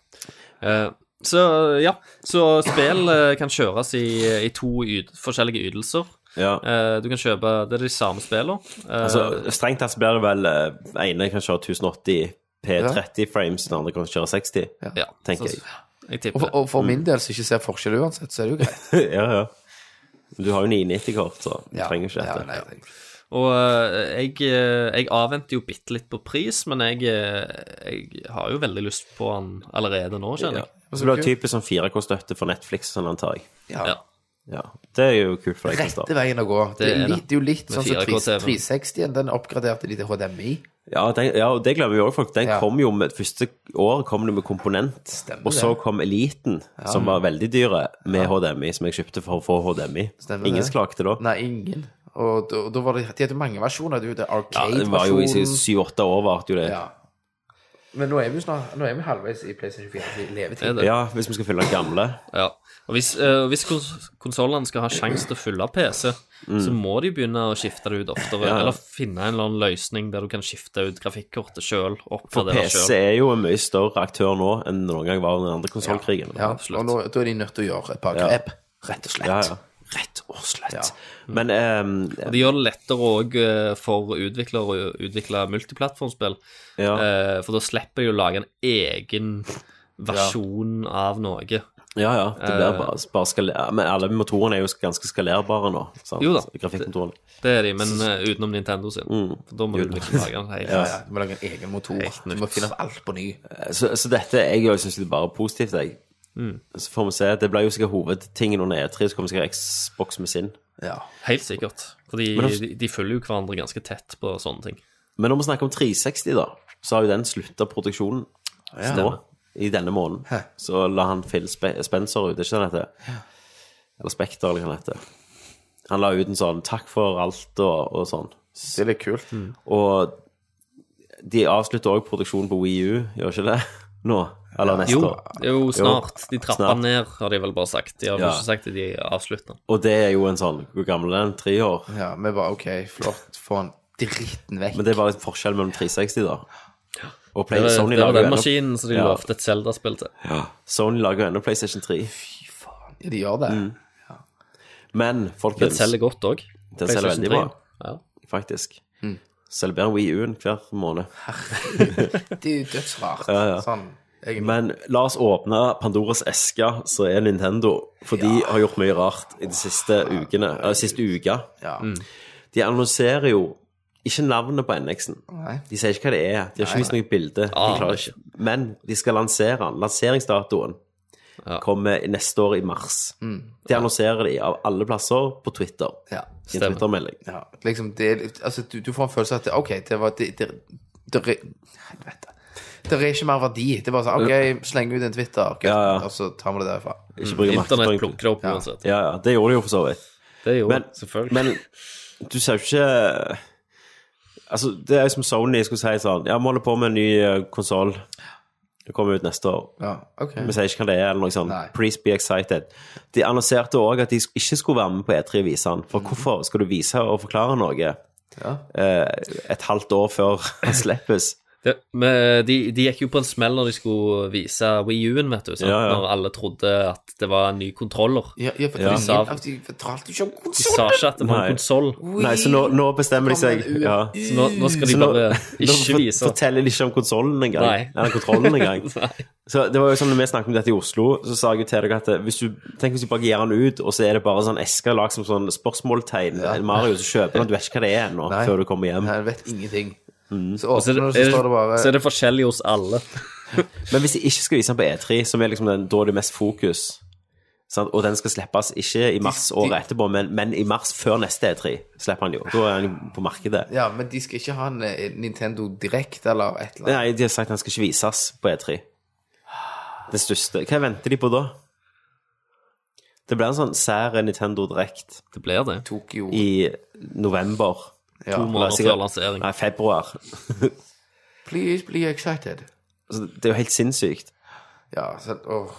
[SPEAKER 3] Eh, så ja, så spill eh, kan kjøres i, i to yd- forskjellige ytelser.
[SPEAKER 1] Ja.
[SPEAKER 3] Eh, du kan kjøpe Det er de samme spillene. Eh,
[SPEAKER 1] Altså, strengt tatt så blir det vel eh, ene kan kjøre 1080 P30 frames, den andre kan kjøre 60,
[SPEAKER 3] ja,
[SPEAKER 1] tenker
[SPEAKER 3] så-
[SPEAKER 1] jeg.
[SPEAKER 3] Jeg
[SPEAKER 2] Og
[SPEAKER 3] tipper
[SPEAKER 2] for,
[SPEAKER 3] det.
[SPEAKER 2] og
[SPEAKER 1] Mm.
[SPEAKER 2] for min del, som ikke ser forskjell uansett, så er det jo greit.
[SPEAKER 1] *laughs* ja, ja. Men Du har jo 990-kort, så du
[SPEAKER 2] Ja,
[SPEAKER 1] *laughs* trenger ikke
[SPEAKER 2] ja,
[SPEAKER 1] dette.
[SPEAKER 2] nei, jeg tenker-
[SPEAKER 3] Og eh, jeg, eh, jeg avventer jo bitte litt på pris, men jeg, eh, jeg har jo veldig lyst på den allerede nå, kjenner
[SPEAKER 1] Ja.
[SPEAKER 3] jeg.
[SPEAKER 1] Og Så blir det typisk sånn 4K-støtte for Netflix, sånn antar jeg.
[SPEAKER 2] ja.
[SPEAKER 3] Ja.
[SPEAKER 1] Ja. Det er jo kult for deg,
[SPEAKER 2] rette
[SPEAKER 1] Kristian.
[SPEAKER 2] veien å gå. Det,
[SPEAKER 3] Det er
[SPEAKER 2] er
[SPEAKER 3] det.
[SPEAKER 2] litt, det er jo litt
[SPEAKER 3] Med
[SPEAKER 2] sånn som
[SPEAKER 3] 4K
[SPEAKER 2] 360-en. Den oppgraderte de til HDMI.
[SPEAKER 1] Ja, den, ja, og det glemmer vi òg, folk. Den
[SPEAKER 2] Ja.
[SPEAKER 1] kom jo med første år kom det med komponent,
[SPEAKER 2] Stemmer
[SPEAKER 1] og så
[SPEAKER 2] det.
[SPEAKER 1] kom Eliten, som var veldig dyre, med HDMI, som jeg kjøpte for å få HDMI.
[SPEAKER 2] Stemmer
[SPEAKER 1] Ingen
[SPEAKER 2] det.
[SPEAKER 1] klagde da.
[SPEAKER 2] Nei, ingen. Og da- da var det, de hadde jo mange versjoner. Det er jo det
[SPEAKER 1] Ja, det var jo i
[SPEAKER 2] Arcade-versjonen.
[SPEAKER 1] syv-åtte år varte jo det.
[SPEAKER 2] Ja. Men nå er vi jo snart, nå er vi halvveis i PlayStation 4 sin
[SPEAKER 3] Er
[SPEAKER 2] levetid.
[SPEAKER 3] det?
[SPEAKER 1] Ja, hvis vi skal fylle den gamle.
[SPEAKER 3] Ja. Og hvis, uh, hvis kons konsollene skal ha sjanse til å fylle PC, så må de begynne å skifte det ut oftere,
[SPEAKER 1] Mm. Ja.
[SPEAKER 3] eller finne en eller annen løsning der du kan skifte ut grafikkortet sjøl.
[SPEAKER 1] For PC er jo en mye større aktør nå enn det noen gang var under den andre konsollkrigen.
[SPEAKER 2] Ja, og nå, da er de nødt til å gjøre et par
[SPEAKER 1] Ja.
[SPEAKER 2] grep, rett og slett.
[SPEAKER 1] ja, ja. Rett og slett.
[SPEAKER 2] Ja.
[SPEAKER 1] Men ehm,
[SPEAKER 3] Det gjør det lettere òg for utviklere å utvikle multiplattformspill,
[SPEAKER 1] ja,
[SPEAKER 3] eh, for da slipper de å lage en egen versjon av noe.
[SPEAKER 1] ja, ja. Det
[SPEAKER 3] eh,
[SPEAKER 1] blir bare, bare skaler... Men alle motorene er jo ganske skalerbare nå. Sant?
[SPEAKER 3] Jo da.
[SPEAKER 1] Grafikkmotorene.
[SPEAKER 3] Det er de, men eh, utenom Nintendo sin.
[SPEAKER 1] Mm.
[SPEAKER 3] For da må du liksom lage en
[SPEAKER 1] *laughs*
[SPEAKER 3] hel
[SPEAKER 2] Ja, ja. Du må lage en egen motor. Du må finne opp alt på ny.
[SPEAKER 1] Så, så dette jeg òg syns det er bare positivt, jeg.
[SPEAKER 3] Mm.
[SPEAKER 1] Så får vi se. Det blir jo sikkert hovedtingen under E3, så kommer sikkert Xbox med sin.
[SPEAKER 2] Ja.
[SPEAKER 3] Helt sikkert. Fordi
[SPEAKER 1] Men da-
[SPEAKER 3] de, de følger jo hverandre ganske tett på sånne ting.
[SPEAKER 1] Men når vi snakker om 360, da, så har jo den slutta produksjonen nå, i denne måneden.
[SPEAKER 2] Hæ.
[SPEAKER 1] Så la han Phil Spe Spencer ut, er ikke det han heter? Eller Spekter, eller hva han heter. Han la ut en sånn 'takk for alt' og, og sånn.
[SPEAKER 2] Det er litt kult.
[SPEAKER 1] Og de avslutter òg produksjonen på Wii U, gjør ikke det? *laughs* Nå? Eller neste
[SPEAKER 3] Jo,
[SPEAKER 1] år?
[SPEAKER 3] det er jo snart. De trapper
[SPEAKER 1] snart.
[SPEAKER 3] ned, har de vel bare sagt. De har vel
[SPEAKER 1] Ja.
[SPEAKER 3] ikke sagt at de avslutter.
[SPEAKER 1] Og det er jo en sånn Hvor gammel er den? Tre år?
[SPEAKER 2] Ja, vi bare OK, flott. Få den dritten vekk.
[SPEAKER 1] Men det er bare en forskjell mellom 360, da. Og
[SPEAKER 3] Det
[SPEAKER 1] Play,
[SPEAKER 3] var,
[SPEAKER 1] Sony,
[SPEAKER 3] det var
[SPEAKER 1] lager
[SPEAKER 3] den
[SPEAKER 1] jo ennå,
[SPEAKER 3] maskinen som de
[SPEAKER 1] Ja.
[SPEAKER 3] lovte et Zelda-spill til.
[SPEAKER 1] ja, Sony lager jo ennå PlayStation 3.
[SPEAKER 2] Fy faen. Ja, de gjør det.
[SPEAKER 1] Mm. Men
[SPEAKER 3] Den
[SPEAKER 1] folkens,
[SPEAKER 3] selger godt òg.
[SPEAKER 1] Den selger veldig bra.
[SPEAKER 3] Ja.
[SPEAKER 1] faktisk.
[SPEAKER 3] Mm.
[SPEAKER 1] Selger bedre enn Wii U-en hver måned.
[SPEAKER 2] Det er jo dødsrart. Sånn, egentlig.
[SPEAKER 1] Men la oss åpne Pandoras eske, så er Nintendo. For de har gjort mye rart i de siste ukene. Eller siste uka.
[SPEAKER 2] ja.
[SPEAKER 1] De annonserer jo ikke navnet på NX-en.
[SPEAKER 2] Nei.
[SPEAKER 1] De sier ikke hva det er. De har ikke vist noe bilde. De
[SPEAKER 3] Aner
[SPEAKER 1] klarer
[SPEAKER 3] ikke.
[SPEAKER 1] ikke. Men de skal lansere den. Lanseringsdatoen
[SPEAKER 3] Ja. Mm.
[SPEAKER 1] kommer i- neste år i mars. Det annonserer de av alle plasser på Twitter.
[SPEAKER 2] Ja.
[SPEAKER 1] I en
[SPEAKER 3] Stemmer.
[SPEAKER 1] Twitter-melding.
[SPEAKER 2] ja. Liksom, det, er litt- altså, du, du får en følelse av at det- OK, det var det, det, det, det Helvete. Det er ikke mer verdi. Det er bare sånn OK, sleng ut en Twitter, ok,
[SPEAKER 1] Ja, ja.
[SPEAKER 2] og så tar vi det derfra.
[SPEAKER 1] Ikke bruker
[SPEAKER 3] Mm. Internett
[SPEAKER 1] markedsføring.
[SPEAKER 3] plukker det opp
[SPEAKER 2] Ja.
[SPEAKER 3] uansett.
[SPEAKER 1] Ja, ja. Det gjorde de jo for så vidt.
[SPEAKER 3] Det gjorde
[SPEAKER 1] Men-
[SPEAKER 3] men, selvfølgelig.
[SPEAKER 1] Men du ser jo ikke Altså, det er jo som Sony skulle si sånn Ja, vi holder på med en ny konsoll. Det kommer ut neste år.
[SPEAKER 2] Ja, OK.
[SPEAKER 1] Vi sier ikke hva det er, eller noe sånt.
[SPEAKER 2] Nei.
[SPEAKER 1] Please be excited. De annonserte òg at de sk- ikke skulle være med på E E3 og vise den. For hvorfor skal du vise og forklare noe
[SPEAKER 2] Mhm. Ja.
[SPEAKER 1] eh, et halvt år før *laughs* den slippes?
[SPEAKER 3] det, men eh, de, de gikk jo på en smell når de skulle vise Wii U-en, vet du. sant?
[SPEAKER 1] Ja, ja.
[SPEAKER 3] Når alle trodde at det var en ny kontroller.
[SPEAKER 2] Ja, ja, for
[SPEAKER 1] Ja.
[SPEAKER 2] De, sa, de fortalte jo ikke om
[SPEAKER 3] De sa
[SPEAKER 2] konsollen!
[SPEAKER 3] ikke at det var
[SPEAKER 1] Nei.
[SPEAKER 3] en konsoll.
[SPEAKER 1] Nei, så nå, nå bestemmer de seg.
[SPEAKER 2] Kommer det ut?
[SPEAKER 1] Ja.
[SPEAKER 3] Så nå, nå skal de
[SPEAKER 1] Så nå-
[SPEAKER 3] bare
[SPEAKER 1] Nå
[SPEAKER 3] ikke
[SPEAKER 1] for-
[SPEAKER 3] vise
[SPEAKER 1] forteller de ikke om konsollen engang.
[SPEAKER 3] Nei.
[SPEAKER 1] Eller kontrollen
[SPEAKER 3] *laughs*
[SPEAKER 2] *laughs*
[SPEAKER 1] engang.
[SPEAKER 3] Nei.
[SPEAKER 1] Så det var jo sånn, når vi snakket om dette i Oslo, så sa jeg jo til dere at hvis du, tenk hvis du bare gir den ut, og så er det bare sånn esker lagt som sånn spørsmåltegn. Mario, så kjøper den, du vet ikke hva det er ennå,
[SPEAKER 2] Nei.
[SPEAKER 1] før du kommer hjem.
[SPEAKER 2] Nei, jeg vet ingenting. Så
[SPEAKER 3] Mm. Så er,
[SPEAKER 2] åpner du,
[SPEAKER 3] det,
[SPEAKER 2] så står det bare
[SPEAKER 3] så er det forskjellig hos alle.
[SPEAKER 1] Men hvis de ikke skal vise den på E3, som er liksom den, da er det mest fokus, sant? og den skal slippes ikke i mars
[SPEAKER 2] de-
[SPEAKER 1] året etterpå, men, men i mars før neste E3 slipper han jo. Da er han jo på markedet.
[SPEAKER 2] Ja, men de skal ikke ha en eh, Nintendo Direct eller et eller annet.
[SPEAKER 1] Nei, de har sagt den skal ikke vises på E3. Det største. Hva venter de på da? Det blir en sånn sær Nintendo Direct
[SPEAKER 3] Det blir det.
[SPEAKER 2] Tokyo.
[SPEAKER 1] i november.
[SPEAKER 2] Ja.
[SPEAKER 3] To måneder
[SPEAKER 1] sikkert-
[SPEAKER 3] før lansering.
[SPEAKER 1] Nei, februar.
[SPEAKER 2] Please be excited.
[SPEAKER 1] Altså, det er jo helt sinnssykt.
[SPEAKER 2] Ja, så, åh.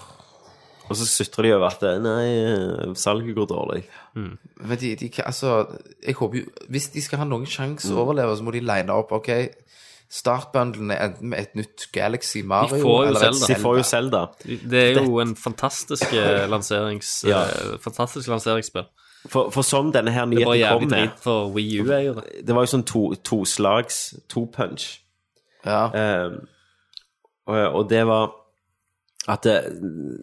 [SPEAKER 1] Og så sutrer de over at nei, eh, salget går dårlig.
[SPEAKER 2] Men de, de, kan- altså, jeg håper jo Hvis de skal ha noen sjanse å overleve, så må de line opp. OK, startbundlene enten med et nytt Galaxy Mario
[SPEAKER 3] De får jo
[SPEAKER 2] eller et
[SPEAKER 3] Zelda.
[SPEAKER 1] De får jo
[SPEAKER 2] Zelda.
[SPEAKER 1] Zelda.
[SPEAKER 3] Det er jo en fantastisk eh, lanserings,
[SPEAKER 1] Ja.
[SPEAKER 3] eh, fantastisk lanseringsspill.
[SPEAKER 1] For, for som denne her
[SPEAKER 3] Det var
[SPEAKER 1] nyheten kom
[SPEAKER 3] jævlig
[SPEAKER 1] med,
[SPEAKER 3] drit for Wii U-eiere.
[SPEAKER 1] det var jo sånn to- toslags, to punch.
[SPEAKER 2] Ja.
[SPEAKER 1] Um, og, og det var at eh,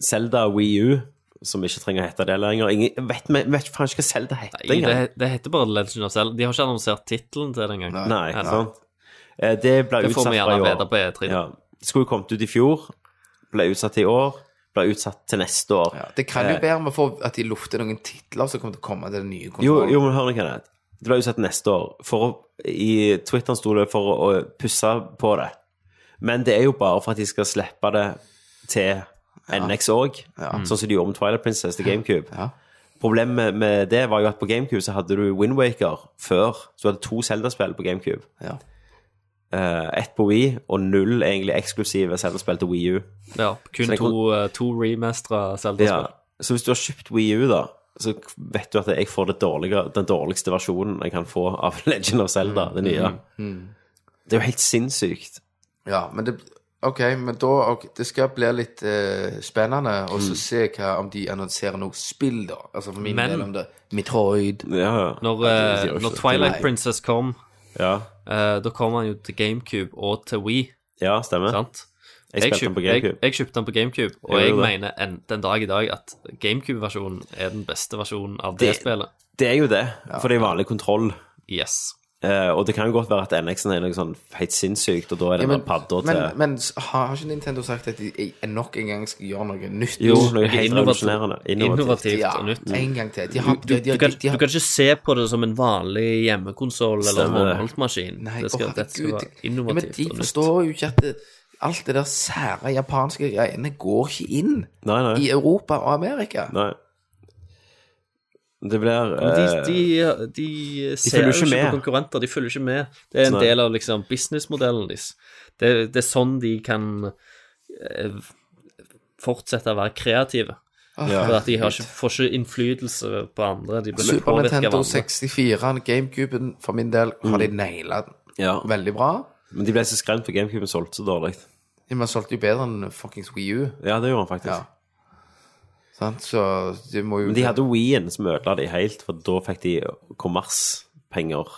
[SPEAKER 1] Zelda Wii U, som ikke trenger å hete det lenger Ingen, vet, vi- vet faen ikke hva Zelda heter
[SPEAKER 3] Det,
[SPEAKER 1] engang.
[SPEAKER 3] det heter bare Legend of Zelda. De har ikke annonsert tittelen til det engang.
[SPEAKER 1] Nei,
[SPEAKER 3] Nei.
[SPEAKER 1] sant? Eh, Det ble
[SPEAKER 3] Det
[SPEAKER 1] utsatt
[SPEAKER 3] får
[SPEAKER 1] fra
[SPEAKER 3] vi
[SPEAKER 1] i
[SPEAKER 3] gjerne
[SPEAKER 1] år.
[SPEAKER 3] vite på E3.
[SPEAKER 1] Ja. Det Skulle jo kommet ut i fjor, ble utsatt i år, ble utsatt til neste år.
[SPEAKER 2] ja. Det kan jo være med for at de lufter noen titler som kommer til å komme til den nye
[SPEAKER 1] Jo,
[SPEAKER 2] konsollen.
[SPEAKER 1] jo, men hør nå, Kenneth. Det ble utsatt neste år. For å, I Twitteren sto det for å, å pusse på det. Men det er jo bare for at de skal slippe det til NX òg, sånn som de gjorde med Twilight Princess til GameCube.
[SPEAKER 2] Ja.
[SPEAKER 1] Problemet med, med det var jo at på GameCube så hadde du Windwaker før. Så du hadde to Zelda-spill på GameCube.
[SPEAKER 2] Ja.
[SPEAKER 1] Eh, ett på Wii, og null egentlig eksklusive Zelda-spill til Wii U.
[SPEAKER 3] Ja, kun
[SPEAKER 1] det
[SPEAKER 3] to,
[SPEAKER 1] kan-
[SPEAKER 3] eh, to remestra
[SPEAKER 1] Ja.
[SPEAKER 3] Zelda-spill.
[SPEAKER 1] Så hvis du har kjøpt Wii U, da, så vet du at jeg får det dårligere, den dårligste versjonen jeg kan få av *laughs* Legend of Zelda,
[SPEAKER 2] Mm,
[SPEAKER 1] det nye. Det er jo helt sinnssykt.
[SPEAKER 2] Ja, men det Ok, men da ok, Det skal bli litt eh, spennende å så se hva, om de annonserer noe spill, da. Altså for min
[SPEAKER 3] Men-
[SPEAKER 2] del om det Metroid.
[SPEAKER 1] Ja, ja.
[SPEAKER 3] Når,
[SPEAKER 1] Ja, det
[SPEAKER 3] eh,
[SPEAKER 1] sier jo
[SPEAKER 3] når
[SPEAKER 1] ikke.
[SPEAKER 3] Twilight
[SPEAKER 2] Nei.
[SPEAKER 3] Princess kom,
[SPEAKER 1] Ja,
[SPEAKER 3] eh, da kom han jo til GameCube og til Wii,
[SPEAKER 1] ja stemmer.
[SPEAKER 3] sant?
[SPEAKER 1] Jeg spilte den på
[SPEAKER 3] kjøp-
[SPEAKER 1] GameCube.
[SPEAKER 3] Jeg, jeg kjøpte den på GameCube, og
[SPEAKER 1] Gjorde
[SPEAKER 3] jeg
[SPEAKER 1] du det?
[SPEAKER 3] mener en, den dag i dag at GameCube-versjonen er den beste versjonen av det,
[SPEAKER 1] Det-
[SPEAKER 3] spillet.
[SPEAKER 1] Det er jo det, for det er vanlig kontroll.
[SPEAKER 3] Yes.
[SPEAKER 1] Eh, og det kan jo godt være at NX-en er noe sånn helt sinnssykt, og da er det
[SPEAKER 2] Ja,
[SPEAKER 1] den padda til
[SPEAKER 2] men, men s- har, har ikke Nintendo sagt at de i- nok en gang skal gjøre noe nytt?
[SPEAKER 1] Jo, noe
[SPEAKER 3] Noe
[SPEAKER 1] helt
[SPEAKER 3] innovativt-
[SPEAKER 1] revolusjonerende. Innovativt.
[SPEAKER 3] Innovativt
[SPEAKER 2] ja,
[SPEAKER 3] og nytt.
[SPEAKER 2] en gang til. De
[SPEAKER 3] Du,
[SPEAKER 2] har,
[SPEAKER 3] du,
[SPEAKER 2] de, de,
[SPEAKER 3] du, kan,
[SPEAKER 2] de
[SPEAKER 3] du
[SPEAKER 2] har,
[SPEAKER 3] kan ikke se på det som en vanlig hjemmekonsoll eller
[SPEAKER 1] Stemmer det.
[SPEAKER 3] håndholdt-maskin.
[SPEAKER 2] Nei,
[SPEAKER 3] Det skal,
[SPEAKER 2] å,
[SPEAKER 3] det skal
[SPEAKER 2] herregud,
[SPEAKER 3] være
[SPEAKER 2] det- Ja,
[SPEAKER 3] innovativt
[SPEAKER 2] men
[SPEAKER 3] og
[SPEAKER 2] de
[SPEAKER 3] nytt.
[SPEAKER 2] forstår jo ikke at det, alt det der sære japanske greiene går ikke inn
[SPEAKER 1] Nei, nei.
[SPEAKER 2] i Europa og Amerika.
[SPEAKER 1] nei. Det blir
[SPEAKER 3] Men
[SPEAKER 1] eh,
[SPEAKER 3] De, de, de ser
[SPEAKER 1] følger
[SPEAKER 3] jo
[SPEAKER 1] ikke
[SPEAKER 3] ikke
[SPEAKER 1] med.
[SPEAKER 3] på konkurrenter, de følger ikke med. Det er en
[SPEAKER 1] Nei.
[SPEAKER 3] del av liksom businessmodellen deres. Det, det er sånn de kan eh, fortsette å være kreative.
[SPEAKER 1] Ja.
[SPEAKER 3] For at de har ikke, får ikke innflytelse på andre. De blir
[SPEAKER 2] Super
[SPEAKER 3] påvirket av
[SPEAKER 2] Nintendo
[SPEAKER 3] andre.
[SPEAKER 2] 64, GameCuben, for min del, har
[SPEAKER 3] Mm.
[SPEAKER 2] de naila den
[SPEAKER 1] ja.
[SPEAKER 2] veldig bra.
[SPEAKER 1] Men de ble så skremt for GameCube solgte så dårlig.
[SPEAKER 2] Ja, Man solgte jo bedre enn fuckings Wii U.
[SPEAKER 1] Ja, det gjorde han faktisk.
[SPEAKER 2] Ja. Sant? Så de må jo
[SPEAKER 1] Men de hadde Wien som ødela de helt, for da fikk de kommerspenger.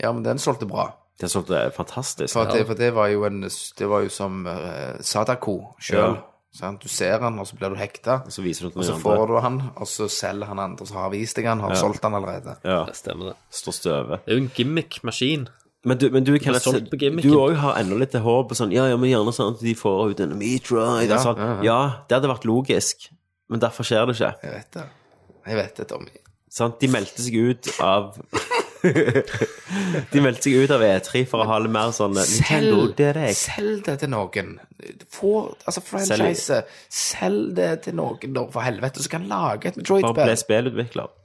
[SPEAKER 2] Ja, men den solgte bra.
[SPEAKER 1] De har solgt det fantastisk.
[SPEAKER 2] For, at det, for det var jo en Det var jo som eh, Sadako sjøl.
[SPEAKER 1] Ja.
[SPEAKER 2] Sant? Du ser han, og så blir du hekta.
[SPEAKER 1] Så viser du til
[SPEAKER 2] Og så
[SPEAKER 1] noen
[SPEAKER 2] får
[SPEAKER 1] andre.
[SPEAKER 2] du han, og så selger han andre som har vist deg han, har solgt han allerede.
[SPEAKER 1] Ja,
[SPEAKER 3] Det stemmer, det.
[SPEAKER 1] står støve.
[SPEAKER 3] Det er jo en gimmick-maskin.
[SPEAKER 1] Men du, men du Kenneth,
[SPEAKER 3] solgt på gimmicken.
[SPEAKER 1] du òg har ennå litt håp på sånn Ja, ja, men gjerne sånn at de får ut en meat ride.
[SPEAKER 2] Ja,
[SPEAKER 1] altså,
[SPEAKER 2] ja, ja.
[SPEAKER 1] ja, det hadde vært logisk, men derfor skjer det ikke.
[SPEAKER 2] Jeg vet det. Jeg vet det, Tommy.
[SPEAKER 1] Sant? De meldte seg ut av *laughs* De meldte seg ut av E3 for å ha litt mer sånn Nintendo
[SPEAKER 2] Selg
[SPEAKER 1] Direct.
[SPEAKER 2] selg det til noen. Få altså franchise. Selg det til noen, da, for helvete, som kan lage et
[SPEAKER 1] Bare ble
[SPEAKER 2] Metroid-spill.
[SPEAKER 1] spillutvikler.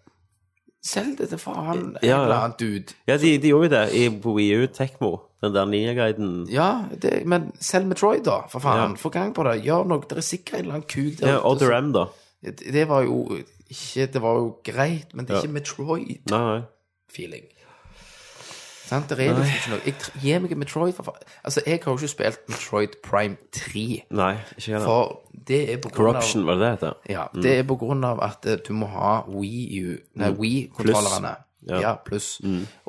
[SPEAKER 2] Selg det til faen en
[SPEAKER 1] Ja, ja.
[SPEAKER 2] eller annen dude.
[SPEAKER 1] Ja, de, de gjorde jo det i WiiU Tekmo, den der ninjaguiden.
[SPEAKER 2] Ja, det, men selg Metroid, da, for faen.
[SPEAKER 1] Ja.
[SPEAKER 2] Få gang på det. Gjør noe. Det er sikkert en eller annen kuk der
[SPEAKER 1] Ja,
[SPEAKER 2] ute
[SPEAKER 1] Other
[SPEAKER 2] som-
[SPEAKER 1] M, da.
[SPEAKER 2] det, det var jo ikke Det var jo greit, men det er ikke Metroid.
[SPEAKER 1] Nei, nei.
[SPEAKER 2] feeling. Sant, det er liksom ikke noe jeg, tr- Gi meg en Metroid, for faen. Altså, jeg har jo ikke spilt Metroid Prime 3.
[SPEAKER 1] nei ikke heller.
[SPEAKER 2] For det er på grunn
[SPEAKER 1] Corruption, Mm.
[SPEAKER 2] av
[SPEAKER 1] var det det heter?
[SPEAKER 2] ja, det er på grunn av at eh, du må ha Wii U Nei, Wii-kontrollerne.
[SPEAKER 1] Mm. Ja. Mm.
[SPEAKER 2] Ja, pluss.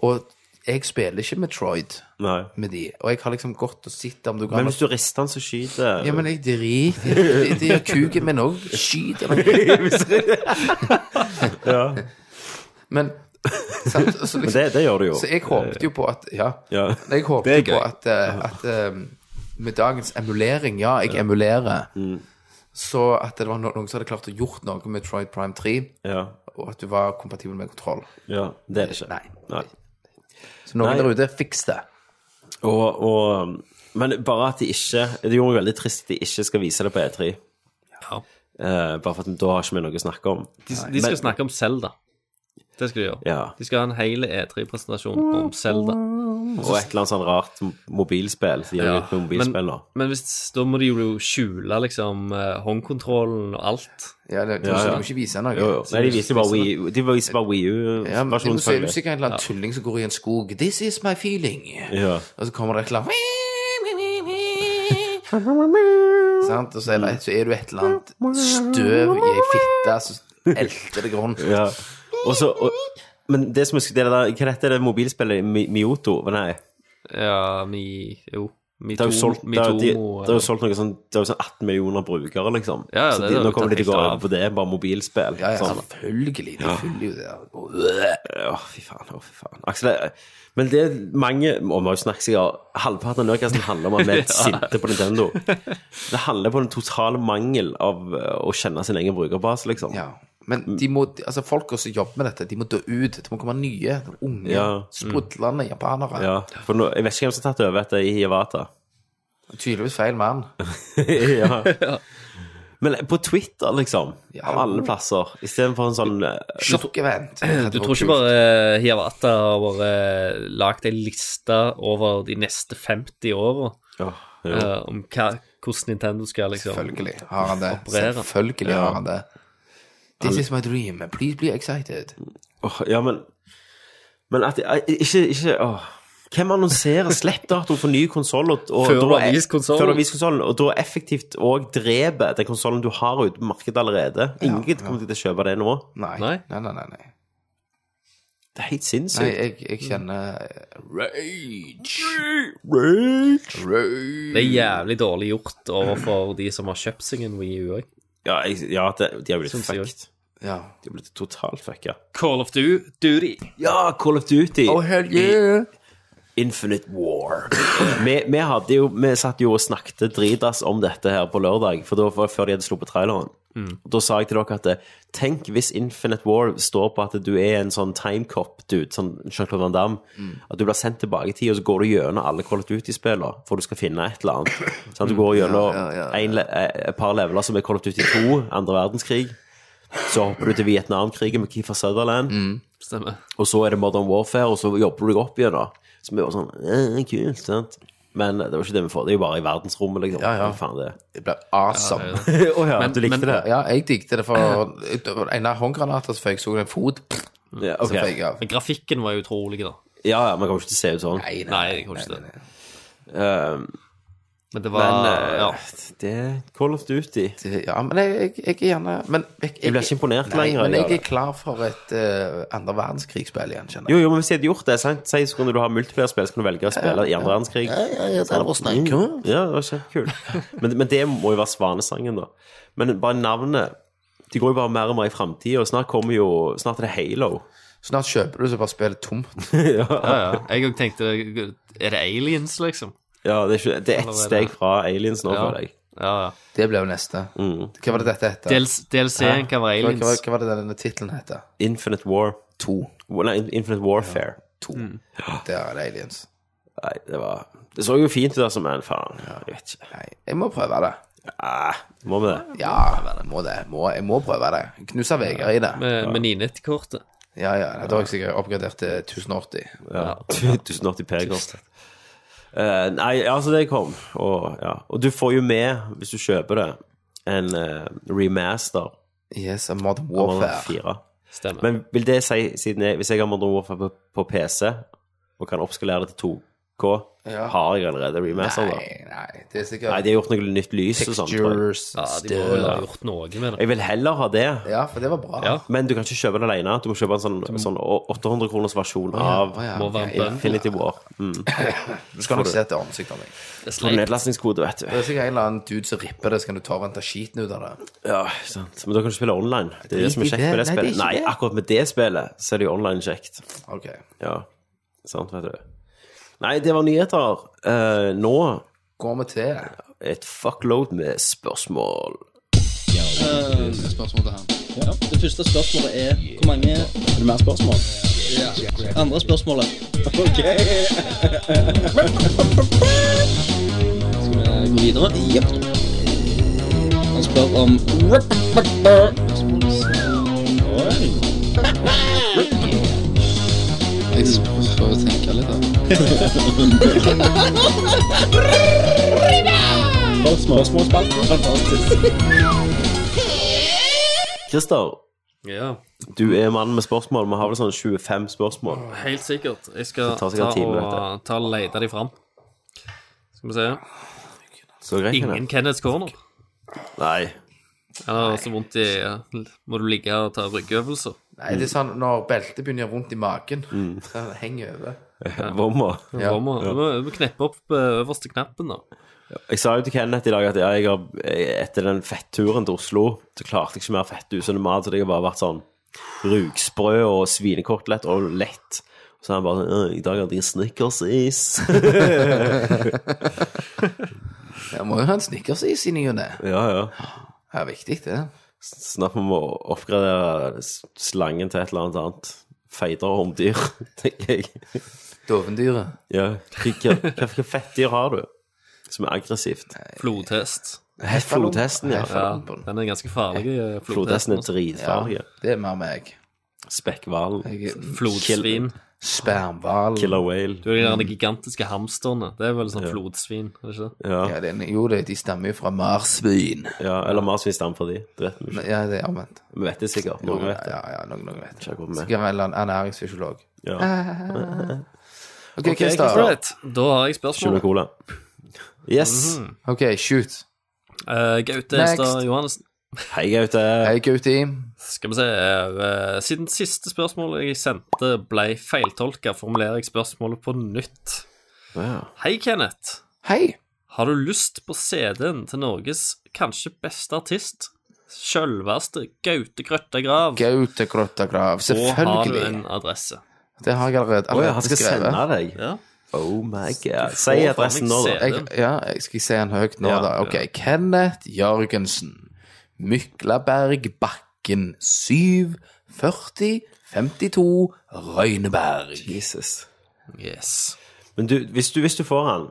[SPEAKER 2] Og jeg spiller ikke Metroid
[SPEAKER 1] Nei.
[SPEAKER 2] med de, og jeg har liksom gått og sett om du kan
[SPEAKER 1] Men hvis du rister han, så skyter
[SPEAKER 2] Ja, men jeg driter i det. gjør Kuken min òg skyter meg.
[SPEAKER 1] *laughs* Ja.
[SPEAKER 2] *laughs* Men sant, så
[SPEAKER 1] Men
[SPEAKER 2] liksom,
[SPEAKER 1] det, det gjør du jo.
[SPEAKER 2] Så jeg håpet jo på at Ja. *laughs*
[SPEAKER 1] Ja.
[SPEAKER 2] Jeg håpet
[SPEAKER 1] Det er
[SPEAKER 2] jo på
[SPEAKER 1] gøy.
[SPEAKER 2] at, eh, at eh, med dagens emulering Ja, jeg emulerer.
[SPEAKER 1] Mm.
[SPEAKER 2] Så at det var no noen som hadde klart å gjort noe med Troid Prime 3,
[SPEAKER 1] Eh, Ja.
[SPEAKER 2] og at du var kompatibel med kontroll.
[SPEAKER 1] ja. Det er det ikke.
[SPEAKER 2] Nei.
[SPEAKER 1] Nei.
[SPEAKER 2] Så noen der
[SPEAKER 1] Nei.
[SPEAKER 2] ute, fiks det.
[SPEAKER 1] Og, og Men bare at de ikke Det gjorde meg veldig trist at de ikke skal vise det på E3.
[SPEAKER 3] Ja.
[SPEAKER 1] Eh, bare for at da har ikke vi noe å snakke om.
[SPEAKER 3] De, de skal snakke om Zelda. Det skal de gjøre.
[SPEAKER 1] Ja.
[SPEAKER 3] De skal ha en hel E3-presentasjon om Zelda.
[SPEAKER 1] Og et eller annet sånn rart mobilspill. De gjør
[SPEAKER 3] Ja,
[SPEAKER 1] ja. med mobilspill nå.
[SPEAKER 3] Men hvis, da må de jo skjule liksom eh, håndkontrollen og alt.
[SPEAKER 2] Ja, det, du,
[SPEAKER 1] Ja, ja.
[SPEAKER 2] du må ikke vise noe.
[SPEAKER 1] Jo, jo. Nei, de viser bare Wii- de viser bare Wii
[SPEAKER 2] Ja, men
[SPEAKER 1] U-versjonen.
[SPEAKER 2] så er det jo sikkert en eller annen tulling som går i en skog. 'This is my feeling'.
[SPEAKER 1] Ja.
[SPEAKER 2] Og så kommer det et
[SPEAKER 1] *laughs*
[SPEAKER 2] eller annet Sant? Og så er, det, så er du et eller annet støv i ei fitte som elter deg rundt.
[SPEAKER 1] Ja. Og så, og, men det som jeg skulle dele der, hva heter det mobilspillet Mi- Mioto? Nei,
[SPEAKER 3] Ja, mi Jo.
[SPEAKER 1] det har jo solgt, det har, de, det har
[SPEAKER 3] Mitomo
[SPEAKER 1] jo solgt noe sånn, det er jo sånn 18 millioner brukere, liksom.
[SPEAKER 3] Ja, ja,
[SPEAKER 1] så
[SPEAKER 3] det
[SPEAKER 1] de,
[SPEAKER 3] har
[SPEAKER 1] nå
[SPEAKER 3] jo
[SPEAKER 1] kommer de
[SPEAKER 3] tatt
[SPEAKER 1] til å gå
[SPEAKER 3] helt
[SPEAKER 1] over
[SPEAKER 3] av.
[SPEAKER 1] på det, bare mobilspill.
[SPEAKER 2] Ja, ja,
[SPEAKER 1] sånn.
[SPEAKER 2] selvfølgelig. Det fyller jo det der. Og-
[SPEAKER 1] Å, fy faen, å, fy faen. Aksel, jeg- men det er mange Og vi har jo snakket sikkert Halvparten av Nerdcasten handler om at vi
[SPEAKER 3] *laughs*
[SPEAKER 1] er sinte på Nintendo. Det handler på den totale mangel av eh, å kjenne sin egen brukerbase, liksom.
[SPEAKER 2] Ja. Men de må, altså folka som jobber med dette, de må dø ut. Det må komme nye, unge,
[SPEAKER 1] Ja. Mm.
[SPEAKER 2] sprudlende japanere.
[SPEAKER 1] Ja, for nå, jeg vet ikke hvem som har tatt over etter Iwata.
[SPEAKER 2] Tydeligvis feil mann.
[SPEAKER 1] *laughs* ja. Men på Twitter, liksom.
[SPEAKER 2] Ja.
[SPEAKER 1] Av alle plasser. Istedenfor en sånn eh, *clears throat*
[SPEAKER 2] Sjokkevent.
[SPEAKER 3] *clears throat* Du tror ikke bare eh, Hiawatha har bare eh, lagd ei liste over de neste 50 åra
[SPEAKER 1] ja, jo.
[SPEAKER 3] eh, om hva, hvordan Nintendo skal liksom
[SPEAKER 2] Selvfølgelig har han det.
[SPEAKER 3] Operere.
[SPEAKER 2] Selvfølgelig har han det. This is my dream. Please be excited.
[SPEAKER 1] Åh, ja, men Men at eh, Ikke, ikke åh. Hvem annonserer sleppdato for ny konsoll og, og
[SPEAKER 3] Før
[SPEAKER 1] da
[SPEAKER 3] du har
[SPEAKER 1] er-
[SPEAKER 3] vist konsollen.
[SPEAKER 1] før du har vist konsollen, og da effektivt òg dreper den konsollen du har ute på markedet allerede? Ingen kommer til å kjøpe det nå.
[SPEAKER 2] Nei. Nei,
[SPEAKER 3] Nei.
[SPEAKER 2] nei, nei. nei.
[SPEAKER 1] Det er helt
[SPEAKER 2] Nei,
[SPEAKER 1] sinnssykt.
[SPEAKER 2] jeg, jeg kjenner eh, Rage.
[SPEAKER 1] Rage.
[SPEAKER 2] Rage.
[SPEAKER 3] Det er jævlig dårlig gjort overfor de som har kjøpt seg en Wii U òg.
[SPEAKER 1] Ja, jeg, ja det, de har blitt
[SPEAKER 3] Syns jeg
[SPEAKER 1] fucked.
[SPEAKER 2] Ja.
[SPEAKER 1] De har blitt totalt fucka.
[SPEAKER 3] Call of Du- Duty.
[SPEAKER 1] Ja, Call of Duty.
[SPEAKER 2] hell yeah.
[SPEAKER 1] Infinite War. vi, vi, hadde jo, vi satt jo og snakket dritas om dette her på lørdag, for da var før de hadde sluppet traileren.
[SPEAKER 2] Mm.
[SPEAKER 1] Og Da sa jeg til dere at eh, tenk hvis Infinite War står på at du er en sånn timecop-dude, sånn Jean-Claude Van Damme,
[SPEAKER 2] Mm.
[SPEAKER 1] at du blir sendt tilbake i tid, og så går du gjennom alle Call of Duty-spillene for du skal finne et eller annet.
[SPEAKER 2] *clears throat*
[SPEAKER 1] Sånn, du går gjennom
[SPEAKER 2] Ja, ja, ja.
[SPEAKER 1] en le- eh, et par leveler som er Call of Duty 2, andre verdenskrig. Så hopper du til Vietnamkrigen med Keefer Sutherland.
[SPEAKER 3] Stemmer.
[SPEAKER 1] Og så er det Modern Warfare, og så jobber du deg opp igjen da. Så vi var sånn, eh, kult, sant? Men det var ikke det vi får, det er jo bare i verdensrommet, liksom.
[SPEAKER 2] Ja, ja.
[SPEAKER 1] Hva Faen det.
[SPEAKER 2] Det ble awesome. Ja,
[SPEAKER 1] Å ja, du likte det?
[SPEAKER 2] jeg digget det for det var en av håndgranatene som føyk, så jeg en fot
[SPEAKER 1] Ja, ok.
[SPEAKER 2] som føyk av.
[SPEAKER 3] Men grafikken var jo utrolig, da.
[SPEAKER 1] ja, ja, man kommer ikke til å se ut sånn.
[SPEAKER 3] Nei, jeg kommer ikke til det.
[SPEAKER 1] Um,
[SPEAKER 3] Men det
[SPEAKER 1] Men
[SPEAKER 3] var
[SPEAKER 1] eh,
[SPEAKER 3] Ah, ja.
[SPEAKER 1] det er Call of Duty.
[SPEAKER 2] Det- Ja, men jeg, jeg, jeg er gjerne men jeg, jeg,
[SPEAKER 1] Jeg blir ikke imponert
[SPEAKER 2] nei,
[SPEAKER 1] lenger,
[SPEAKER 2] Men
[SPEAKER 1] jeg
[SPEAKER 2] jeg
[SPEAKER 1] gjør
[SPEAKER 2] er klar for et eh, andre verdenskrigsspill igjen, kjenner jeg.
[SPEAKER 1] Jo, jo, men hvis jeg hadde gjort det, sant? Si, så kunne du ha multiplierspill, så kunne du velge å spille i andre verdenskrig.
[SPEAKER 2] Ja, ja, ja, det hadde vært snakk, ja.
[SPEAKER 1] Ja, det var kjempekult. Men, men det må jo være Svanesangen, da. Men bare navnet De går jo bare mer og mer i framtida, og snart kommer jo Snart er det Halo.
[SPEAKER 2] Snart kjøper du så bare spillet tomt.
[SPEAKER 3] ja, ja. Jeg òg tenkte Er det aliens, liksom?
[SPEAKER 1] Ja, det er, ikke, det er ett
[SPEAKER 3] Eller hva er det?
[SPEAKER 1] steg fra aliens nå,
[SPEAKER 3] Ja.
[SPEAKER 1] føler jeg.
[SPEAKER 3] Ja, ja.
[SPEAKER 2] Det ble jo neste.
[SPEAKER 1] Mm.
[SPEAKER 2] Hva var det dette het?
[SPEAKER 3] DLC DLC-en kan være
[SPEAKER 2] Hva, hva,
[SPEAKER 3] aliens.
[SPEAKER 2] hva var det denne tittelen het?
[SPEAKER 1] Infinite War.
[SPEAKER 2] To.
[SPEAKER 1] Nei, Infinite Warfare.
[SPEAKER 2] To. Der er det aliens.
[SPEAKER 1] Nei, det var Det så jo fint ut, altså, men faen. Jeg vet ikke.
[SPEAKER 2] Nei, jeg må prøve det.
[SPEAKER 1] Ah, må vi det?
[SPEAKER 2] Ja, jeg må det. Må, jeg må prøve det. Knuse Vegard i det.
[SPEAKER 3] Med, med 990-kortet.
[SPEAKER 2] Ja, ja. Da har jeg sikkert oppgradert til 1080.
[SPEAKER 1] *laughs* Ja. 1080 P koster. Eh, nei, altså det kom. Og, ja. og du får jo med, hvis du kjøper det, en eh, remaster
[SPEAKER 2] Yes, a Modern
[SPEAKER 1] av Modern
[SPEAKER 2] Warfare.
[SPEAKER 1] 4.
[SPEAKER 3] Stemmer.
[SPEAKER 1] Men vil det si, siden jeg, hvis jeg har Modern Warfare på, på PC, og kan oppskalere det til 2K,
[SPEAKER 2] Ja.
[SPEAKER 1] har jeg allerede remaster altså, da?
[SPEAKER 2] Nei, nei, det er
[SPEAKER 1] Nei,
[SPEAKER 2] sikkert
[SPEAKER 1] de har gjort noe nytt lys og sånt. sånn, tror jeg.
[SPEAKER 2] textures,
[SPEAKER 3] Ja, de må vel ha
[SPEAKER 2] støv
[SPEAKER 3] gjort noe med det.
[SPEAKER 1] Jeg vil heller ha det.
[SPEAKER 2] Ja, for det var bra.
[SPEAKER 3] Ja.
[SPEAKER 1] Men du kan ikke kjøpe det alene. Du må kjøpe en sånn, sånn 800 kroners versjon av
[SPEAKER 2] Å, ja.
[SPEAKER 3] Må være en bønn.
[SPEAKER 1] Infinity War. Mm.
[SPEAKER 2] Du skal nok se etter ansiktet av meg.
[SPEAKER 3] Det er
[SPEAKER 1] Og
[SPEAKER 3] sleit.
[SPEAKER 1] Nedlastingskode, vet du.
[SPEAKER 2] Det er sikkert en eller annen dude som ripper det, så kan du ta og vente skiten ut av det.
[SPEAKER 1] Ja, ikke sant. Men da kan du spille online. Det er
[SPEAKER 2] Drit
[SPEAKER 1] det som
[SPEAKER 2] i
[SPEAKER 1] er kjekt
[SPEAKER 2] det. Nei,
[SPEAKER 1] med det
[SPEAKER 2] det er
[SPEAKER 1] spillet.
[SPEAKER 2] ikke
[SPEAKER 1] Nei,
[SPEAKER 2] det.
[SPEAKER 1] akkurat med det spillet så er det jo online kjekt.
[SPEAKER 2] Ok.
[SPEAKER 1] Ja, sant, vet du. Nei, det var nyheter. Eh, nå
[SPEAKER 2] Går vi til
[SPEAKER 1] et fuckload med spørsmål.
[SPEAKER 4] Det første spørsmålet er hvor mange Er det mer spørsmål? Ja. Andre spørsmålet. Ok. Skal vi gå videre? Jepp. Han spør om Oi. Jeg får tenke litt, da. Spørsmålsspalten. Fantastisk.
[SPEAKER 1] Christer,
[SPEAKER 3] Ja,
[SPEAKER 1] du er mannen med spørsmål. Vi har vel sånn 25 spørsmål.
[SPEAKER 3] helt sikkert. Jeg skal
[SPEAKER 1] Det tar
[SPEAKER 3] ta
[SPEAKER 1] sikkert en time,
[SPEAKER 3] og, ta og lete de fram. Skal vi se.
[SPEAKER 1] Så greit,
[SPEAKER 3] Ingen
[SPEAKER 1] Kenneth.
[SPEAKER 3] Kenneth Corner.
[SPEAKER 1] Nei.
[SPEAKER 3] Jeg har så vondt i Må du ligge og ta ryggøvelser?
[SPEAKER 2] Nei, det er sånn når beltet begynner å gjøre vondt i magen. Så henger over.
[SPEAKER 1] Vommer.
[SPEAKER 3] Ja. Du må, du må kneppe opp eh, øverste knappen, da.
[SPEAKER 1] Jeg sa jo til Kenneth i dag at ja, jeg har, jeg- etter den fetturen til Oslo så klarte jeg ikke mer fett usunn mat, så det har bare vært sånn rugsprø og svinekotelett og lett. Så han bare sånn «Øh, I dag hadde jeg snickersis.
[SPEAKER 2] Jeg må jo ha en snickersis i ny og ne.
[SPEAKER 1] *laughs* ja, ja.
[SPEAKER 2] Det er viktig, det.
[SPEAKER 1] Snakk om å oppgradere s- slangen til et eller annet annet. Feitere hånddyr, *laughs* tenker jeg.
[SPEAKER 2] Dovendyret.
[SPEAKER 1] Ja. Hvilke, hvilke fettdyr har du som er aggressivt?
[SPEAKER 3] Flodhest.
[SPEAKER 1] Flodhesten, ja.
[SPEAKER 3] Ja,
[SPEAKER 2] Heffalumpen.
[SPEAKER 3] den er ganske farlig. eh,
[SPEAKER 1] Flodhesten er
[SPEAKER 3] Flodhesten.
[SPEAKER 2] Ja,
[SPEAKER 1] dritfarlig.
[SPEAKER 2] det er mer meg.
[SPEAKER 1] Spekkhvalen.
[SPEAKER 2] Jeg er
[SPEAKER 3] Flodsvin.
[SPEAKER 2] Spermhval.
[SPEAKER 1] Killer whale.
[SPEAKER 3] Du er de der gigantiske hamsterne. Det er vel sånn flodsvin, er det ikke det?
[SPEAKER 1] Ja.
[SPEAKER 2] Ja, det er- jo, det, de stammer jo fra marsvin.
[SPEAKER 1] Ja, eller marsvin stammer for de. Det vet vi ikke.
[SPEAKER 2] Ja, det er omvendt.
[SPEAKER 1] Vi vet det sikkert.
[SPEAKER 2] Ja,
[SPEAKER 1] Noen vet det.
[SPEAKER 2] ja, ja, noen, noen vet.
[SPEAKER 1] Ikke akkurat meg.
[SPEAKER 2] Sikkert en eller annen ernæringsfysiolog. *laughs*
[SPEAKER 1] Ja.
[SPEAKER 2] OK, Christer.
[SPEAKER 3] Alright, da har jeg spørsmål.
[SPEAKER 1] Skjønner cola. Yes.
[SPEAKER 2] OK, shoot.
[SPEAKER 3] Eh, Gaute
[SPEAKER 2] Next.
[SPEAKER 3] Estad Johannessen.
[SPEAKER 1] Hei, Gaute.
[SPEAKER 2] Hei, Gauti.
[SPEAKER 3] Skal vi se eh, Siden siste spørsmål jeg sendte ble feiltolka, formulerer jeg spørsmålet på nytt.
[SPEAKER 1] Ja.
[SPEAKER 3] Hei, Kenneth.
[SPEAKER 2] Hei.
[SPEAKER 3] Har du lyst på CD-en til Norges kanskje beste artist? Sjølveste Gaute Grøtta Grav.
[SPEAKER 2] Gaute Grottagrav.
[SPEAKER 3] Og har du
[SPEAKER 2] Selvfølgelig.
[SPEAKER 3] en adresse?
[SPEAKER 2] Det har jeg allerede,
[SPEAKER 1] Å ja,
[SPEAKER 2] allerede
[SPEAKER 1] han skal sende
[SPEAKER 2] skrevet.
[SPEAKER 1] deg?
[SPEAKER 3] Ja.
[SPEAKER 1] Oh my
[SPEAKER 3] Du
[SPEAKER 1] god.
[SPEAKER 3] får
[SPEAKER 1] Si adressen nå,
[SPEAKER 3] faen
[SPEAKER 1] da.
[SPEAKER 3] meg
[SPEAKER 2] Jeg, ja, jeg skal se han høyt nå,
[SPEAKER 1] Ja,
[SPEAKER 2] da. OK. Kenneth Jørgensen. Myklaberg Bakken 7 40 52 Røyneberg.
[SPEAKER 1] Jesus.
[SPEAKER 3] Yes.
[SPEAKER 1] Men du, hvis du, hvis du får han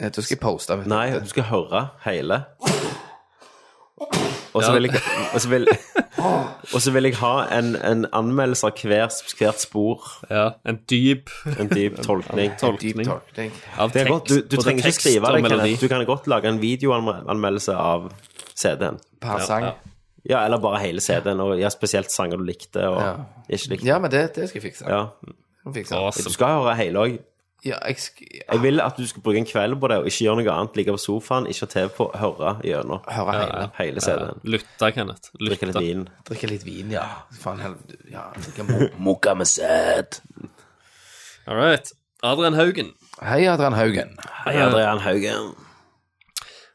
[SPEAKER 2] Eh, Da skal jeg poste. vet du.
[SPEAKER 1] Nei, du skal høre hele. Og så
[SPEAKER 3] Ja.
[SPEAKER 1] vil jeg Og så vil, og så vil jeg ha en, en anmeldelse av hver, hvert spor.
[SPEAKER 3] Ja, en dyp
[SPEAKER 2] *laughs*
[SPEAKER 1] En dyp tolkning.
[SPEAKER 2] Deep
[SPEAKER 3] tolkning
[SPEAKER 2] talking.
[SPEAKER 3] av
[SPEAKER 1] Det er
[SPEAKER 3] tekst.
[SPEAKER 1] godt. Du, du
[SPEAKER 3] både
[SPEAKER 1] trenger ikke
[SPEAKER 3] tekst
[SPEAKER 1] skrive
[SPEAKER 3] og
[SPEAKER 1] det,
[SPEAKER 3] melodi.
[SPEAKER 1] Kenneth. Du kan godt lage en videoanmeldelse av CD-en.
[SPEAKER 2] Per sang.
[SPEAKER 3] ja.
[SPEAKER 1] Ja, eller bare hele CD-en, og ja, spesielt sanger du likte og
[SPEAKER 2] Ja.
[SPEAKER 1] ikke likte.
[SPEAKER 2] Ja, men det, det skal jeg fikse.
[SPEAKER 1] Ja.
[SPEAKER 2] Skal jeg fikse.
[SPEAKER 3] Awesome.
[SPEAKER 1] Du skal høre hele òg.
[SPEAKER 2] Ja, jeg sk-
[SPEAKER 1] Jeg vil at du skal bruke en kveld på det og ikke gjøre noe annet. Ligge på sofaen, ikke ha TV på, høre gjennom
[SPEAKER 2] Høre hele.
[SPEAKER 1] hele CD-en.
[SPEAKER 3] Lytte, Kenneth.
[SPEAKER 1] Drikke litt
[SPEAKER 3] Lytte.
[SPEAKER 1] vin.
[SPEAKER 2] Drikke litt vin, ja. Faen, hel- ja. drikke mo- Mokka med sæd.
[SPEAKER 3] All right. Adrian Haugen.
[SPEAKER 2] *laughs* Hei, Adrian Haugen.
[SPEAKER 1] Hei, Adrian Haugen.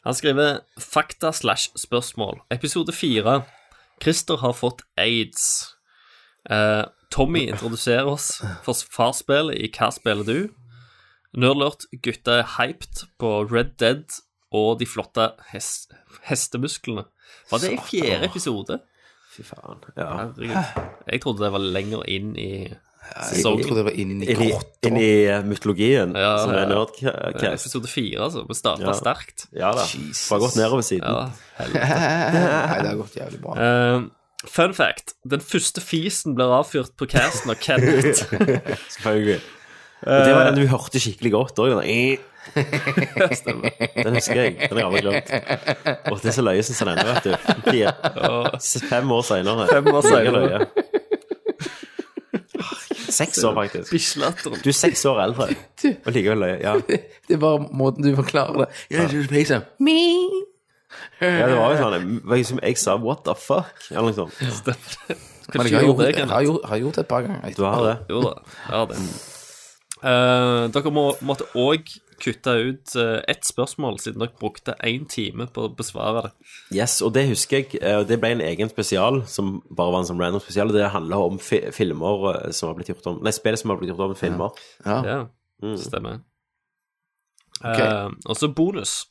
[SPEAKER 3] Han skriver fakta slash spørsmål. Episode fire. Christer har fått aids. Eh, Tommy introduserer oss for farsspillet i Hva spiller du? Nerdlurt, gutta er hyped på Red Dead og de flotte hes hestemusklene. Var det i fjerde episode?
[SPEAKER 1] Fy faen. Ja.
[SPEAKER 3] Herregud. Jeg trodde det var lenger inn i
[SPEAKER 2] Jeg trodde det var inni
[SPEAKER 1] Inn i,
[SPEAKER 2] grotta.
[SPEAKER 1] inn i eh, mytologien,
[SPEAKER 3] Ja,
[SPEAKER 1] som
[SPEAKER 3] ja.
[SPEAKER 1] er nerdcast.
[SPEAKER 3] episode fire, altså. Vi starta
[SPEAKER 1] Ja.
[SPEAKER 3] sterkt.
[SPEAKER 1] Ja da.
[SPEAKER 2] Jesus.
[SPEAKER 1] Bare gått nedover siden.
[SPEAKER 3] Ja,
[SPEAKER 2] Nei, det har gått jævlig bra.
[SPEAKER 3] Eh, fun fact. Den første fisen blir avfyrt på casten av Kenneth.
[SPEAKER 2] *laughs*
[SPEAKER 1] Selvfølgelig. Og det var den du hørte skikkelig godt òg. Den, der, «Eh». den husker jeg. Den har jeg aldri glemt. Og det er så løye, syns han ennå, vet du. Fire, fem år seinere.
[SPEAKER 3] Fem år senere.
[SPEAKER 1] Seks år, faktisk.
[SPEAKER 3] Bislatteren.
[SPEAKER 1] Du er seks år eldre, og likevel løye. Ja.
[SPEAKER 2] *laughs* Det er bare måten du forklarer det. Ja, det er liksom, Me.
[SPEAKER 1] ja, det var jo sånn det var liksom, Jeg sa 'what the fuck'? Eller noe sånt.
[SPEAKER 2] Men
[SPEAKER 3] Kanskje
[SPEAKER 2] jeg har
[SPEAKER 3] gjorde
[SPEAKER 2] gjort,
[SPEAKER 3] det,
[SPEAKER 2] jeg
[SPEAKER 3] Kenneth.
[SPEAKER 2] har gjort, har gjort det et par ganger.
[SPEAKER 1] Du har det.
[SPEAKER 3] Jo da, jeg har det. Eh, dere må, måtte òg kutte ut eh, ett spørsmål, siden dere brukte én time på å besvare det.
[SPEAKER 1] Yes, og det husker jeg. eh, og Det ble en egen spesial, som bare var en sånn random spesial. og Det handler om fi filmer eh, som har blitt gjort om Nei, spill som har blitt gjort om i filmer.
[SPEAKER 2] Ja.
[SPEAKER 3] Ja, stemmer. Eh, og så bonus.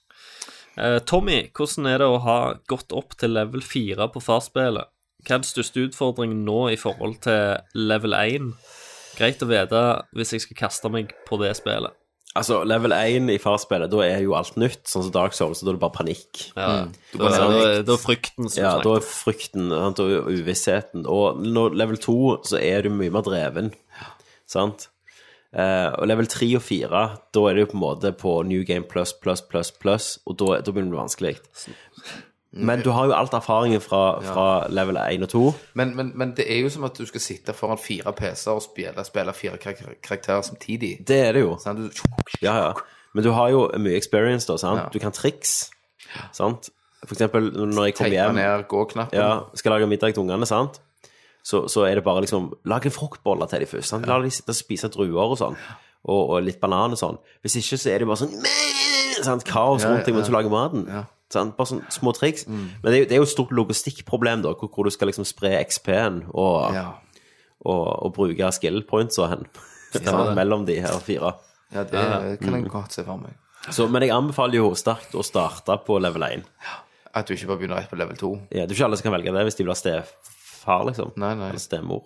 [SPEAKER 3] Eh, Tommy, hvordan er det å ha gått opp til level 4 på farsspillet? Hva er den største utfordringen nå i forhold til level 1? Greit å vite hvis jeg skal kaste meg på det spillet.
[SPEAKER 1] Altså, level 1 i farspillet, da er jo alt nytt. Sånn som Dark Souls, da er det bare panikk.
[SPEAKER 3] Ja, da,
[SPEAKER 1] bare-
[SPEAKER 3] da, da Mm. er frykten som
[SPEAKER 1] Ja,
[SPEAKER 3] snakker.
[SPEAKER 1] da er frykten sant, og uvissheten. Og når level 2 så er du mye mer dreven, sant? Eh, og level 3 og 4, da er det jo på en måte på new game pluss, pluss, pluss, pluss, og da, da begynner det å bli vanskelig. Men du har jo alt erfaringen fra, fra level 1 og 2.
[SPEAKER 2] Men, men, men det er jo som at du skal sitte foran fire PC-er og spille, spille fire karakter- karakterer samtidig.
[SPEAKER 1] Det er det jo.
[SPEAKER 2] Sånn, du,
[SPEAKER 1] Ja, ja. Men du har jo mye experience, da. sant? Du kan triks. sant? For eksempel når jeg kommer
[SPEAKER 2] Teipe
[SPEAKER 1] hjem
[SPEAKER 2] ned gå-knappen.
[SPEAKER 1] ja, skal lage middag til ungene, sant? Så, så er det bare liksom Lag en fruktbolle til dem først. Sant? La dem sitte og spise druer og sånn. Og, og litt banan og sånn. Hvis ikke så er det bare sånn *laughs* "Mæ!" sant? Kaos rundt deg mens du lager maten. Sant? Bare sånn små triks. Men det er, jo, det er jo et stort logistikkproblem, da, hvor, hvor du skal liksom spre XP-en og,
[SPEAKER 2] Ja.
[SPEAKER 1] og, og bruke skill points og hen. Sant? *laughs* Mellom de her fire.
[SPEAKER 2] ja, Mm. det kan jeg godt se for meg.
[SPEAKER 1] Så, men jeg anbefaler jo sterkt å starte på level 1.
[SPEAKER 2] At du ikke bare begynner rett på level 2.
[SPEAKER 1] Ja, det er ikke alle som kan velge det hvis de vil ha stefar, liksom.
[SPEAKER 2] Nei, nei.
[SPEAKER 1] Eller stemor.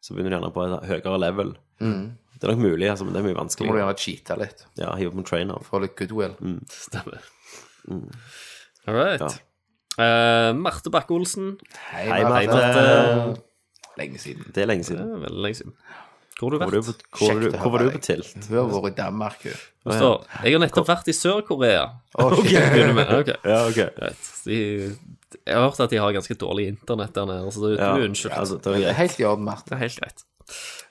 [SPEAKER 1] Så begynner de gjerne på et høyere level. Det er nok mulig, altså, men det er mye
[SPEAKER 2] Så må du
[SPEAKER 1] vanskelig.
[SPEAKER 2] gjerne cheate litt
[SPEAKER 1] Ja, hive på en trainer.
[SPEAKER 2] for litt goodwill.
[SPEAKER 3] Stemmer. Mm. All right. Eh, Marte Bakke-Olsen.
[SPEAKER 2] Hei,
[SPEAKER 1] Hei,
[SPEAKER 2] Marte.
[SPEAKER 1] Marte.
[SPEAKER 2] Lenge siden.
[SPEAKER 1] Det er lenge
[SPEAKER 3] Det
[SPEAKER 1] siden.
[SPEAKER 3] er Veldig lenge siden. Hvor har du
[SPEAKER 1] Hvor, du,
[SPEAKER 3] vært?
[SPEAKER 1] på- hvor,
[SPEAKER 2] Kjekt
[SPEAKER 1] du,
[SPEAKER 2] å
[SPEAKER 1] hvor var
[SPEAKER 2] høre
[SPEAKER 1] du på
[SPEAKER 2] deg. Mm.
[SPEAKER 1] tilt?
[SPEAKER 2] Hun har vært i Danmark, hun.
[SPEAKER 3] Det står, Jeg har nettopp vært i Sør-Korea.
[SPEAKER 2] Å, shit.
[SPEAKER 3] Begynner med- ok,
[SPEAKER 1] Ja, ok.
[SPEAKER 3] greit. De, jeg har hørt at de har ganske dårlig internett der nede, så det
[SPEAKER 1] Ja,
[SPEAKER 3] er jo unnskyld.
[SPEAKER 1] altså, det var
[SPEAKER 2] Det er
[SPEAKER 1] greit.
[SPEAKER 2] Helt i orden, Marte.
[SPEAKER 3] Det er helt greit.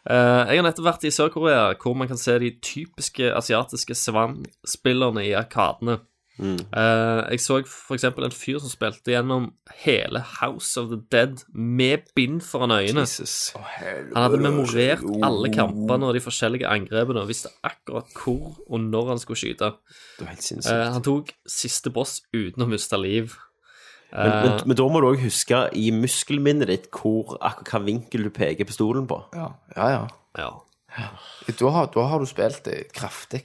[SPEAKER 3] Eh, jeg har nettopp vært i Sør-Korea, hvor man kan se de typiske asiatiske svan-spillerne i arkadene.
[SPEAKER 1] Mm.
[SPEAKER 3] Eh, jeg så f.eks. en fyr som spilte gjennom hele House of the Dead med bind foran øynene.
[SPEAKER 1] Jesus. Oh.
[SPEAKER 3] Han hadde memorert alle kampene og de forskjellige angrepene og visste akkurat hvor og når han skulle skyte.
[SPEAKER 1] Du er helt
[SPEAKER 3] Eh,
[SPEAKER 1] sinnssyk.
[SPEAKER 3] han tok siste boss uten å miste liv.
[SPEAKER 1] Men, men, men da må du òg huske i muskelminnet ditt hvor, akkurat hvilken vinkel du peker pistolen på.
[SPEAKER 2] Ja, ja. ja.
[SPEAKER 3] Ja.
[SPEAKER 2] Da har, da har du spilt det kraftig.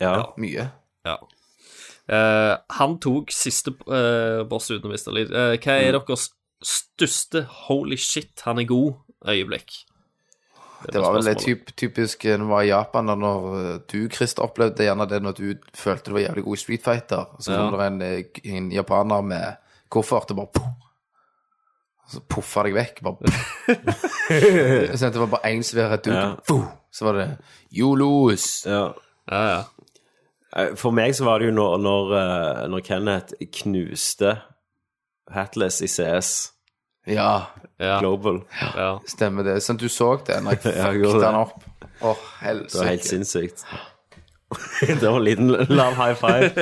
[SPEAKER 1] Ja.
[SPEAKER 2] Mye.
[SPEAKER 3] ja. Eh, han tok siste eh, boss uten å miste liv. Eh, hva er
[SPEAKER 2] Mm.
[SPEAKER 3] deres største holy shit, han er god øyeblikk?
[SPEAKER 2] Det var vel
[SPEAKER 3] spørsmålet.
[SPEAKER 2] typ, typisk eh, når vi var i Japan, da når eh, du, Christer, opplevde gjerne det når du følte du var jævlig god i Street Fighter. Så
[SPEAKER 3] Ja.
[SPEAKER 2] kom det en, eh, en japaner med koffert og bare poff. Så puffa deg vekk. Bare poff. sånn at det var bare én svær rett ut.
[SPEAKER 1] Ja.
[SPEAKER 2] Fuh! Så var det You lose.
[SPEAKER 1] ja.
[SPEAKER 3] Ja, ja.
[SPEAKER 1] Eh, For meg så var det jo når, når, eh, når Kenneth knuste Hatless i CS
[SPEAKER 2] Ja,
[SPEAKER 3] Ja,
[SPEAKER 1] Global.
[SPEAKER 3] ja.
[SPEAKER 2] stemmer det. Sånn, du så det når jeg
[SPEAKER 1] *laughs* Ja, jeg
[SPEAKER 2] fucket
[SPEAKER 1] gjorde det.
[SPEAKER 2] den opp. Å,
[SPEAKER 1] Det var helt
[SPEAKER 2] helsike.
[SPEAKER 1] sinnssykt. *laughs* det var en liten lav high five.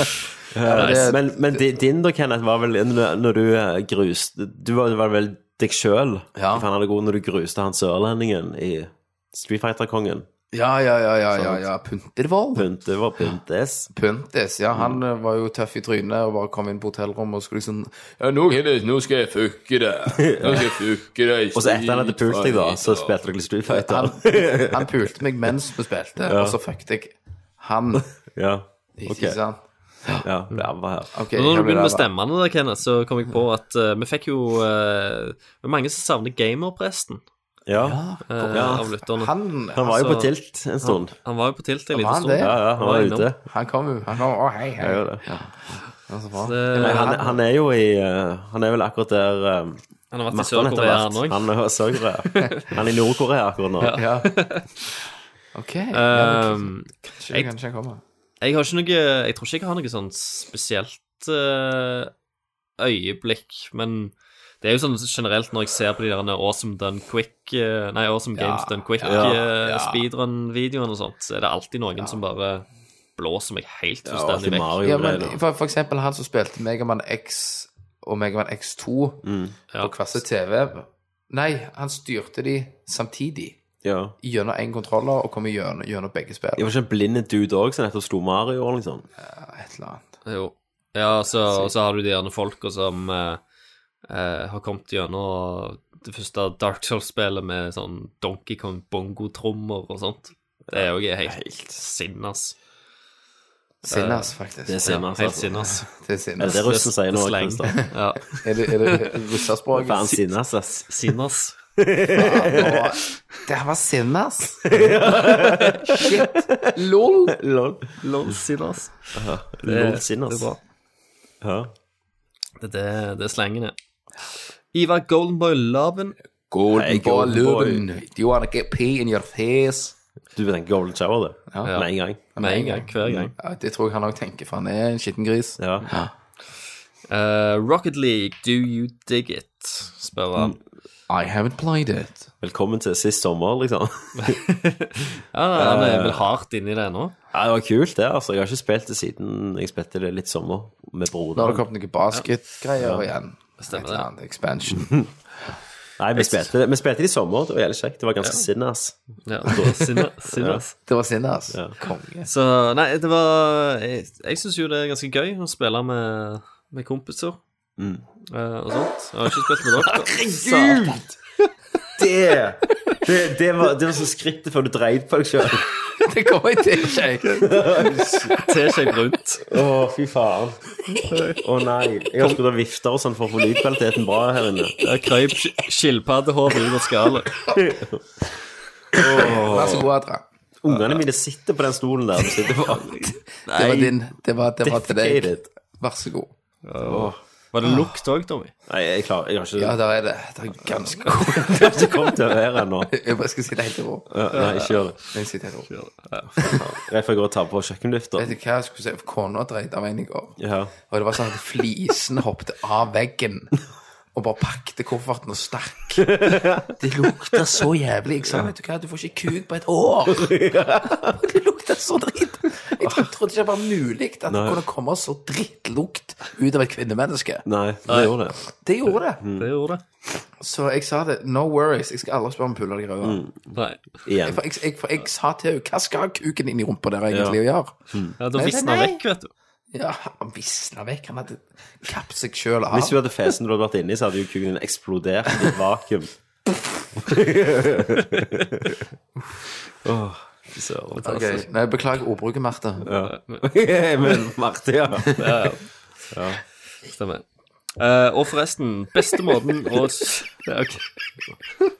[SPEAKER 1] Eh,
[SPEAKER 2] det-
[SPEAKER 1] men men di- din da, Kenneth, var vel n- når du eh, gruste Du var, var vel deg sjøl?
[SPEAKER 2] Ja.
[SPEAKER 1] Han hadde god når du gruste han sørlendingen i Street Fighter-kongen.
[SPEAKER 2] Ja, ja, ja, ja, ja, ja. Puntervold.
[SPEAKER 1] Pynt, det var Pyntes.
[SPEAKER 2] Puntis, ja,
[SPEAKER 1] Mm.
[SPEAKER 2] han eh, var jo tøff i trynet og bare kom inn på hotellrommet og skulle liksom Ja, nå, Kenneth, nå skal jeg fucke deg. Nå skal jeg fucke deg.
[SPEAKER 1] Og så etter han hadde pult deg, da, så spilte dere litt Street Fighter.
[SPEAKER 2] han, han pulte meg mens vi spilte, og så fucket jeg
[SPEAKER 1] *laughs*
[SPEAKER 2] han.
[SPEAKER 1] ja.
[SPEAKER 2] Ikke
[SPEAKER 1] Ok.
[SPEAKER 2] sant?
[SPEAKER 1] ja. Ræva her.
[SPEAKER 2] Okay,
[SPEAKER 3] Men Når
[SPEAKER 2] jeg
[SPEAKER 3] du begynner med
[SPEAKER 2] vil da-
[SPEAKER 3] stemmene, der, Kenneth, så kom jeg på
[SPEAKER 2] Mm.
[SPEAKER 3] at eh, vi fikk jo eh, Det er mange som savner gamerpresten
[SPEAKER 1] Ja.
[SPEAKER 3] eh, av lytterne. Han,
[SPEAKER 2] Han,
[SPEAKER 1] Han var jo på
[SPEAKER 3] Altså,
[SPEAKER 1] tilt en stund.
[SPEAKER 3] var jo på tilt en
[SPEAKER 2] Var
[SPEAKER 3] liten
[SPEAKER 2] han
[SPEAKER 3] stund.
[SPEAKER 2] det?
[SPEAKER 1] Ja, ja, han var
[SPEAKER 3] innom.
[SPEAKER 1] ute.
[SPEAKER 2] han kom jo. Han kom, å, hei, hei.
[SPEAKER 1] Jeg gjør det.
[SPEAKER 2] Ja, så
[SPEAKER 3] *laughs*
[SPEAKER 2] bra.
[SPEAKER 3] Det-
[SPEAKER 1] Men han, han er jo i eh, Han er vel akkurat der eh,
[SPEAKER 3] Han har vært i
[SPEAKER 1] Martin etter
[SPEAKER 3] Sør-Korea,
[SPEAKER 1] hvert.
[SPEAKER 3] han òg.
[SPEAKER 1] Han er i
[SPEAKER 3] *laughs*
[SPEAKER 1] Sør-Korea. Han er i Nord-Korea akkurat nå.
[SPEAKER 2] Ja. OK.
[SPEAKER 3] Eh,
[SPEAKER 2] ja,
[SPEAKER 3] Um,
[SPEAKER 2] kanskje,
[SPEAKER 3] jeg-
[SPEAKER 2] kanskje han kommer.
[SPEAKER 3] Jeg har ikke noe Jeg tror ikke jeg har noe sånn spesielt eh, øyeblikk, men det er jo sånn generelt når jeg ser på de der Awesome Done Quick eh, Nei, Awesome Games Done Quick
[SPEAKER 2] ja,
[SPEAKER 3] eh,
[SPEAKER 2] ja.
[SPEAKER 3] speedrun-videoene og sånt, så er det alltid noen som bare blåser meg helt
[SPEAKER 1] Alltid
[SPEAKER 3] fullstendig vekk.
[SPEAKER 2] Ja,
[SPEAKER 1] Mario-greier.
[SPEAKER 2] men for, for eksempel han som spilte Megaman X og Megaman X2
[SPEAKER 1] Mm.
[SPEAKER 3] Ja.
[SPEAKER 2] på hver sin TV Nei, han styrte de samtidig
[SPEAKER 1] ja.
[SPEAKER 2] gjennom én kontroller og kom gjennom, gjennom begge
[SPEAKER 1] Jeg
[SPEAKER 2] spill.
[SPEAKER 1] var ikke en blind dude òg som nettopp slo Mario og liksom.
[SPEAKER 2] Et eller annet.
[SPEAKER 3] Jo. Ja, så, og så har du de gjerne folka som eh, eh, har kommet gjennom det første Dark Souls-spillet med sånn Donkey Kong bongotrommer og sånt. Det er jo helt, helt sinnas.
[SPEAKER 2] Sinnas, faktisk.
[SPEAKER 1] Eh, Det er sinnas,
[SPEAKER 3] Helt
[SPEAKER 1] altså.
[SPEAKER 3] sinnas.
[SPEAKER 2] Det er
[SPEAKER 1] Er
[SPEAKER 2] sinnas.
[SPEAKER 1] det det russen sier nå?
[SPEAKER 3] Slang.
[SPEAKER 1] Kristian?
[SPEAKER 3] Ja.
[SPEAKER 2] Er det, er
[SPEAKER 1] *laughs*
[SPEAKER 2] det russerspråket?
[SPEAKER 1] Faen sinnes, ass.
[SPEAKER 3] Sinnas.
[SPEAKER 2] Å, Det her var
[SPEAKER 1] *laughs*
[SPEAKER 2] sinnas! Shit! Lol!
[SPEAKER 1] Lol.
[SPEAKER 3] Lol, sinnas.
[SPEAKER 1] Lol sinnes.
[SPEAKER 3] Det er bra.
[SPEAKER 1] Ja.
[SPEAKER 3] Det, det, det er slangen, ja. Ivar Goldenboy Laven.
[SPEAKER 1] Hey,
[SPEAKER 2] Golden
[SPEAKER 1] golden
[SPEAKER 2] balloon. Do you wanna get pee in your face?
[SPEAKER 1] Du tenker Golden Shower, det.
[SPEAKER 2] Ja.
[SPEAKER 1] Med en gang.
[SPEAKER 3] Med en gang, hver gang.
[SPEAKER 2] Ja, det tror jeg han òg tenker, for han er en skitten gris.
[SPEAKER 1] Mm. Ja.
[SPEAKER 3] Eh, Rocket League, do you dig it? spør han.
[SPEAKER 2] I haven't played it.
[SPEAKER 1] Velkommen til sist sommer, liksom. *laughs*
[SPEAKER 3] Ja, han er vel hardt inni det nå?
[SPEAKER 1] Ja, det var kult, det. altså. Jeg har ikke spilt det siden jeg spilte det litt sommer
[SPEAKER 2] Nå har
[SPEAKER 1] med
[SPEAKER 2] det
[SPEAKER 1] broderen.
[SPEAKER 2] kommet noen basketgreier igjen.
[SPEAKER 3] Stemmer
[SPEAKER 2] Et eller
[SPEAKER 3] det.
[SPEAKER 2] annet Expansion.
[SPEAKER 1] Nei, vi spilte, det- vi spilte det i sommer. Det var jævlig kjekt. Det var ganske sinnes.
[SPEAKER 3] *laughs* Ja, sinne,
[SPEAKER 1] *laughs*
[SPEAKER 3] sinnes.
[SPEAKER 2] Det var altså. sinnas. Konge.
[SPEAKER 3] Så nei, det var Jeg, jeg syns jo det er ganske gøy å spille med, med kompiser eh, og sånt. Jeg har ikke spilt med dere.
[SPEAKER 1] Herregud! Det, det, det, var, det var så skrittet før du dreide på deg sjøl.
[SPEAKER 2] *laughs* Det kommer jeg til, ikke
[SPEAKER 3] Teskje rundt.
[SPEAKER 1] Å, fy faen. Å nei. Jeg har skrudd av vifter og sånn for å få lydkvaliteten bra her inne.
[SPEAKER 3] Jeg krøyp sk- skilpaddehodet ut av skallet.
[SPEAKER 2] Vær så god, Adra.
[SPEAKER 1] Ungene mine sitter på den stolen der. De sitter på.
[SPEAKER 2] Det var din. Det var, det var til deg.
[SPEAKER 1] Defecated.
[SPEAKER 2] Vær så god.
[SPEAKER 3] Var det lukt òg, Tommy?
[SPEAKER 1] Nei, jeg klarer Jeg har ikke
[SPEAKER 2] Ja, der er det. Det er ganske god.
[SPEAKER 1] jeg har ikke kommet til å være ennå.
[SPEAKER 2] Jeg bare skal sitte helt i ro.
[SPEAKER 1] Ja, Nei, ikke gjør det.
[SPEAKER 2] Jeg sitter helt i ro.
[SPEAKER 1] Rett før jeg går og tar på
[SPEAKER 2] Vet
[SPEAKER 1] kjøkkenlufta.
[SPEAKER 2] du hva jeg skulle si? Kona dreit av en i går.
[SPEAKER 1] Ja.
[SPEAKER 2] Og det var sånn at flisen hoppet av veggen og bare pakte kofferten og stakk. Det lukta så jævlig. Jeg sa, vet du hva, du får ikke kuk på et år. *laughs* Det lukta så dritt. Jeg tro- trodde ikke det var mulig at det kunne komme så drittlukt ut av et kvinnemenneske.
[SPEAKER 1] Nei, det gjorde det.
[SPEAKER 2] Det gjorde det.
[SPEAKER 3] Det gjorde det.
[SPEAKER 2] Så jeg sa det, no worries, jeg skal aldri spørre om puller de røde.
[SPEAKER 1] Mm.
[SPEAKER 3] Nei.
[SPEAKER 1] Igjen.
[SPEAKER 2] For jeg, jeg, for jeg sa til henne, hva skal kuken inn i rumpa der egentlig å gjøre?
[SPEAKER 3] Ja, da visna
[SPEAKER 2] nei.
[SPEAKER 3] vekk, vet du.
[SPEAKER 2] Ja, han visna vekk, han hadde kappet seg sjøl av.
[SPEAKER 1] Hvis du hadde fesen du hadde vært inni, så hadde jo kuken din eksplodert i et vakuum. Åh, fy søren.
[SPEAKER 2] Ok, Nei, beklager ordbruket, Marte.
[SPEAKER 1] Men Marte, ja.
[SPEAKER 3] Stemmer. Eh, og forresten, beste måten å s- ja, OK. *laughs*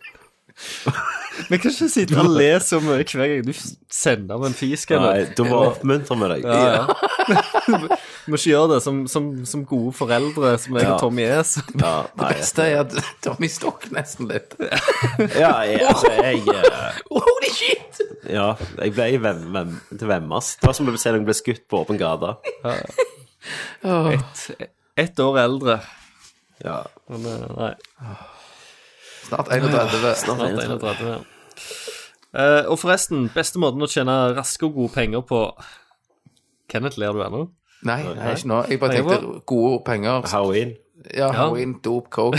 [SPEAKER 3] Vi kan ikke sitte og le så mye hver gang du sender med en fisk.
[SPEAKER 1] Nei,
[SPEAKER 3] Eller?
[SPEAKER 1] du må oppmuntre med deg.
[SPEAKER 3] Ja, ja. Du må ikke gjøre det som, som, som gode foreldre, som jeg og Tommy er. Så.
[SPEAKER 1] Ja, nei.
[SPEAKER 2] beste er at *laughs* Tommy stokk nesten litt.
[SPEAKER 1] Ja, jeg, altså, jeg eh,
[SPEAKER 2] Holy shit!
[SPEAKER 1] Ja, jeg ble vem, vem, til vemmas. Det var som å se noen ble skutt på åpen gate.
[SPEAKER 3] Ett år eldre.
[SPEAKER 1] Ja.
[SPEAKER 3] Men eh, nei.
[SPEAKER 2] Snart 31.
[SPEAKER 1] Snart
[SPEAKER 3] Snart
[SPEAKER 1] 31.
[SPEAKER 3] 31, ja. Eh, og forresten, beste måten å tjene raske og gode penger på Kenneth, ler du ennå?
[SPEAKER 2] Nei, nei, ikke nå. Jeg bare tenkte gode penger.
[SPEAKER 1] Halloween.
[SPEAKER 2] Ja, halloween, dop,
[SPEAKER 1] *laughs*
[SPEAKER 2] coke.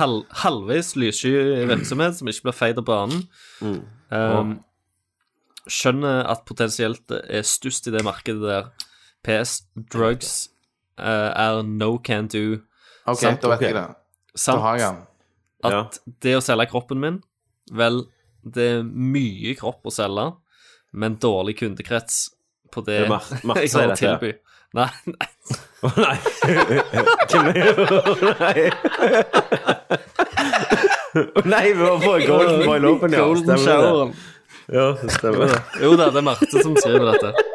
[SPEAKER 3] Hal halvveis lyssky virksomhet som ikke blir feit av banen.
[SPEAKER 1] Mm.
[SPEAKER 3] Um, skjønner at potensielt er størst i det markedet der. PS, drugs eh, er no can do.
[SPEAKER 2] Ok,
[SPEAKER 3] Sant,
[SPEAKER 2] da vet
[SPEAKER 1] ok.
[SPEAKER 2] jeg det. Da har jeg
[SPEAKER 3] Samt
[SPEAKER 2] den.
[SPEAKER 1] Ja.
[SPEAKER 3] at det å selge kroppen min Vel, det er mye kropp å selge, men dårlig kundekrets på det,
[SPEAKER 1] Det er Mar- Marte
[SPEAKER 3] *laughs* jeg har å
[SPEAKER 1] sier dette.
[SPEAKER 3] tilby. Nei, nei,
[SPEAKER 1] Å nei. Hvem er det? Å nei. Å nei, vi var på Golden Boy Lopen, ja.
[SPEAKER 3] Golden
[SPEAKER 1] Stemmer det.
[SPEAKER 3] showeren.
[SPEAKER 1] Ja, stemmer det.
[SPEAKER 3] Jo da, det er Marte som skriver dette.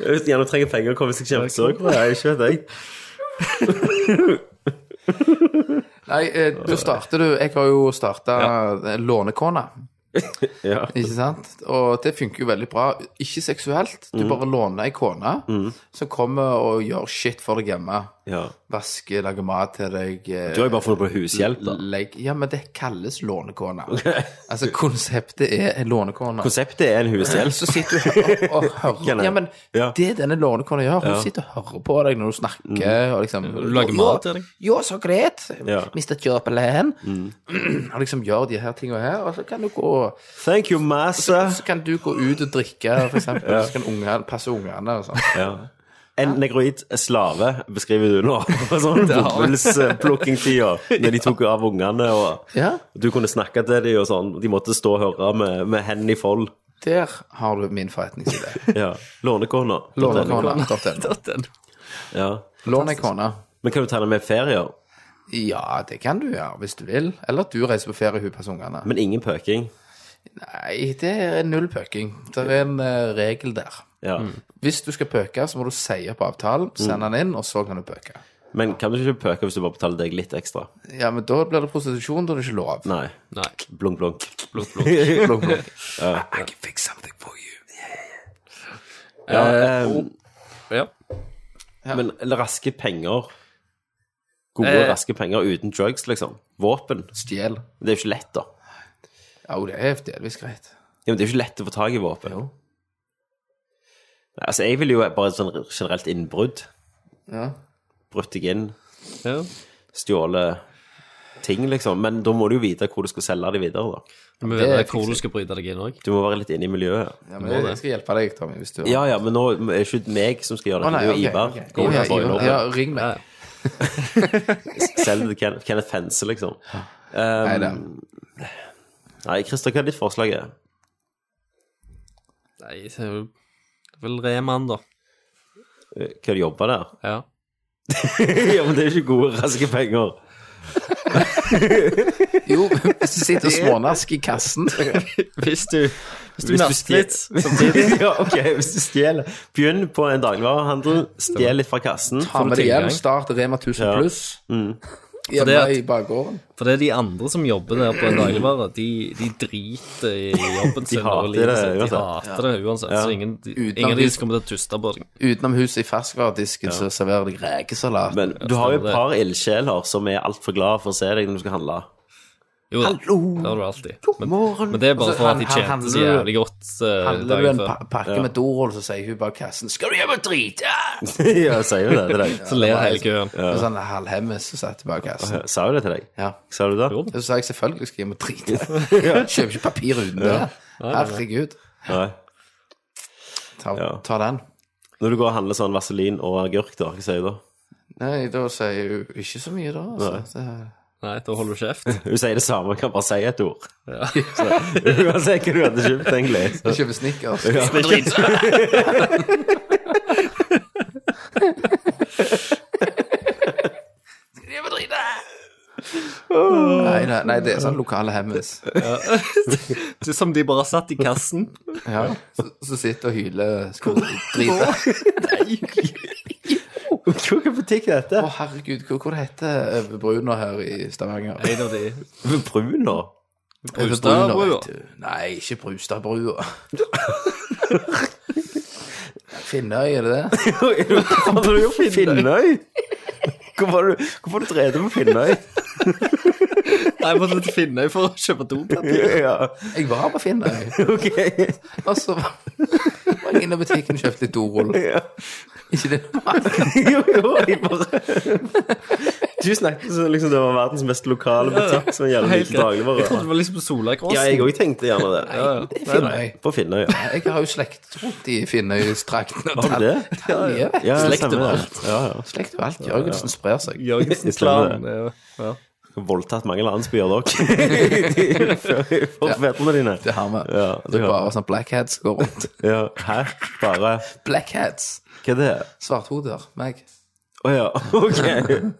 [SPEAKER 1] Hvis gjerne trenger penger, kommer seg kjempesorg på det. Jeg ikke vet jeg.
[SPEAKER 2] Nei, eh, da starter du Jeg har jo starta Lånekona,
[SPEAKER 1] *laughs* Ja.
[SPEAKER 2] ikke sant? Og det funker jo veldig bra. Ikke seksuelt.
[SPEAKER 1] Mm.
[SPEAKER 2] Du bare låner ei kone som kommer og gjør shit for deg hjemme.
[SPEAKER 1] ja.
[SPEAKER 2] Vasker, lager mat til deg. eh,
[SPEAKER 1] Du har jo bare funnet på hushjelp, da.
[SPEAKER 2] Legg, ja, men det kalles lånekone. Altså, konseptet er en lånekone.
[SPEAKER 1] Konseptet er en hushjelp.
[SPEAKER 2] Så sitter du og, og hører
[SPEAKER 1] Kjenner jeg.
[SPEAKER 2] Ja, men
[SPEAKER 1] Ja.
[SPEAKER 2] det denne lånekona gjør, hun sitter og hører på deg når du snakker, og liksom
[SPEAKER 3] lager mat til deg.
[SPEAKER 2] Jo, så greit.
[SPEAKER 1] Ja.
[SPEAKER 2] Mistet jobben. *clears throat* Og liksom gjør de her tinga her, og så kan du gå
[SPEAKER 1] Thank you, masse.
[SPEAKER 2] Så kan du gå ut og drikke, for eksempel, så kan ungene passe ungene og sånn.
[SPEAKER 1] Ja. En negroid slave beskriver du nå. *laughs* på Sånn bomullsplukkingtida, når de tok av ungene og
[SPEAKER 2] Ja,
[SPEAKER 1] Du kunne snakke til dem og sånn. De måtte stå og høre med, med hendene i fold.
[SPEAKER 2] der har du min
[SPEAKER 1] *laughs*
[SPEAKER 2] forretningsidé.
[SPEAKER 1] Ja. Lånekona.
[SPEAKER 2] Lånekona.no.
[SPEAKER 1] Ja.
[SPEAKER 2] Lånekona.
[SPEAKER 1] Men kan du tegne med ferier?
[SPEAKER 2] Ja, det kan du gjøre hvis du vil. Eller at du reiser på ferie, hun passer ungene.
[SPEAKER 1] Men ingen pøking.
[SPEAKER 2] Nei, det er null pøking. Det er en eh, regel der.
[SPEAKER 1] Ja.
[SPEAKER 2] Hvis du skal pøke, så må du si opp avtalen, sende den inn, og så kan du pøke.
[SPEAKER 1] Men kan du ikke pøke hvis du bare betaler deg litt ekstra?
[SPEAKER 2] Ja, men da blir det prostitusjon, da er det ikke lov.
[SPEAKER 1] Nei.
[SPEAKER 3] Nei.
[SPEAKER 1] Blunk, blunk. *laughs*
[SPEAKER 3] Blunk, blunk.
[SPEAKER 2] Blunk, blunk. I can fix something for you.
[SPEAKER 1] Ja, eh,
[SPEAKER 3] Ja.
[SPEAKER 1] men raske penger Gode,
[SPEAKER 3] Eh.
[SPEAKER 1] raske penger uten drugs, liksom. Våpen.
[SPEAKER 2] Stjel.
[SPEAKER 1] Det er jo ikke lett, da.
[SPEAKER 2] Ja, jo, det er delvis greit.
[SPEAKER 1] Ja, men det er jo ikke lett å få tak i våpen. Nei, altså, jeg ville jo bare et sånn generelt innbrudd.
[SPEAKER 2] Ja.
[SPEAKER 1] Brutt deg inn,
[SPEAKER 3] ja.
[SPEAKER 1] stjålet ting, liksom. Men da må du jo vite hvor du skal selge det videre, da.
[SPEAKER 3] Du må
[SPEAKER 2] Det
[SPEAKER 3] vite
[SPEAKER 2] fikser
[SPEAKER 3] hvor du
[SPEAKER 2] jeg.
[SPEAKER 3] skal bryte deg inn òg.
[SPEAKER 1] Du må være litt inne i miljøet.
[SPEAKER 2] ja, men jeg skal hjelpe deg, Tommy, hvis du
[SPEAKER 1] Ja ja, men nå er det ikke meg som skal
[SPEAKER 2] Å,
[SPEAKER 1] gjøre det,
[SPEAKER 2] nei,
[SPEAKER 1] det er jo
[SPEAKER 2] ok,
[SPEAKER 1] Ivar.
[SPEAKER 2] ok.
[SPEAKER 1] Går
[SPEAKER 2] Ja,
[SPEAKER 1] under
[SPEAKER 2] Ivar.
[SPEAKER 1] boiler.
[SPEAKER 2] Ja, ring meg.
[SPEAKER 1] Selg det til Ken- Kenneth Fense, liksom. Um,
[SPEAKER 2] Nei, det.
[SPEAKER 1] Nei, Christer, hva er ditt forslag? er?
[SPEAKER 3] Nei, det er jo vel Reman, da.
[SPEAKER 1] Hva du jobber der? *laughs*
[SPEAKER 3] Ja.
[SPEAKER 1] ja, men det er ikke gode, raske penger.
[SPEAKER 2] Jo, hvis du sitter og smånasker i kassen
[SPEAKER 3] Hvis du Hvis du
[SPEAKER 1] Hvis du
[SPEAKER 3] nasker litt
[SPEAKER 1] stjeler-
[SPEAKER 3] samtidig
[SPEAKER 1] *laughs* ja, ok, hvis du stjeler Begynn på en dagligvarehandel, stjel litt fra kassen.
[SPEAKER 2] Ta med det
[SPEAKER 3] tilgang.
[SPEAKER 2] hjem, start Rema 1000
[SPEAKER 1] Ja.
[SPEAKER 2] pluss.
[SPEAKER 3] det
[SPEAKER 2] Hjemme
[SPEAKER 3] at-
[SPEAKER 2] i bakgården.
[SPEAKER 3] *laughs* For det er de andre som jobber der på en dagligvare, de, de driter i jobben sin.
[SPEAKER 1] hater
[SPEAKER 3] og livet
[SPEAKER 1] det
[SPEAKER 3] sitt. De
[SPEAKER 1] uansett.
[SPEAKER 3] hater det uansett. Så ingen, de,
[SPEAKER 2] Uten at
[SPEAKER 3] ingen av de
[SPEAKER 2] de-
[SPEAKER 3] som kommer til å tuste på deg.
[SPEAKER 2] Utenom huset i ferskvaredisken så serverer de rekesalat.
[SPEAKER 1] Men du har jo
[SPEAKER 3] stemmer
[SPEAKER 1] et par ildsjeler som er altfor glade for å se deg når du skal handle.
[SPEAKER 3] *laughs* Jo da,
[SPEAKER 1] Hallo!
[SPEAKER 3] det har du alltid. Men,
[SPEAKER 1] morgen.
[SPEAKER 3] men det er bare
[SPEAKER 2] Altså,
[SPEAKER 3] for at
[SPEAKER 2] han-
[SPEAKER 3] de
[SPEAKER 2] han
[SPEAKER 3] tjente så
[SPEAKER 2] handler-
[SPEAKER 3] jævlig godt eh,
[SPEAKER 2] Handler du en
[SPEAKER 3] dagen
[SPEAKER 2] pa
[SPEAKER 3] før.
[SPEAKER 2] pakke med Dorull, så sier hun bak kassen 'Skal du hjem og drite?'
[SPEAKER 1] ja, jeg sier jo det til deg.
[SPEAKER 3] Så ler hele køen.
[SPEAKER 2] Og sånn halvhemmes så satt hun bak kassen.
[SPEAKER 1] Jeg Sa jo det til deg?
[SPEAKER 2] Ja.
[SPEAKER 1] Sa du det?
[SPEAKER 3] Jo.
[SPEAKER 2] Så sa jeg selvfølgelig skal jeg hjem og drite. Kjøper ikke papir uten det. Herregud.
[SPEAKER 1] Nei.
[SPEAKER 2] Ta,
[SPEAKER 1] Ja.
[SPEAKER 2] ta den.
[SPEAKER 1] Når du går og handler sånn vaselin og agurk, da, hva sier du da? *laughs*
[SPEAKER 2] Nei, da sier hun ikke så mye, da. Altså. Det-
[SPEAKER 3] Nei, da holder du kjeft.
[SPEAKER 1] Hun sier det samme, kan bare si et ord. *laughs* Så, Uansett hva du hadde kjøpt,
[SPEAKER 3] *laughs*
[SPEAKER 1] egentlig.
[SPEAKER 2] Jeg kjøper snickers. Nei, nei, nei, det er sånn lokale hemmes.
[SPEAKER 3] Det er som de bare har satt i kassen.
[SPEAKER 1] *laughs*
[SPEAKER 2] Ja. Så, så sitter og hyler. Skal du drite?
[SPEAKER 1] Hvilken butikk er dette?
[SPEAKER 2] Å, herregud, hvor, hvor det heter Øve Bruno her i Stavanger?
[SPEAKER 3] En av de
[SPEAKER 1] Bruno?
[SPEAKER 2] Øve
[SPEAKER 3] Brustadbrua.
[SPEAKER 2] Bruno, vet du. Nei, ikke Brustadbrua. Finnøy, er det det?
[SPEAKER 1] Hva har du gjort? Finnøy? Hvorfor har du, hvorfor har du drevet på Finnøy?
[SPEAKER 3] Jeg måtte til Finnøy for å kjøpe dopapir.
[SPEAKER 1] ja,
[SPEAKER 2] Jeg var på Finnøy,
[SPEAKER 1] ok.
[SPEAKER 2] og så var var jeg inne i butikken og kjøpte litt dorull.
[SPEAKER 1] Ja.
[SPEAKER 2] Ikke det normalt?
[SPEAKER 1] *laughs* Jo, jo, jeg bare Du snakket som liksom det var verdens mest lokale butikk som gjelder
[SPEAKER 3] Helt
[SPEAKER 1] liten
[SPEAKER 3] greit. Jeg trodde
[SPEAKER 1] dagligvare.
[SPEAKER 3] det var liksom på Solakrossen.
[SPEAKER 1] Ja, jeg òg tenkte gjerne det.
[SPEAKER 3] Ja, ja.
[SPEAKER 2] Det er Finnøy.
[SPEAKER 1] På Finnøy, ja.
[SPEAKER 2] Jeg har jo slekt rundt i Finnøystrakten.
[SPEAKER 1] Har du det?
[SPEAKER 2] Ja,
[SPEAKER 1] Ja,
[SPEAKER 2] ja.
[SPEAKER 1] stemmer det. Ja,
[SPEAKER 2] Slekt og alt. Jørgensen sprer seg.
[SPEAKER 3] Jørgensen Klan. det er jo- Ja.
[SPEAKER 1] ja. Voldtatt mange landsbyer, *laughs* dere. For fedrene dine.
[SPEAKER 2] Det har vi.
[SPEAKER 1] Ja,
[SPEAKER 2] Det
[SPEAKER 1] det
[SPEAKER 2] er
[SPEAKER 1] har
[SPEAKER 2] bare sånn blackheads som går rundt. *laughs*
[SPEAKER 1] Ja, hæ? Bare
[SPEAKER 2] Blackheads.
[SPEAKER 1] Hva er det?
[SPEAKER 2] Svarthoder. Meg.
[SPEAKER 1] Å ja, *laughs* ok.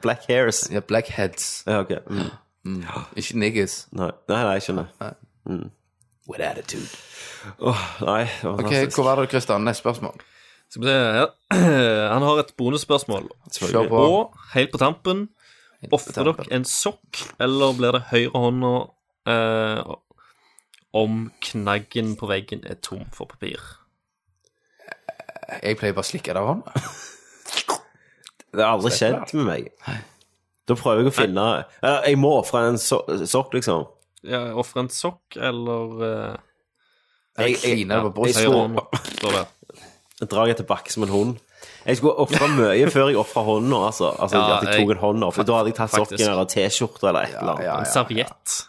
[SPEAKER 1] Black hairs.
[SPEAKER 2] Ja, blackheads.
[SPEAKER 1] Ja, ok. Mm.
[SPEAKER 2] Ikke niggas.
[SPEAKER 1] Nei, nei, nei, jeg skjønner.
[SPEAKER 2] With attitude.
[SPEAKER 1] Nei, det var
[SPEAKER 2] Ok,
[SPEAKER 1] fantastisk.
[SPEAKER 2] Hvor var det, Kristian? Neste spørsmål.
[SPEAKER 3] Skal vi se her. *clears throat* Han har et bonusspørsmål.
[SPEAKER 2] Kjør på.
[SPEAKER 3] Og helt på tampen,
[SPEAKER 2] på
[SPEAKER 3] ofrer dere
[SPEAKER 2] tampen.
[SPEAKER 3] en sokk, eller blir det høyrehånda eh, om knaggen på veggen er tom for papir?
[SPEAKER 2] Jeg pleier bare å slikke det av hånda.
[SPEAKER 1] Det har aldri skjedd med meg. Da prøver jeg å finne Eller, Jeg må ofre en so sokk, liksom.
[SPEAKER 3] Ja, Ofre en sokk, eller eh,
[SPEAKER 2] Jeg kliner det på brystet.
[SPEAKER 3] høyrehånda, står det.
[SPEAKER 1] Jeg drar etter bakke som en hund. Jeg skulle ofre mye før jeg ofra hånda, altså. altså
[SPEAKER 3] Ja,
[SPEAKER 1] at jeg tok
[SPEAKER 3] jeg-
[SPEAKER 1] en hånd av, for da hadde jeg tatt
[SPEAKER 3] faktisk.
[SPEAKER 1] sokken eller T-skjorte eller et
[SPEAKER 2] Ja,
[SPEAKER 1] eller annet.
[SPEAKER 2] ja.
[SPEAKER 3] Serviett.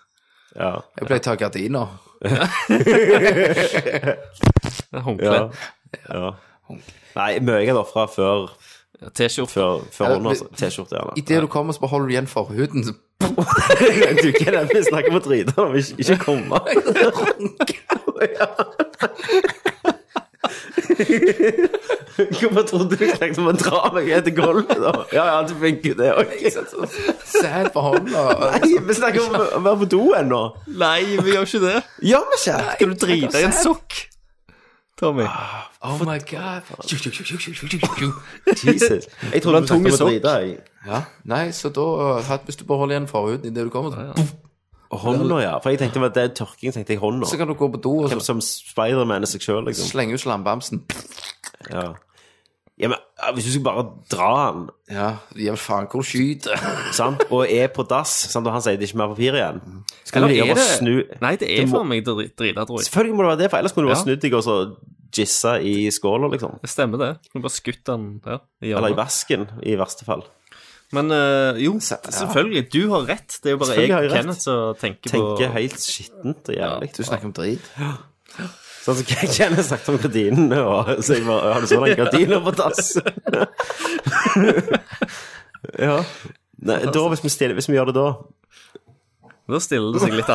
[SPEAKER 1] Ja,
[SPEAKER 2] Jeg pleier å ta gardiner.
[SPEAKER 3] Håndkle.
[SPEAKER 1] ja. ja. Nei, mye jeg hadde ofra før,
[SPEAKER 3] T-skjorte.
[SPEAKER 1] før, før hånda, altså. T-skjorte, gjerne.
[SPEAKER 2] Idet du kommer, så beholder du igjen forhuden. så-
[SPEAKER 1] Du hva er det vi snakker om å drite om, ikke, ikke komme. Hvorfor trodde du ikke liksom å dra meg etter gulvet, da? Ja, ja, det funker, det òg.
[SPEAKER 2] Sæd på
[SPEAKER 1] *laughs*
[SPEAKER 2] hånda.
[SPEAKER 1] Nei, vi snakker om å være på do ennå.
[SPEAKER 3] Nei, vi gjør ikke det.
[SPEAKER 1] Ja, men ikke
[SPEAKER 3] Skal du drite i en sokk? Tommy.
[SPEAKER 1] Ah,
[SPEAKER 2] Oh my god. Tju, tju, tju, tju, tju, tju, tju, tju.
[SPEAKER 1] Jesus. Jeg trodde du snakket om å drite i
[SPEAKER 2] Ja, nei, så da hatt Hvis du beholder igjen forhuden idet du kommer, så-
[SPEAKER 1] hånda, ja. For jeg tenkte at det er tørking, tenkte jeg hånda.
[SPEAKER 2] så kan du gå på do og
[SPEAKER 1] Som,
[SPEAKER 2] så
[SPEAKER 1] som Spiderman er seg sjøl, liksom.
[SPEAKER 2] slenge ut slambamsen.
[SPEAKER 1] Ja. ja, men ah, hvis du skal bare dra den
[SPEAKER 2] Ja, ja faen, hvor skyter
[SPEAKER 1] sant? og er på dass, sant? og han sier det er ikke mer papir igjen. Skal
[SPEAKER 3] Eller
[SPEAKER 1] du
[SPEAKER 3] er
[SPEAKER 1] gjøre
[SPEAKER 3] det
[SPEAKER 1] bare snu
[SPEAKER 3] Nei, det er
[SPEAKER 1] må-
[SPEAKER 3] for meg dri- drita, tror jeg.
[SPEAKER 1] Selvfølgelig må det være det, for ellers kunne du bare
[SPEAKER 3] Ja.
[SPEAKER 1] snudd deg og så jissa i skåla, liksom.
[SPEAKER 3] Det stemmer, det. Du kan bare skutt den der. i
[SPEAKER 1] Eller
[SPEAKER 3] hjørnet.
[SPEAKER 1] i vasken, i verste fall.
[SPEAKER 3] Men eh, jo, selvfølgelig. Du har rett. Det er jo bare
[SPEAKER 1] Selvfølgelig
[SPEAKER 3] jeg
[SPEAKER 1] har jeg
[SPEAKER 3] og
[SPEAKER 1] rett.
[SPEAKER 3] Kenneth som tenker,
[SPEAKER 1] Tenker
[SPEAKER 3] på
[SPEAKER 1] helt skittent og jævlig.
[SPEAKER 2] Du snakker om drit.
[SPEAKER 1] Sånn som Kenneth snakket om gardinene, og så jeg bare Har du så lange gardiner på dass? *laughs* ja. Nei, da, hvis vi, stiller, hvis vi gjør det da
[SPEAKER 3] Da stiller det seg litt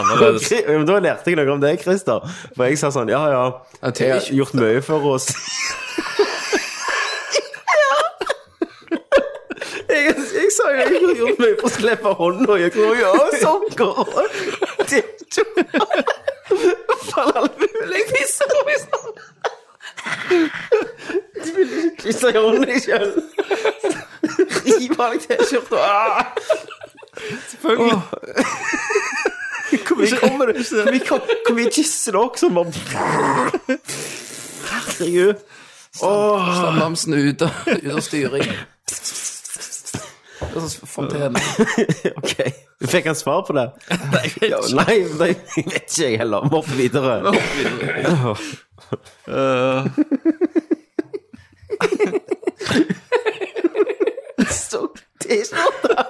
[SPEAKER 1] *laughs*
[SPEAKER 3] annerledes.
[SPEAKER 1] Ok, men Da lærte jeg noe om deg, Christer. For jeg sa sånn Ja, ja,
[SPEAKER 2] Ja,
[SPEAKER 1] jeg har gjort mye for oss. *laughs* Jeg, jeg sa jo jeg har gjort mye for å slippe hånda i kroka og sokker og Faen, alt mulig. Jeg pisser på meg sånn. Du vil ikke kysse i hånda sjøl. Riv av deg T-skjorta. Ah!
[SPEAKER 3] Selvfølgelig.
[SPEAKER 1] Hvor mye kommer det? Hvor mye, kom, hvor mye kysser dere som bare Herregud. Åh,
[SPEAKER 2] Slambamsen ut av ut av styring. Og så fontene.
[SPEAKER 1] ok. Du fikk han svar på det? Ja, Nei, nei, jeg vet ikke jeg heller. Vi hopper videre. Så T-skjorte.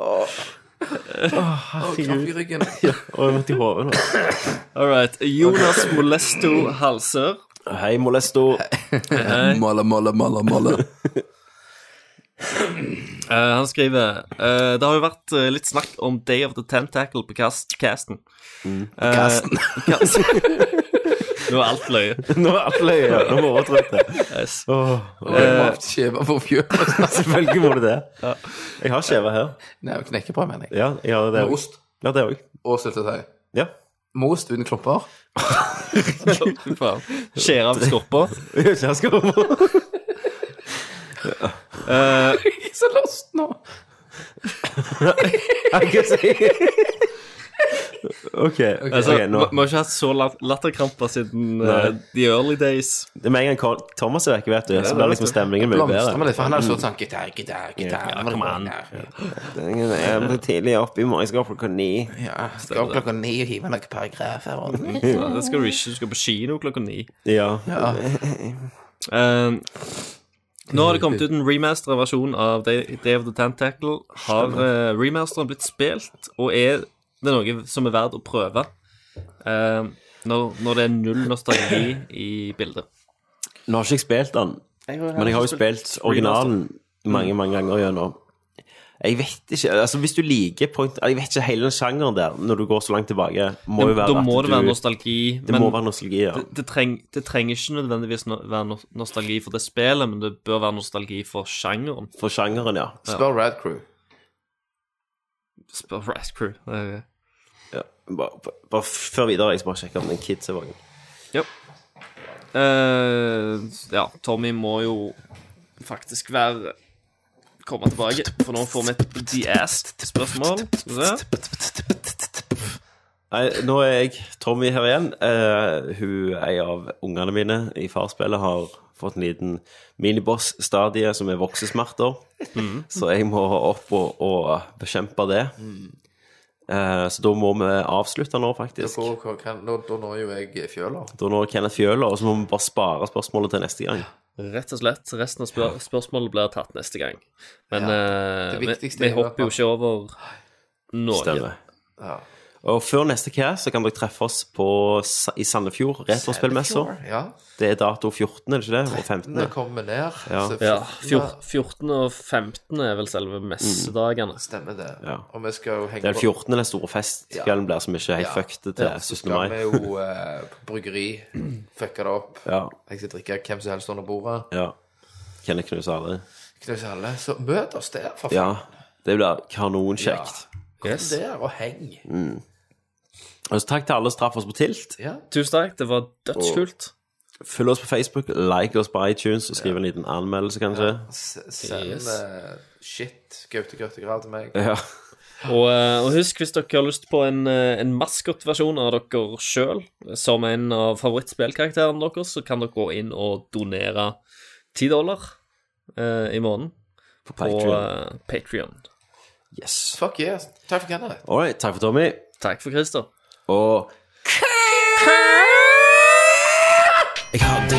[SPEAKER 2] Og Kraft i ryggen.
[SPEAKER 1] Å, jeg måtte i hodet nå.
[SPEAKER 3] All right. Jonas Molesto Halsør.
[SPEAKER 1] Hei, Molesto.
[SPEAKER 2] Malla, malla, malla, malla.
[SPEAKER 3] Eh, han skriver eh, Det har jo vært eh, litt snakk om Day of the Tentacle på cast casten. Eh,
[SPEAKER 2] Casten.
[SPEAKER 3] cast. Nå er alt løye.
[SPEAKER 1] Nå er alle løye. Nå er vi overtrøtte.
[SPEAKER 3] Yes.
[SPEAKER 1] Åh,
[SPEAKER 2] Og
[SPEAKER 1] Eh.
[SPEAKER 2] jeg må ofte skjeve for fjøl.
[SPEAKER 1] Selvfølgelig må du det. Jeg har skjeva her.
[SPEAKER 2] Nei, og knekkebrød, mener jeg.
[SPEAKER 1] Ja, jeg har det
[SPEAKER 2] Med ost
[SPEAKER 1] også. Ja, det òg.
[SPEAKER 2] og syltetøy.
[SPEAKER 1] Ja.
[SPEAKER 2] Most uten klumper.
[SPEAKER 3] Fy faen. Skjære av
[SPEAKER 1] *laughs*
[SPEAKER 3] skorpa.
[SPEAKER 1] Jeg skal over.
[SPEAKER 2] Jeg er så lost nå.
[SPEAKER 1] Jeg kan si Åh, OK.
[SPEAKER 3] Altså,
[SPEAKER 1] ok, nå.
[SPEAKER 3] Vi vi har ikke hatt så lat- latterkramper siden eh,
[SPEAKER 1] Nei.
[SPEAKER 3] the early days.
[SPEAKER 1] Med en gang Carl- Thomas er vekke, vet du, så blir liksom stemningen mye
[SPEAKER 2] Blomstrer med
[SPEAKER 1] bedre.
[SPEAKER 2] litt, for han er jo sånn sånn gitar, gitar, gitar.
[SPEAKER 1] Mm. Ja, kom an. Jeg blir tidlig oppe i morgen, jeg skal opp klokka ni.
[SPEAKER 2] Ja, skal opp klokka ni og hive noen paragrafer
[SPEAKER 1] Mm.
[SPEAKER 2] og
[SPEAKER 3] Ja, Det skal du ikke. Du skal på kino klokka ni.
[SPEAKER 1] Ja.
[SPEAKER 2] Ja.
[SPEAKER 3] Eh, nå har det kommet ut en remasteret versjon av Day Day of the Tentacle. Har eh, remasteren blitt spilt, og er det noe som er verdt å prøve? Eh, når, når det er null nostalgi i bildet.
[SPEAKER 1] Nå har ikke jeg spilt den, men jeg har jo spilt originalen mange, mange ganger gjennom. Jeg vet ikke, altså Hvis du liker point Jeg vet ikke hele den sjangeren der, når du går så langt tilbake, må jo være
[SPEAKER 3] da må
[SPEAKER 1] at
[SPEAKER 3] det være
[SPEAKER 1] du-
[SPEAKER 3] nostalgi.
[SPEAKER 1] Det må være nostalgi, ja.
[SPEAKER 3] det, treng, det trenger ikke nødvendigvis no være no nostalgi for det spillet, men det bør være nostalgi for sjangeren.
[SPEAKER 1] For sjangeren, ja.
[SPEAKER 2] Spør Rad Crew.
[SPEAKER 3] Spør Rast Crew. Det er jo-
[SPEAKER 1] ja. Bare, bare før videre, jeg skal bare sjekke om den kids er våken.
[SPEAKER 3] Eh, ja, Tommy må jo faktisk være Komme tilbake, for nå får vi et de-asked-spørsmål.
[SPEAKER 1] Nei, nå er jeg Tommy her igjen. Eh, hun, ei av ungene mine i farsspillet, har fått en liten miniboss-stadie som er voksesmerter.
[SPEAKER 2] Mm.
[SPEAKER 1] Så jeg må opp og, og bekjempe det. Eh, så da må vi avslutte nå, faktisk.
[SPEAKER 2] Hvor- hvor kan- Nå da når jo jeg fjøla.
[SPEAKER 1] Da når Kenneth Fjøla, og så må vi bare spare spørsmålet til neste gang.
[SPEAKER 3] Rett og slett. Resten av spør spørsmålet blir tatt neste gang. Men eh, vi,
[SPEAKER 2] viktigste
[SPEAKER 3] vi
[SPEAKER 2] er jo at
[SPEAKER 3] hopper jo
[SPEAKER 2] man-
[SPEAKER 3] ikke over noe.
[SPEAKER 1] Stemmer.
[SPEAKER 2] Ja.
[SPEAKER 1] Og før neste cast så kan dere treffe oss på, Sa- i Sandefjord, retrospillmessa.
[SPEAKER 2] Ja.
[SPEAKER 1] Det er dato 14, er det ikke det? Og 15.
[SPEAKER 2] Når kommer ned.
[SPEAKER 1] Ja.
[SPEAKER 2] så
[SPEAKER 3] Ja,
[SPEAKER 2] fjortende-
[SPEAKER 3] 14, 14 og 15 er vel selve messedagene.
[SPEAKER 2] Stemmer det.
[SPEAKER 1] Ja.
[SPEAKER 2] Og vi skal jo henge
[SPEAKER 1] Det er den 14. den store festkvelden blir, som ikke er helt
[SPEAKER 2] Ja.
[SPEAKER 1] fucked til 17.
[SPEAKER 2] skal vi
[SPEAKER 1] mai.
[SPEAKER 2] jo eh, på
[SPEAKER 1] *clears throat*
[SPEAKER 2] bryggeri fucke det opp.
[SPEAKER 1] Ja,
[SPEAKER 2] Jeg skal drikke hvem som helst under bordet.
[SPEAKER 1] ja. Kenneth knuser alle.
[SPEAKER 2] Knuse alle. Så møt oss der, for
[SPEAKER 1] Ja,
[SPEAKER 2] faen.
[SPEAKER 1] det blir kanonkjekt.
[SPEAKER 2] Kom der og heng.
[SPEAKER 1] Mm. Og så Altså, takk til alle som traff oss på Tilt.
[SPEAKER 2] Ja.
[SPEAKER 3] Tusen takk, det var dødskult.
[SPEAKER 1] Følg oss på Facebook, like oss på iTunes og skriv en liten anmeldelse, kanskje.
[SPEAKER 2] S- Send
[SPEAKER 3] Yes.
[SPEAKER 2] eh, shit, Gaute Grøttegrav til meg.
[SPEAKER 1] Ja.
[SPEAKER 3] Og, eh, og husk, hvis dere har lyst på en, eh, en maskotversjon av dere sjøl, som en av favorittspillkarakterene deres, så kan dere gå inn og donere 10 dollar eh, i måneden
[SPEAKER 1] På
[SPEAKER 3] på
[SPEAKER 1] Patreon.
[SPEAKER 3] eh, Patreon.
[SPEAKER 1] Yes.
[SPEAKER 2] Fuck yes. Takk for Kenneth.
[SPEAKER 1] All right, takk for Tommy.
[SPEAKER 3] Takk for Christer.
[SPEAKER 1] Og
[SPEAKER 5] Jeg hadde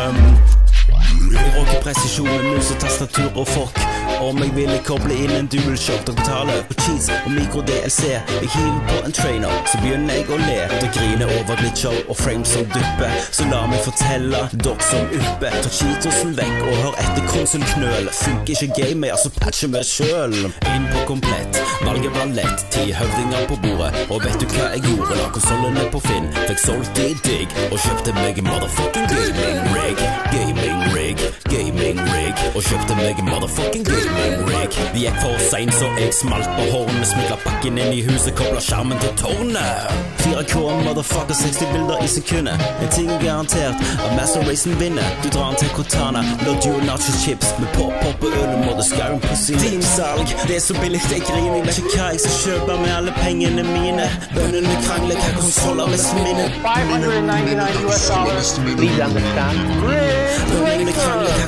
[SPEAKER 5] Råke presisjon med mus og tastatur og fork Om jeg ville koble inn en dual shock Dere betaler på cheese og mikro-DLC Jeg hiver på en trainer, så begynner jeg å le Og griner over glitcher og frames som dupper Så la meg fortelle, dere som uppe Ta cheetosen vekk og hør etter konsolknøl Funker ikke gamet, altså patcher meg selv Inn på komplett, valget var lett Ti høvdinger på bordet, og vet du hva jeg gjorde? La konsolene på Finn, fikk solgt de digg Og kjøpte meg en motherfucking gaming rig Gaming rig, gaming rig Og kjøpte meg en motherfucking gaming rig Det gikk for sent så jeg smalt på hornet Smuglet pakken inn i huset, koblet skjermen til tårnet 4K, motherfucker, 60 bilder i sekundet En ting er garantert, at Master Racen vinner Du drar den til Cortana, la duo nacho chips Med pop-pop og øl og motherskauen på sin Steamsalg, det er så billig jeg griner Jeg vet ikke hva jeg skal kjøpe med alle pengene mine Bønnene krangler, hva konsoler mest minner
[SPEAKER 6] 599 US dollars. Please understand.
[SPEAKER 5] Bønnene krangler, hva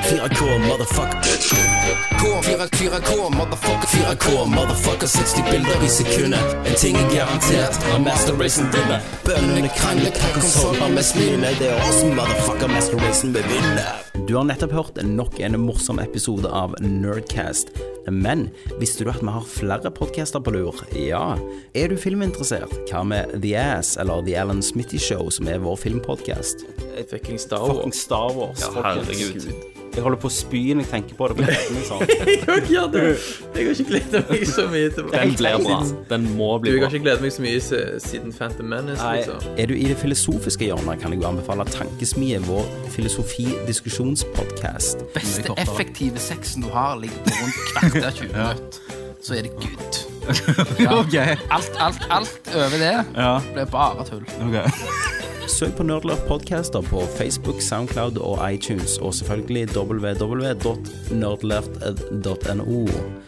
[SPEAKER 5] 4K, motherfucker.
[SPEAKER 7] K, 4K, motherfucker, 4K, motherfucker, 60 bilder i sekundet. En ting er garantert, når Master Racen vinner. Bøndene krangler hva konsoll har mest minne.
[SPEAKER 5] Det er oss, motherfucker, Master Racen vil vinne. Du har nettopp hørt nok en morsom episode av Nerdcast. Men visste du at vi har flere podcaster på lur? Ja. Er du filminteressert? Hva med The Ass eller The Alan Smitty Show, som er vår filmpodcast?
[SPEAKER 2] Fucking Star
[SPEAKER 5] Fucking Star Wars.
[SPEAKER 3] Ja,
[SPEAKER 2] folkens.
[SPEAKER 3] herregud.
[SPEAKER 2] Jeg holder på å spy når jeg tenker på det. På nettene, sånn. ja, du, jeg har ikke gleda meg så mye til
[SPEAKER 3] Den blir bra. Den må
[SPEAKER 2] Du,
[SPEAKER 3] bli
[SPEAKER 2] jeg
[SPEAKER 3] bra.
[SPEAKER 2] har ikke gledet meg så mye se- siden Phantom Menace, liksom.
[SPEAKER 5] Er du i det filosofiske hjørnet, kan jeg jo anbefale Tankesmie, vår filosofi-diskusjonspodcast.
[SPEAKER 4] beste effektive sexen du har, ligger på rundt kvarter 20 minutter. Så er det good.
[SPEAKER 8] *laughs* Ok,
[SPEAKER 4] Alt, alt, alt over det
[SPEAKER 8] ja,
[SPEAKER 4] blir bare tull.
[SPEAKER 8] ok.
[SPEAKER 5] Søk på Nerdlurp Podcaster på Facebook, Soundcloud og iTunes, og selvfølgelig www.nerdlurp.no.